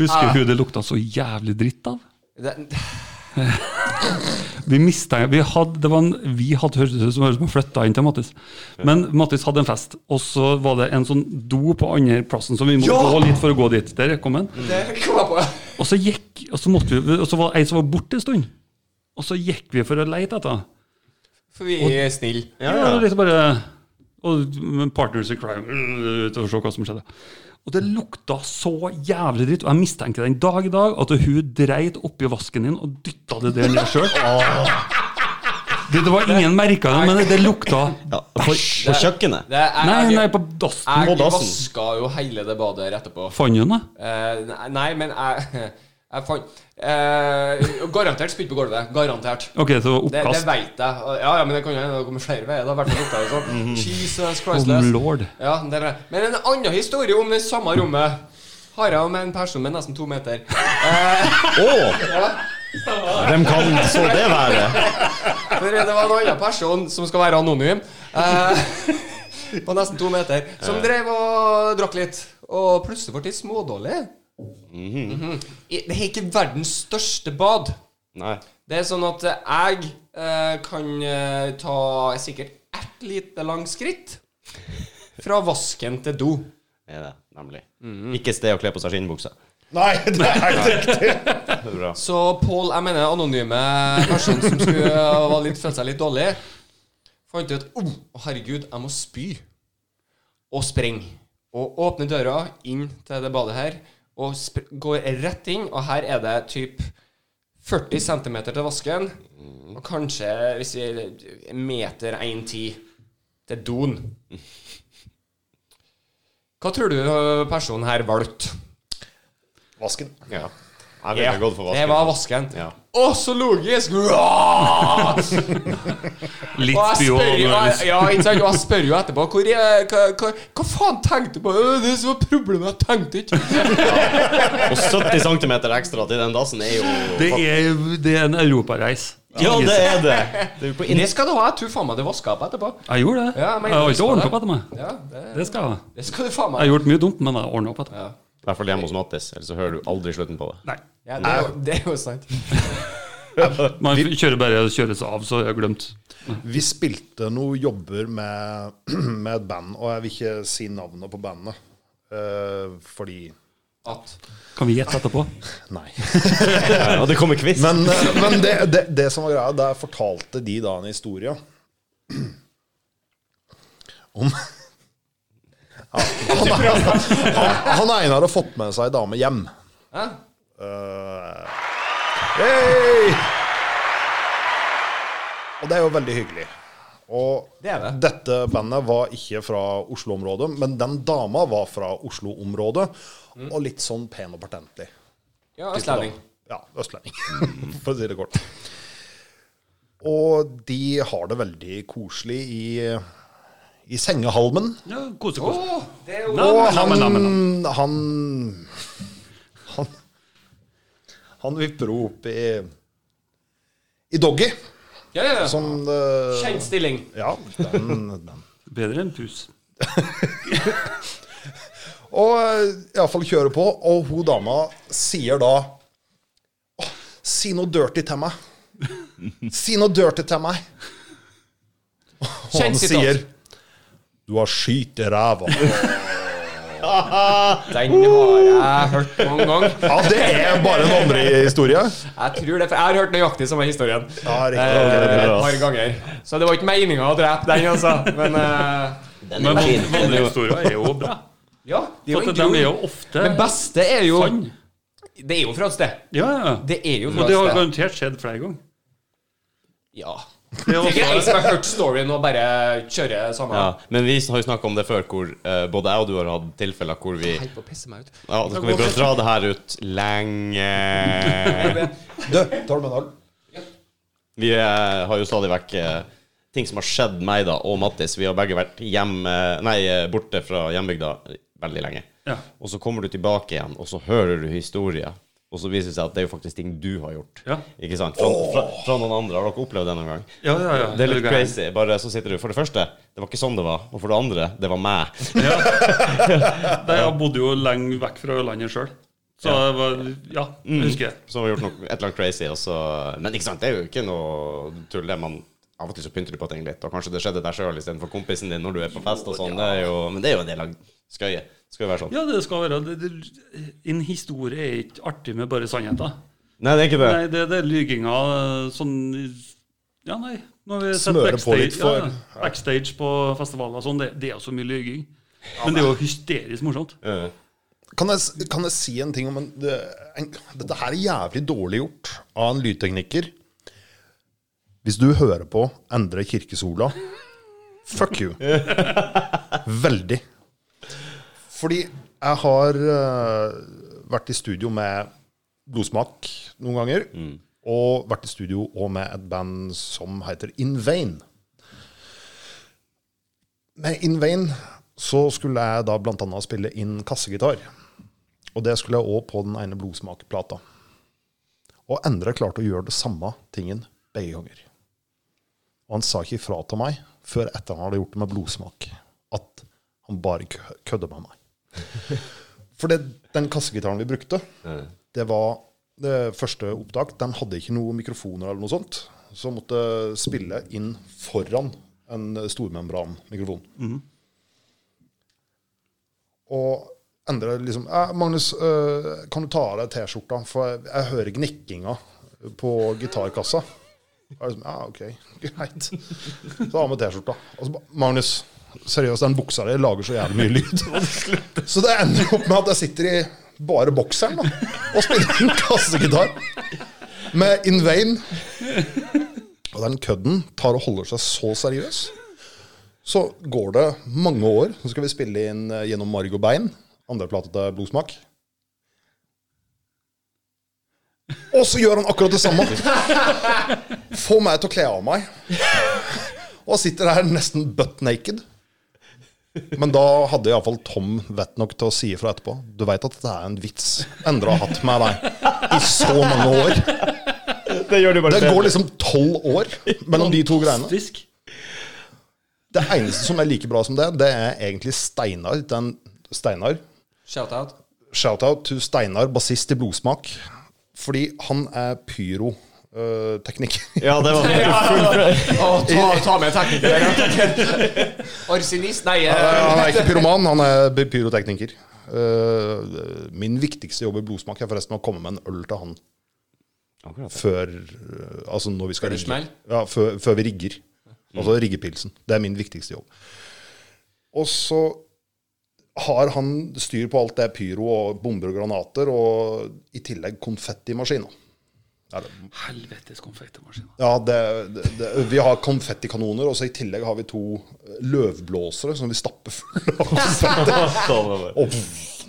Speaker 2: Husker du det lukta så jævlig dritt av?
Speaker 1: Det-
Speaker 2: Vi mista vi hadde, det var en, vi hadde hørtes ut som hørtes ut som han flytta inn til Mattis. Men Mattis hadde en fest, og så var det en sånn do på andre plassen, så vi måtte
Speaker 1: Ja!
Speaker 2: gå litt for å gå dit. Der kom han.
Speaker 1: Det kom jeg på.
Speaker 2: Og så gikk, og så, måtte vi, og så var det ei som var borte en stund. Og så gikk vi for å leite etter henne.
Speaker 1: For vi er snille.
Speaker 4: Ja,
Speaker 2: Ja,
Speaker 4: ja.
Speaker 2: litt bare og med Partners in crime øh, ut og se hva som skjedde. Og det lukta så jævlig dritt, og jeg mistenker den dag i dag at hun dreit oppi vasken din og dytta det der ned sjøl. Det, det var ingen merka det, men det, det lukta
Speaker 4: Ja, på, på kjøkkenet.
Speaker 1: Det er,
Speaker 2: Nei, nei, på
Speaker 1: Jeg
Speaker 2: dassen.
Speaker 4: På dassen.
Speaker 1: vaska jo hele det badet rett etterpå.
Speaker 2: Fant hun det?
Speaker 1: Eh, nei- nei, men jeg Jeg fant eh, Garantert spytt på gulvet. Garantert.
Speaker 2: Ok, så det var
Speaker 1: Det, det
Speaker 2: oppkast.
Speaker 1: veit jeg. Ja, ja, men det kan jo hende det kommer flere veier. da, i hvert fall lukta det
Speaker 2: Mhm.
Speaker 1: sånn. Jesus
Speaker 2: Oh
Speaker 1: Christless.
Speaker 2: lord.
Speaker 1: Ja, det er bra. Men en annen historie om det samme rommet har jeg med en person med nesten to meter.
Speaker 4: Å! Hvem kan så det være?
Speaker 1: For det var en annen person som skal være anonym, eh, på nesten to meter, som drev og drakk litt. Og plutselig ble jeg smådårlig. Mhm. I- Det er ikke verdens største bad.
Speaker 4: Nei.
Speaker 1: Det er sånn at eh, jeg eh, kan eh, ta sikkert ett lite langskritt fra vasken til do.
Speaker 4: Er det, nemlig. Ikke sted å kle på seg skinnbukse.
Speaker 3: Nei, det er helt riktig.
Speaker 4: Det er Bra.
Speaker 1: Så Pål, jeg mener anonyme person som skulle eh, var litt, følte seg litt dårlig, fant ut oh, herregud, jeg må spy. Og sprenge. Og åpne døra inn til det badet her, og spr går rett inn, og her er det typ 40 cm til vasken, og kanskje hvis vi en meter 1,10 til doen. Hva tror du ø, personen her valgte?
Speaker 3: Vasken.
Speaker 4: Ja. Jeg ville gått for
Speaker 1: Det var
Speaker 4: vasken.
Speaker 1: vasken.
Speaker 4: Ja.
Speaker 1: Å, så logisk! Uah!
Speaker 2: Litt
Speaker 1: Og jeg
Speaker 2: spy og
Speaker 1: spør, jo-
Speaker 2: analyse.
Speaker 1: ja, ikke sant? Og jeg spør jo etterpå hvor, er- hva, hva, hva faen tenkte du på? Øh, Det som var problemet, jeg tenkte ikke.
Speaker 4: Og 70 cm ekstra til den dassen er jo
Speaker 2: Det er, det er en europareis.
Speaker 4: Ja, det er det! Det er jo på
Speaker 1: Det skal du ha. Jeg tror faen meg det var skapet etterpå.
Speaker 2: Jeg gjorde det.
Speaker 1: Ja,
Speaker 2: jeg,
Speaker 1: jeg mener
Speaker 2: har
Speaker 1: du
Speaker 2: alltid
Speaker 1: skal
Speaker 2: ordna
Speaker 1: det.
Speaker 2: opp etter meg.
Speaker 1: Ja, det,
Speaker 2: Det skal jeg.
Speaker 1: det skal du faen
Speaker 2: Jeg har
Speaker 1: meg.
Speaker 2: gjort mye dumt, men jeg har ordna opp etter meg.
Speaker 1: Ja.
Speaker 4: I hvert fall hjemme hos Mattis, ellers så hører du aldri slutten på det.
Speaker 2: Nei.
Speaker 1: Ja, det, er jo, det er jo sant.
Speaker 2: Man kjører bare kjøres av, så jeg har glemt.
Speaker 3: Vi spilte noe jobber med, med et band, og jeg vil ikke si navnet på bandet. eh, fordi
Speaker 1: At
Speaker 2: Kan vi gjette etterpå?
Speaker 3: Nei.
Speaker 4: Og det kommer quiz.
Speaker 3: Men, eh, men det, det, det som var greia, der fortalte de da en historie om ja, han, han, han Einar har fått med seg ei dame hjem.
Speaker 1: Hæ?
Speaker 3: Eh, hey! Og det er jo veldig hyggelig. Og
Speaker 1: Det er det.
Speaker 3: dette bandet var ikke fra Oslo-området, men den dama var fra Oslo-området, og litt sånn pen og pertentlig.
Speaker 1: Ja, østlending.
Speaker 3: Ja, østlending, for å si det kort. Og de har det veldig koselig i, i sengehalmen.
Speaker 2: Ja, kose,
Speaker 1: Å, det er jo
Speaker 2: Nei,
Speaker 3: Og
Speaker 2: men, nei,
Speaker 3: han
Speaker 2: men, nei, men,
Speaker 3: Han Han, Han vipper henne opp i, i doggy.
Speaker 1: Ja, ja, ja.
Speaker 3: Som det-
Speaker 1: Kjent stilling.
Speaker 3: Ja, den, den.
Speaker 2: Bedre enn pus.
Speaker 3: Og iallfall kjører på, og hun dama sier da «Åh, Si noe dirty til meg. Si noe dirty til meg. Og han
Speaker 1: Kjent sitat.
Speaker 3: sier Du har skit i ræva.
Speaker 4: Ah!
Speaker 1: Den har jeg hørt mange ganger.
Speaker 3: Ja, det er bare en andre historie.
Speaker 1: Jeg tror det, for jeg har hørt nøyaktig samme historien
Speaker 3: Ja, riktig.
Speaker 1: eh,
Speaker 3: Ok, det er
Speaker 1: et
Speaker 3: bra.
Speaker 1: par ganger. Så det var ikke meninga å drepe den, altså. Men eh,
Speaker 4: Den
Speaker 2: Men
Speaker 4: er fin.
Speaker 2: van- vanlige historier er jo bra.
Speaker 1: ja, det er
Speaker 2: For
Speaker 1: jo
Speaker 2: at de er jo
Speaker 1: intro.
Speaker 2: ofte
Speaker 1: Men beste er jo
Speaker 2: sann.
Speaker 1: Det er jo fra et sted.
Speaker 2: Ja, ja.
Speaker 1: Det er jo
Speaker 2: Og
Speaker 1: fra
Speaker 2: det
Speaker 1: et
Speaker 2: har
Speaker 1: sted.
Speaker 2: garantert skjedd flere ganger.
Speaker 1: Ja.
Speaker 2: Det er
Speaker 1: Det er ikke jeg
Speaker 2: også,
Speaker 1: som har hørt storyen og bare kjører samme.
Speaker 4: Ja, men vi har jo snakka om det før, hvor eh, både jeg og du har hatt tilfeller hvor vi
Speaker 1: Helt på å pisse meg ut.
Speaker 4: Ja, da skal vi prøve å dra det her ut lenge.
Speaker 3: Du, tar du med en øl?
Speaker 4: Vi eh, har jo stadig vekk eh, ting som har skjedd meg da, og Mattis. Vi har begge vært hjem, eh, nei, eh, borte fra hjembygda veldig lenge.
Speaker 2: Ja.
Speaker 4: Og så kommer du tilbake igjen, og så hører du historier. Og så viser det seg at det er jo faktisk ting du har gjort.
Speaker 2: Ja.
Speaker 4: Ikke sant? Fra, fra, fra noen andre. Har dere opplevd det noen gang?
Speaker 2: ja, ja, ja.
Speaker 4: Det er litt
Speaker 2: gærent.
Speaker 4: crazy. Bare så sitter du For det første, det var ikke sånn det var. Og for det andre, det var meg.
Speaker 2: Nei, Jeg bodde jo lenge vekk fra landet sjøl. Så det var, ja, jeg husker det.
Speaker 4: Så har vi gjort noe, et eller annet crazy, og så Men ikke sant, det er jo ikke noe tull, det. Man av og til så pynter du på ting litt, og kanskje det skjedde deg sjøl istedenfor kompisen din når du er på fest og sånn. Det er jo, men det er jo en del av skøyet. Skal jo være sånn.
Speaker 2: Ja, det skal være. Det, det, en historie er ikke artig med bare sannheter.
Speaker 4: Nei, det er ikke det.
Speaker 2: Nei, det, det er lyginga sånn Ja, nei. Når vi setter
Speaker 3: Smøre på
Speaker 2: backstage,
Speaker 3: litt for-
Speaker 2: ja, ja, backstage på festivaler og sånn, det, det er jo så mye lyging. Men det er jo hysterisk morsomt.
Speaker 4: Eh,
Speaker 3: Kan jeg, s- kan jeg si en ting om en, det, en Dette her er jævlig dårlig gjort av en lydtekniker. Hvis du hører på Endre Kirkesola Fuck you. Veldig. Fordi jeg har eh, vært i studio med Blodsmak noen ganger. Og vært i studio og med et band som heter In Vain. Med In Vain så skulle jeg da blant annet spille inn kassegitar. Og det skulle jeg òg på den ene blodsmakplata. Og Endre klarte å gjøre det samme tingen begge ganger. Og han sa ikke ifra til meg før etter han hadde gjort det med blodsmak, at han bare kø- kødder med meg. For det, den kassegitaren vi brukte, det var det første opptak. Den hadde ikke noen mikrofoner eller noe sånt. Så måtte spille inn foran en stormembranmikrofon. Og Endre liksom «Eh, 'Magnus, eh, kan du ta av deg T-skjorta, for jeg, jeg hører gnikkinga på gitarkassa'. Og Jeg liksom, ja, ok, greit. Så av med T-skjorta. Og så ba, Magnus, seriøst, den buksa di lager så jævlig mye lyd. Så det ender jo opp med at jeg sitter i bare bokseren da, og spiller inn kassegitar med In Vain. Og den kødden tar og holder seg så seriøs. Så går det mange år, så skal vi spille inn eh, gjennom Marg og Bein, andre plate til Blodsmak. Og så gjør han akkurat det samme! Få meg til å kle av meg. Og sitter her nesten butt naked. Men da hadde iallfall Tom vett nok til å si ifra etterpå. Du veit at dette er en vits. Endre har hatt med deg i så mange år.
Speaker 4: Det gjør du bare
Speaker 3: Det
Speaker 4: bedre.
Speaker 3: går liksom tolv år mellom de to greiene.
Speaker 2: Fisk.
Speaker 3: Det eneste som er like bra som det, det er egentlig Steinar. Den Steinar.
Speaker 1: Shout-out.
Speaker 3: Shout-out to Steinar, bassist i Blodsmak. Fordi han er pyrotekniker.
Speaker 4: Ja, det var
Speaker 1: Å, ta, ta med tekniker. Arsinist? Nei. eh,
Speaker 3: han er ikke pyroman, han er by- pyrotekniker. Eh, min viktigste jobb i Blodsmak er forresten å komme med en øl til han
Speaker 4: Akkurat.
Speaker 3: før eh, Altså når vi skal
Speaker 1: Før det
Speaker 3: rigge.
Speaker 1: smell?
Speaker 3: Ja, før, før vi rigger. Altså riggepilsen. Det er min viktigste jobb. Og så har han styr på alt det pyro og bomber og granater, og i tillegg konfettimaskiner. Eller,
Speaker 2: Helvetes konfektmaskin.
Speaker 3: ja, det, det, det, vi har konfettikanoner, og så i tillegg har vi to løvblåsere som vi stapper fulle av konfetti.
Speaker 4: Så-
Speaker 3: Og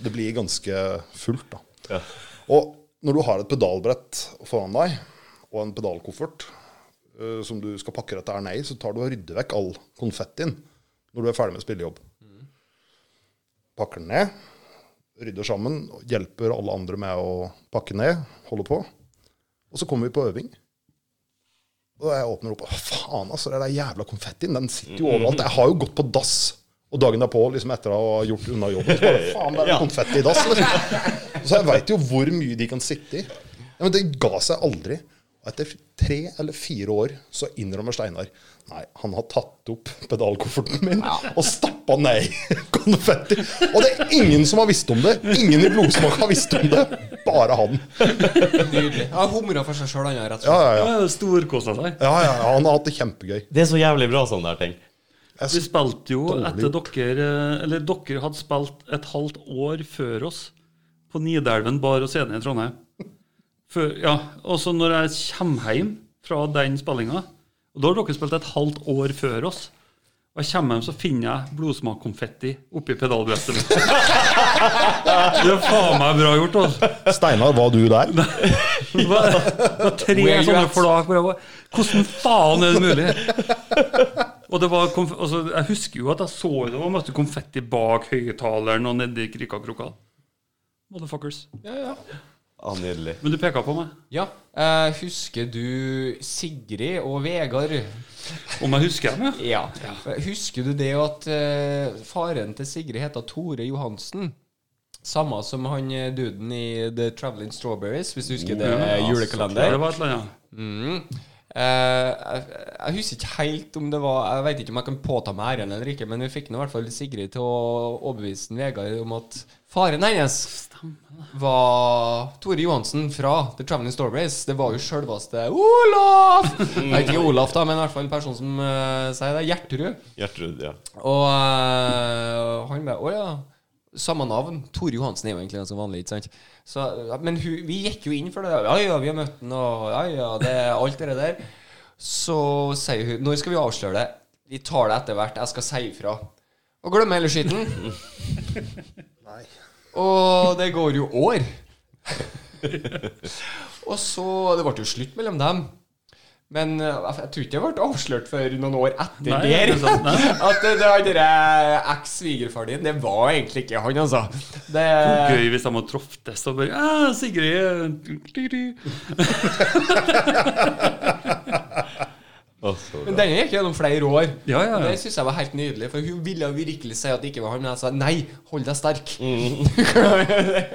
Speaker 3: det blir ganske fullt, da. Og når du har et pedalbrett foran deg, og en pedalkoffert eh, som du skal pakke dette her ned i, så tar du og rydder vekk all konfettien når du er ferdig med spillejobb. Pakker den ned, rydder sammen, og hjelper alle andre med å pakke ned, holder på. Og så kommer vi på øving. Og jeg åpner opp, og faen altså, det der jævla konfettien, den sitter jo overalt. Jeg har jo gått på dass. Og dagen derpå, liksom etter å ha gjort unna jobben, så bare faen, det er
Speaker 4: Ja.
Speaker 3: konfetti i dass. Liksom. Så jeg veit jo hvor mye de kan sitte i. Ja, men det ga seg aldri. Og etter tre eller fire år så innrømmer Steinar Nei, han har tatt opp pedalkofferten min og stappa ned i konfetti. Og det er ingen som har visst om det. Ingen i blodsmak har visst om det. Bare han.
Speaker 1: Nydelig. Han humra for seg sjøl, han her, rett og
Speaker 3: Ja, ja,
Speaker 1: slett.
Speaker 3: ja.
Speaker 2: Ja, Storkosa seg.
Speaker 3: Ja, ja, ja, han har hatt det kjempegøy.
Speaker 4: Det er så jævlig bra sånne der ting.
Speaker 2: Vi spilte jo etter dere eh, Eller dere hadde spilt et halvt år før oss på Nidelven bar og scene i Trondheim. Før, ja, og så når jeg kommer hjem fra den spillinga Og da har dere spilt et halvt år før oss. Og jeg kommer hjem, så finner jeg blodsmakkonfetti oppi pedalbrettet mitt. Det er faen meg bra gjort, altså.
Speaker 3: Steinar, var du der?
Speaker 2: Det var, det var tre
Speaker 1: Where you
Speaker 2: sånne
Speaker 1: at?
Speaker 2: flak. hvor jeg var, Hvordan faen er det mulig? Og det var konf altså, Jeg husker jo at jeg så det var masse konfetti bak høyttaleren og nedi krikkakrokka. Motherfuckers.
Speaker 4: Ah, nydelig.
Speaker 2: Men du peka på meg.
Speaker 1: Ja. Eh, husker du Sigrid og Vegard?
Speaker 2: Om jeg husker dem, ja.
Speaker 1: Ja. Husker du det at eh, faren til Sigrid heter Tore Johansen? Samme som han eh, duden i The Traveling Strawberries, hvis du husker det
Speaker 4: Mm,
Speaker 1: eh,
Speaker 2: Ja,
Speaker 1: julekalender.
Speaker 2: Det var et eller annet.
Speaker 1: Mm. Eh, jeg, jeg husker ikke helt om det var Jeg vet ikke om jeg kan påta meg æren eller ikke, men vi fikk nå i hvert fall Sigrid til å overbevise Vegard om at faren hennes var Tore Johansen fra The Traveling Strawberries. Det var jo sjølveste Olaf! Jeg vet ikke Olaf, da, men i hvert fall en person som eh, sier det. Gjertrud.
Speaker 4: Gjertrud, ja.
Speaker 1: Og eh, han bare Å ja. Samme navn. Tore Johansen er jo egentlig ganske vanlig. ikke sant? Så, ja, men hun, vi gikk jo inn for det. Ja, ja, vi har møtt han, og ja, ja, det, alt det der. Så sier hun Når skal vi avsløre det? Vi tar det etter hvert. Jeg skal si ifra. Og glemmer hele skitten. Og det går jo år. og så Det ble jo slutt mellom dem. Men eh, jeg, jeg tror ikke det ble avslørt før noen år etter
Speaker 2: Nei,
Speaker 1: der.
Speaker 2: det er sant, nei.
Speaker 1: At det, det var den der eh, eks-svigerfaren din, det var egentlig ikke han, altså. Det,
Speaker 2: Gøy hvis de hadde troftes og bare «Ah, 'Sigrid'
Speaker 4: Å, så
Speaker 1: men
Speaker 4: bra.
Speaker 1: denne gikk gjennom flere år.
Speaker 2: Ja, ja, ja.
Speaker 1: Det syns jeg var helt nydelig, for hun ville virkelig si at det ikke var han, men jeg sa nei, hold deg sterk.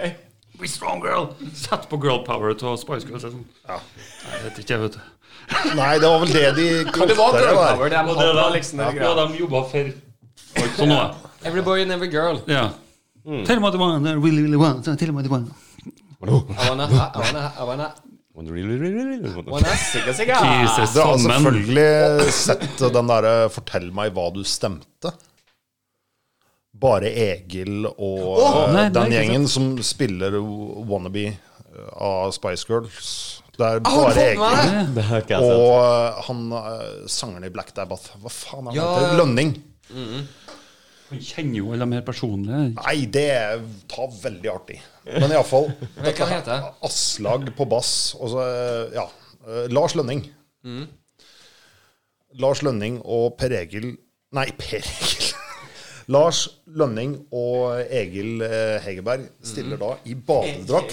Speaker 1: Mm.
Speaker 2: Be strong, girl! Sett på girl power til Spice Girls. Liksom. Ja. Nei, det vet ikke jeg, vet du.
Speaker 3: Nei, det var vel det de
Speaker 1: det var
Speaker 3: det
Speaker 1: girl
Speaker 3: var.
Speaker 1: power, det
Speaker 2: Og
Speaker 1: hadde
Speaker 2: da-
Speaker 1: liksom den
Speaker 2: ja,
Speaker 1: greia.
Speaker 2: de jobba for folk sånn nå, ja.
Speaker 1: Every boy and every girl.
Speaker 2: Ja.
Speaker 1: Mm.
Speaker 2: Tell me what you want, I really, really want, tell me what you want.
Speaker 1: I wanna, I wanna, I wanna,
Speaker 4: When really, really, really
Speaker 1: I
Speaker 4: wanna-
Speaker 1: wanna Ah, sikka sikka.
Speaker 2: Jesus,
Speaker 3: Dere
Speaker 1: altså
Speaker 3: har
Speaker 2: sammen.
Speaker 3: selvfølgelig sett den derre 'Fortell meg hva du stemte'. Bare Egil og eh,
Speaker 2: nei, nei,
Speaker 3: den
Speaker 2: ikke
Speaker 3: gjengen som spiller Wannabe eh, av Spice Girls. Det er
Speaker 1: Har du
Speaker 3: bare
Speaker 1: fått med
Speaker 3: Egil
Speaker 1: deg?
Speaker 4: Det har ikke jeg sett.
Speaker 3: og eh, han eh, sangeren i Black Dabbath. Hva faen er han
Speaker 1: Ja.
Speaker 3: heter? Lønning.
Speaker 2: Han kjenner jo alle de her personlige.
Speaker 3: Nei, det tar veldig artig. Men iallfall
Speaker 1: Hva kan han hete?
Speaker 3: Aslag på bass. Og så, ja. eh, Lars Lønning. Lars Lønning og Per Egil Nei, Per Egil. Lars Lønning og Egil eh, Hegerberg stiller da i badedrakt.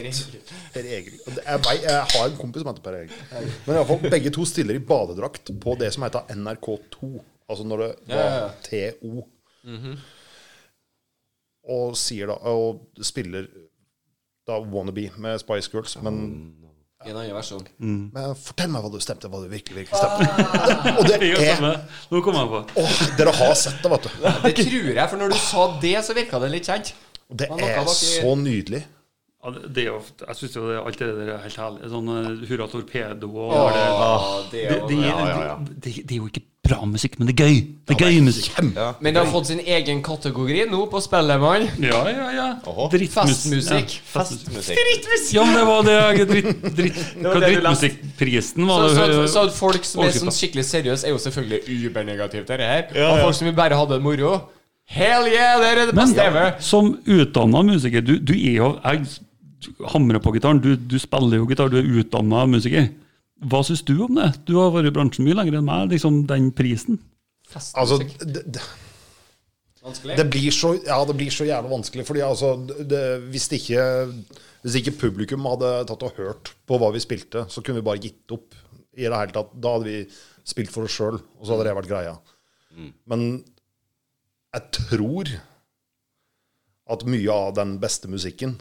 Speaker 3: Per Egil. Og det- Jeg, vei- jeg har en kompis som heter Per Egil. Men iallfall begge to stiller i badedrakt på det som heter NRK2. Altså når det
Speaker 1: Ja, Mhm. ja,
Speaker 3: var TO. Og sier da Og spiller da Wannabe med Spice Girls, men
Speaker 1: I en annen versjon.
Speaker 3: men fortell meg hva du stemte, hva du virkelig
Speaker 1: Ah.
Speaker 3: virkelig stemte. Og det
Speaker 2: Det er jo
Speaker 3: er
Speaker 2: samme. Nå kom jeg på.
Speaker 3: Åh, dere har sett det, vet du.
Speaker 1: Det tror jeg, for når du sa det, så virka det litt kjent.
Speaker 3: Og Det
Speaker 1: Men dere
Speaker 3: er
Speaker 1: har ikke-
Speaker 3: så nydelig.
Speaker 2: Ja, det- det er jo, jeg syns jo det, alt det der er helt herlig. Sånn eh, Hurra Torpedo og
Speaker 1: Åh, det
Speaker 2: det,
Speaker 1: var-
Speaker 2: det, er- det, det, det er jo ikke bra musikk, men det er gøy. Det er gøy musikk.
Speaker 1: Men det har fått sin egen kategori nå på Spellemann.
Speaker 2: Ja, ja, ja.
Speaker 4: Oho.
Speaker 1: Festmusikk.
Speaker 2: Ja, festmusikk.
Speaker 4: Musikk.
Speaker 2: Ja, men det var det jeg- dritt, dritt, Hva
Speaker 1: det du leste.
Speaker 2: drittmusikkprisen var?
Speaker 1: Så,
Speaker 2: det-
Speaker 1: så, så, så at folk som er
Speaker 2: Overskrift,
Speaker 1: sånn
Speaker 2: da.
Speaker 1: skikkelig seriøse, er jo selvfølgelig ubernegativt, dette her.
Speaker 4: Ja,
Speaker 1: Og
Speaker 4: ja.
Speaker 1: folk som bare hadde det moro. Hell yeah, det er det
Speaker 2: Men
Speaker 1: beste ever!
Speaker 2: som utdanna musiker, du, du er jo Jeg hamrer på gitaren, du, du spiller jo gitar, du er utdanna musiker. Hva syns du om det? Du har vært i bransjen mye lenger enn meg. liksom Den prisen.
Speaker 1: Festmusikk.
Speaker 3: Altså, det, det,
Speaker 1: Vanskelig?
Speaker 3: Altså, Det blir så, ja, det blir så jævlig vanskelig. Fordi altså, det, hvis, det ikke, hvis ikke publikum hadde tatt og hørt på hva vi spilte, så kunne vi bare gitt opp. i det hele tatt. Da hadde vi spilt for oss sjøl, og så hadde det vært greia. Men jeg tror at mye av den beste musikken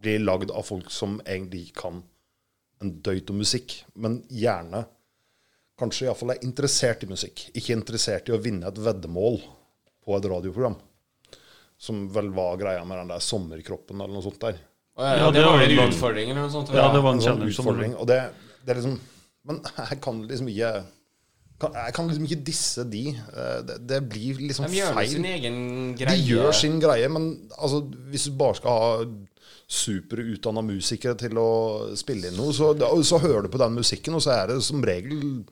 Speaker 3: blir lagd av folk som egentlig ikke kan en døyt om musikk, men gjerne kanskje iallfall er interessert i musikk. Ikke interessert i å vinne et veddemål på et radioprogram. Som vel var greia med den der sommerkroppen eller noe sånt der.
Speaker 1: Å, ja,
Speaker 2: Ja,
Speaker 1: det
Speaker 2: det
Speaker 1: var
Speaker 2: var
Speaker 1: vel
Speaker 2: jo-
Speaker 1: en utfordring eller noe sånt?
Speaker 2: Ja, det var en
Speaker 3: En sånn
Speaker 2: challenge. som-
Speaker 3: utfordring. Og det, det er liksom Men jeg kan liksom ikke kan, Jeg kan liksom ikke disse de. Eh, Det, det blir liksom
Speaker 1: De gjør jo
Speaker 3: feil.
Speaker 1: sin egen
Speaker 3: De
Speaker 1: greie.
Speaker 3: gjør sin greie, men altså, hvis du bare skal ha superutdanna musikere til å spille inn noe, så, så hører du på den musikken, og så er det som regel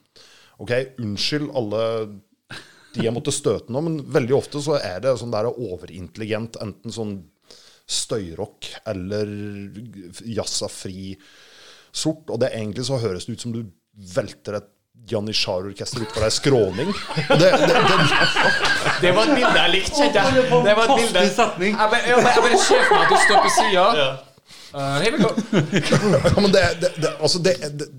Speaker 3: Ok, unnskyld alle de jeg måtte støte nå, men veldig ofte så er det sånn der overintelligent, enten sånn støyrock eller jazza fri sort, og det egentlig så høres det ut som du velter et Janitsjar-orkester utfor ei skråning. Og det, det, det,
Speaker 1: Det var et bilde jeg likte, kjente jeg. Det var et bilde.
Speaker 2: Fantastisk setning.
Speaker 1: Jeg bare, jeg bare, jeg bare ser for meg at du står på Eh, sida. here we go.
Speaker 3: Ja, men det, det, det Altså, det, det,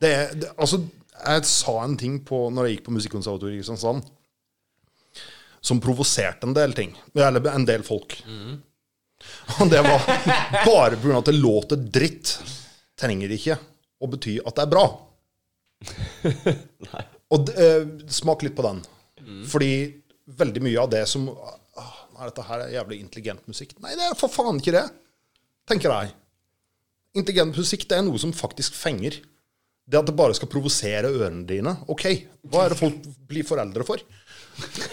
Speaker 3: det, det Altså, jeg sa en ting på Når jeg gikk på Musikkonservatoriet i Kristiansand, som provoserte en del ting. Eller en del folk. Og det var bare pga. at det låter dritt. Trenger ikke å bety at det er bra. Og det, eh, smak litt på den. Fordi veldig mye av det som «Åh, Er dette her jævlig intelligent musikk? Nei, det er for faen ikke det, tenker jeg. Intelligent musikk det er noe som faktisk fenger. Det at det bare skal provosere ørene dine. Ok, hva er det folk blir foreldre for?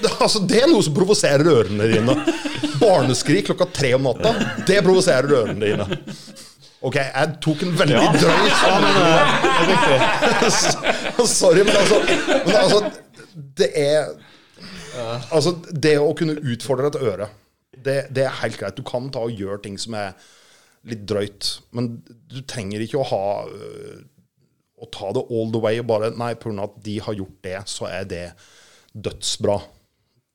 Speaker 3: Det, altså, det er noe som provoserer ørene dine. Barneskrik klokka tre om natta, det provoserer ørene dine. Ok, jeg tok en veldig drøy Sorry, men altså, men altså Det er Altså, det å kunne utfordre et øre, det, det er helt greit. Du kan ta og gjøre ting som er litt drøyt, men du trenger ikke å ha øh, Å ta det all the way og bare Nei, pga. at de har gjort det, så er det dødsbra.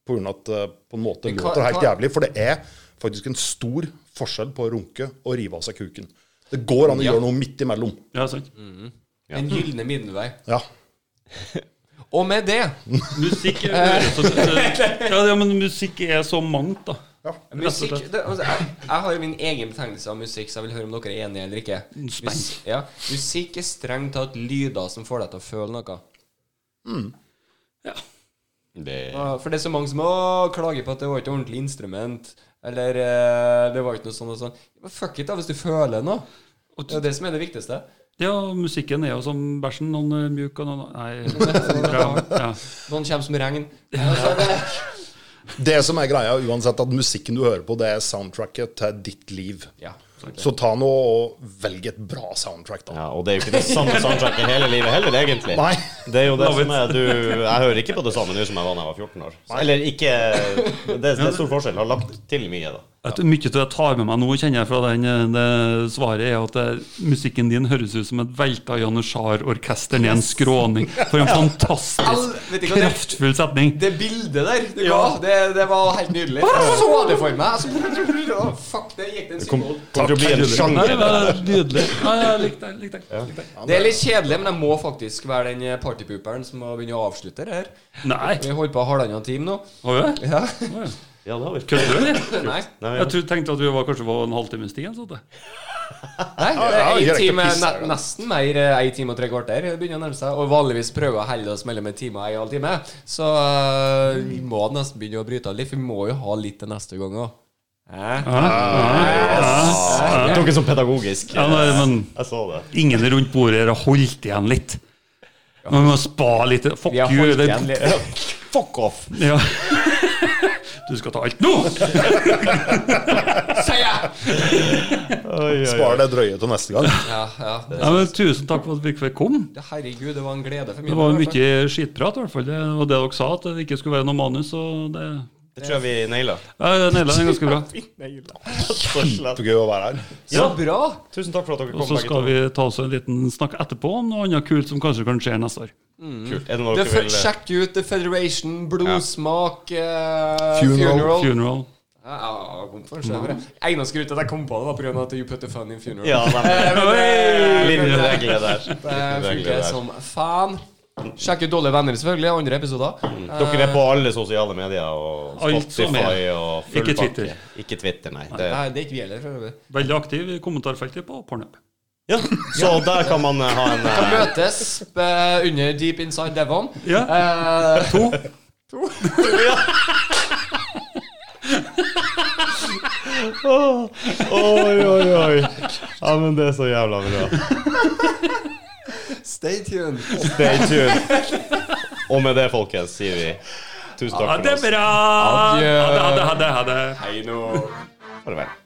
Speaker 3: Pga. at det på en måte
Speaker 1: Men hva-
Speaker 3: låter helt
Speaker 1: hva-
Speaker 3: jævlig. For det er faktisk en stor forskjell på å runke og rive av seg kuken. Det går an å gjøre noe midt imellom.
Speaker 2: Ja, sant.
Speaker 1: Den gylne middelvei.
Speaker 3: Ja.
Speaker 1: Og med det
Speaker 2: Musikk er så, ja, ja, men musikk er så mangt, da.
Speaker 3: ja.
Speaker 1: Musikk det, altså, jeg, jeg har jo min egen betegnelse av musikk, så jeg vil høre om dere er enige eller ikke.
Speaker 2: Spenn.
Speaker 1: Mus- ja. Musikk er strengt tatt lyder som får deg til å føle noe.
Speaker 2: Ja.
Speaker 4: Det,
Speaker 1: Ja, Ah, For det er så mange som å, klager på at det var ikke ordentlig instrument. Eller eh, det var ikke noe sånn og sånn. Men fuck it, da, hvis du føler noe. Det er jo det som er det viktigste.
Speaker 2: ja, musikken er jo som bæsjen. Noen er mjuk og noen Nei. Ja.
Speaker 1: Noen kommer som regn. Altså,
Speaker 3: Det som er greia, uansett at musikken du hører på, det er soundtracket til ditt liv.
Speaker 1: Ja.
Speaker 3: Så ta nå og velg et bra soundtrack, da.
Speaker 4: ja, og det er jo ikke det samme soundtracket hele livet heller, egentlig.
Speaker 3: Nei.
Speaker 4: Det er jo det
Speaker 2: Love
Speaker 4: som er du, Jeg hører ikke på det samme nå som jeg var da jeg var 14 år. Så, eller ikke det, det er stor forskjell. Jeg har lagt til mye, da.
Speaker 2: At mye av det jeg tar med meg nå, kjenner jeg fra den, eh, det svaret, er at det, musikken din høres ut som et velta Janitsjar-orkester ned en skråning. For en
Speaker 1: Al-
Speaker 2: fantastisk,
Speaker 1: vet du hva det-
Speaker 2: kraftfull setning.
Speaker 1: Det bildet der, det,
Speaker 2: Ja.
Speaker 1: ga, det, det var helt nydelig. Jeg så det for meg. Altså, å, fuck, det gikk den
Speaker 4: Kom,
Speaker 1: symbol.
Speaker 4: kommer til å bli en
Speaker 2: Nei,
Speaker 4: sjanger.
Speaker 2: det var Nydelig. Nei, jeg likte det. Likte det. Likte det.
Speaker 1: Det er litt kjedelig, men jeg må faktisk være den eh, partypooperen som må begynne å avslutte det her.
Speaker 2: Nei,
Speaker 1: Vi holder på halvannen time nå.
Speaker 2: har du det?
Speaker 1: Ja.
Speaker 4: Ja, det har vi.
Speaker 2: Kødder du, eller?
Speaker 1: Nei.
Speaker 4: Nei,
Speaker 2: Jeg tror, tenkte at vi var kanskje var en halvtimes tid. eller noe sånt.
Speaker 1: Nei, det er
Speaker 3: Ja,
Speaker 1: en
Speaker 3: ja, greit å
Speaker 1: time,
Speaker 3: pisse,
Speaker 1: ne
Speaker 3: ja.
Speaker 1: nesten mer. eh, En time og tre kvarter det begynner å nærme seg. Og vanligvis prøver jeg å holde oss mellom en time og en halv time. Så eh, vi må nesten begynne å bryte av litt, for vi må jo ha litt til neste gang òg.
Speaker 4: Jeg tok det som pedagogisk.
Speaker 2: Ja, nei, men
Speaker 4: Jeg så det.
Speaker 2: ingen rundt bordet her har holdt igjen litt. Man må spa litt. Fuck
Speaker 1: Vi har
Speaker 2: you.
Speaker 1: holdt
Speaker 2: Det,
Speaker 1: igjen litt.
Speaker 4: Fuck off!
Speaker 2: ja. Du skal ta alt nå!
Speaker 1: Sier jeg!
Speaker 3: Spar det drøye til neste gang.
Speaker 1: Ja, ja. Det,
Speaker 2: Ja, men, tusen takk for at vi fikk komme.
Speaker 1: herregud, det var en glede for min
Speaker 2: Det var
Speaker 1: del, i hvert fall.
Speaker 2: mye skitprat, i hvert fall. Det var det dere sa, at det ikke skulle være noe manus. Og det
Speaker 4: Det tror jeg vi naila.
Speaker 2: ja, det naila den ganske bra.
Speaker 3: Kjempegøy å være her.
Speaker 1: Så bra!
Speaker 4: Tusen takk for at dere
Speaker 2: Og
Speaker 4: kom,
Speaker 2: så
Speaker 4: begge
Speaker 2: skal
Speaker 4: to.
Speaker 2: vi ta oss en liten snakk etterpå om noe annet kult som kanskje kan skje neste år.
Speaker 4: Kult. Er det noe
Speaker 1: Det
Speaker 4: dere
Speaker 1: fe-
Speaker 4: vil
Speaker 1: Sjekk ut The Federation, Blodsmak, eh,
Speaker 3: Funeral.
Speaker 1: Funeral.
Speaker 2: Funeral.
Speaker 1: Ja, ja, jeg kom på en sjøvre. Eneste grunn til at jeg kom på det, var på grunn av at you put the fun in funeral.
Speaker 4: Ja, det
Speaker 1: Eh,
Speaker 4: er
Speaker 1: men det-
Speaker 4: linjeregler der.
Speaker 1: Det
Speaker 4: Linjeregler
Speaker 1: funker
Speaker 4: der.
Speaker 1: som faen. Sjekk ut Dårlige venner, selvfølgelig. Andre episoder.
Speaker 4: Dere er på alle sosiale medier og
Speaker 2: eh, Alt som er.
Speaker 4: Spotify og full
Speaker 2: Ikke
Speaker 4: pakke.
Speaker 2: Twitter.
Speaker 4: Ikke Twitter, nei. Det,
Speaker 1: Nei, det er ikke vi heller. for øvrig.
Speaker 2: Veldig aktiv i kommentarfeltet på Pornhub.
Speaker 4: ja. Så der kan man eh, ha en
Speaker 1: Kan
Speaker 4: eh,
Speaker 1: møtes eh, under Deep Inside Devon.
Speaker 2: Ja.
Speaker 1: Eh,
Speaker 2: To.
Speaker 4: Oi, oi, oi. Ja, men det er så jævla bra.
Speaker 1: stay tuned.
Speaker 4: Stay tuned. Og med det, folkens, sier vi tusen takk
Speaker 2: Ha
Speaker 4: for
Speaker 2: det
Speaker 4: oss.
Speaker 2: bra!
Speaker 1: Adjø.
Speaker 2: Ha det, ha det, ha det.
Speaker 1: Hei nå.
Speaker 4: Farvel.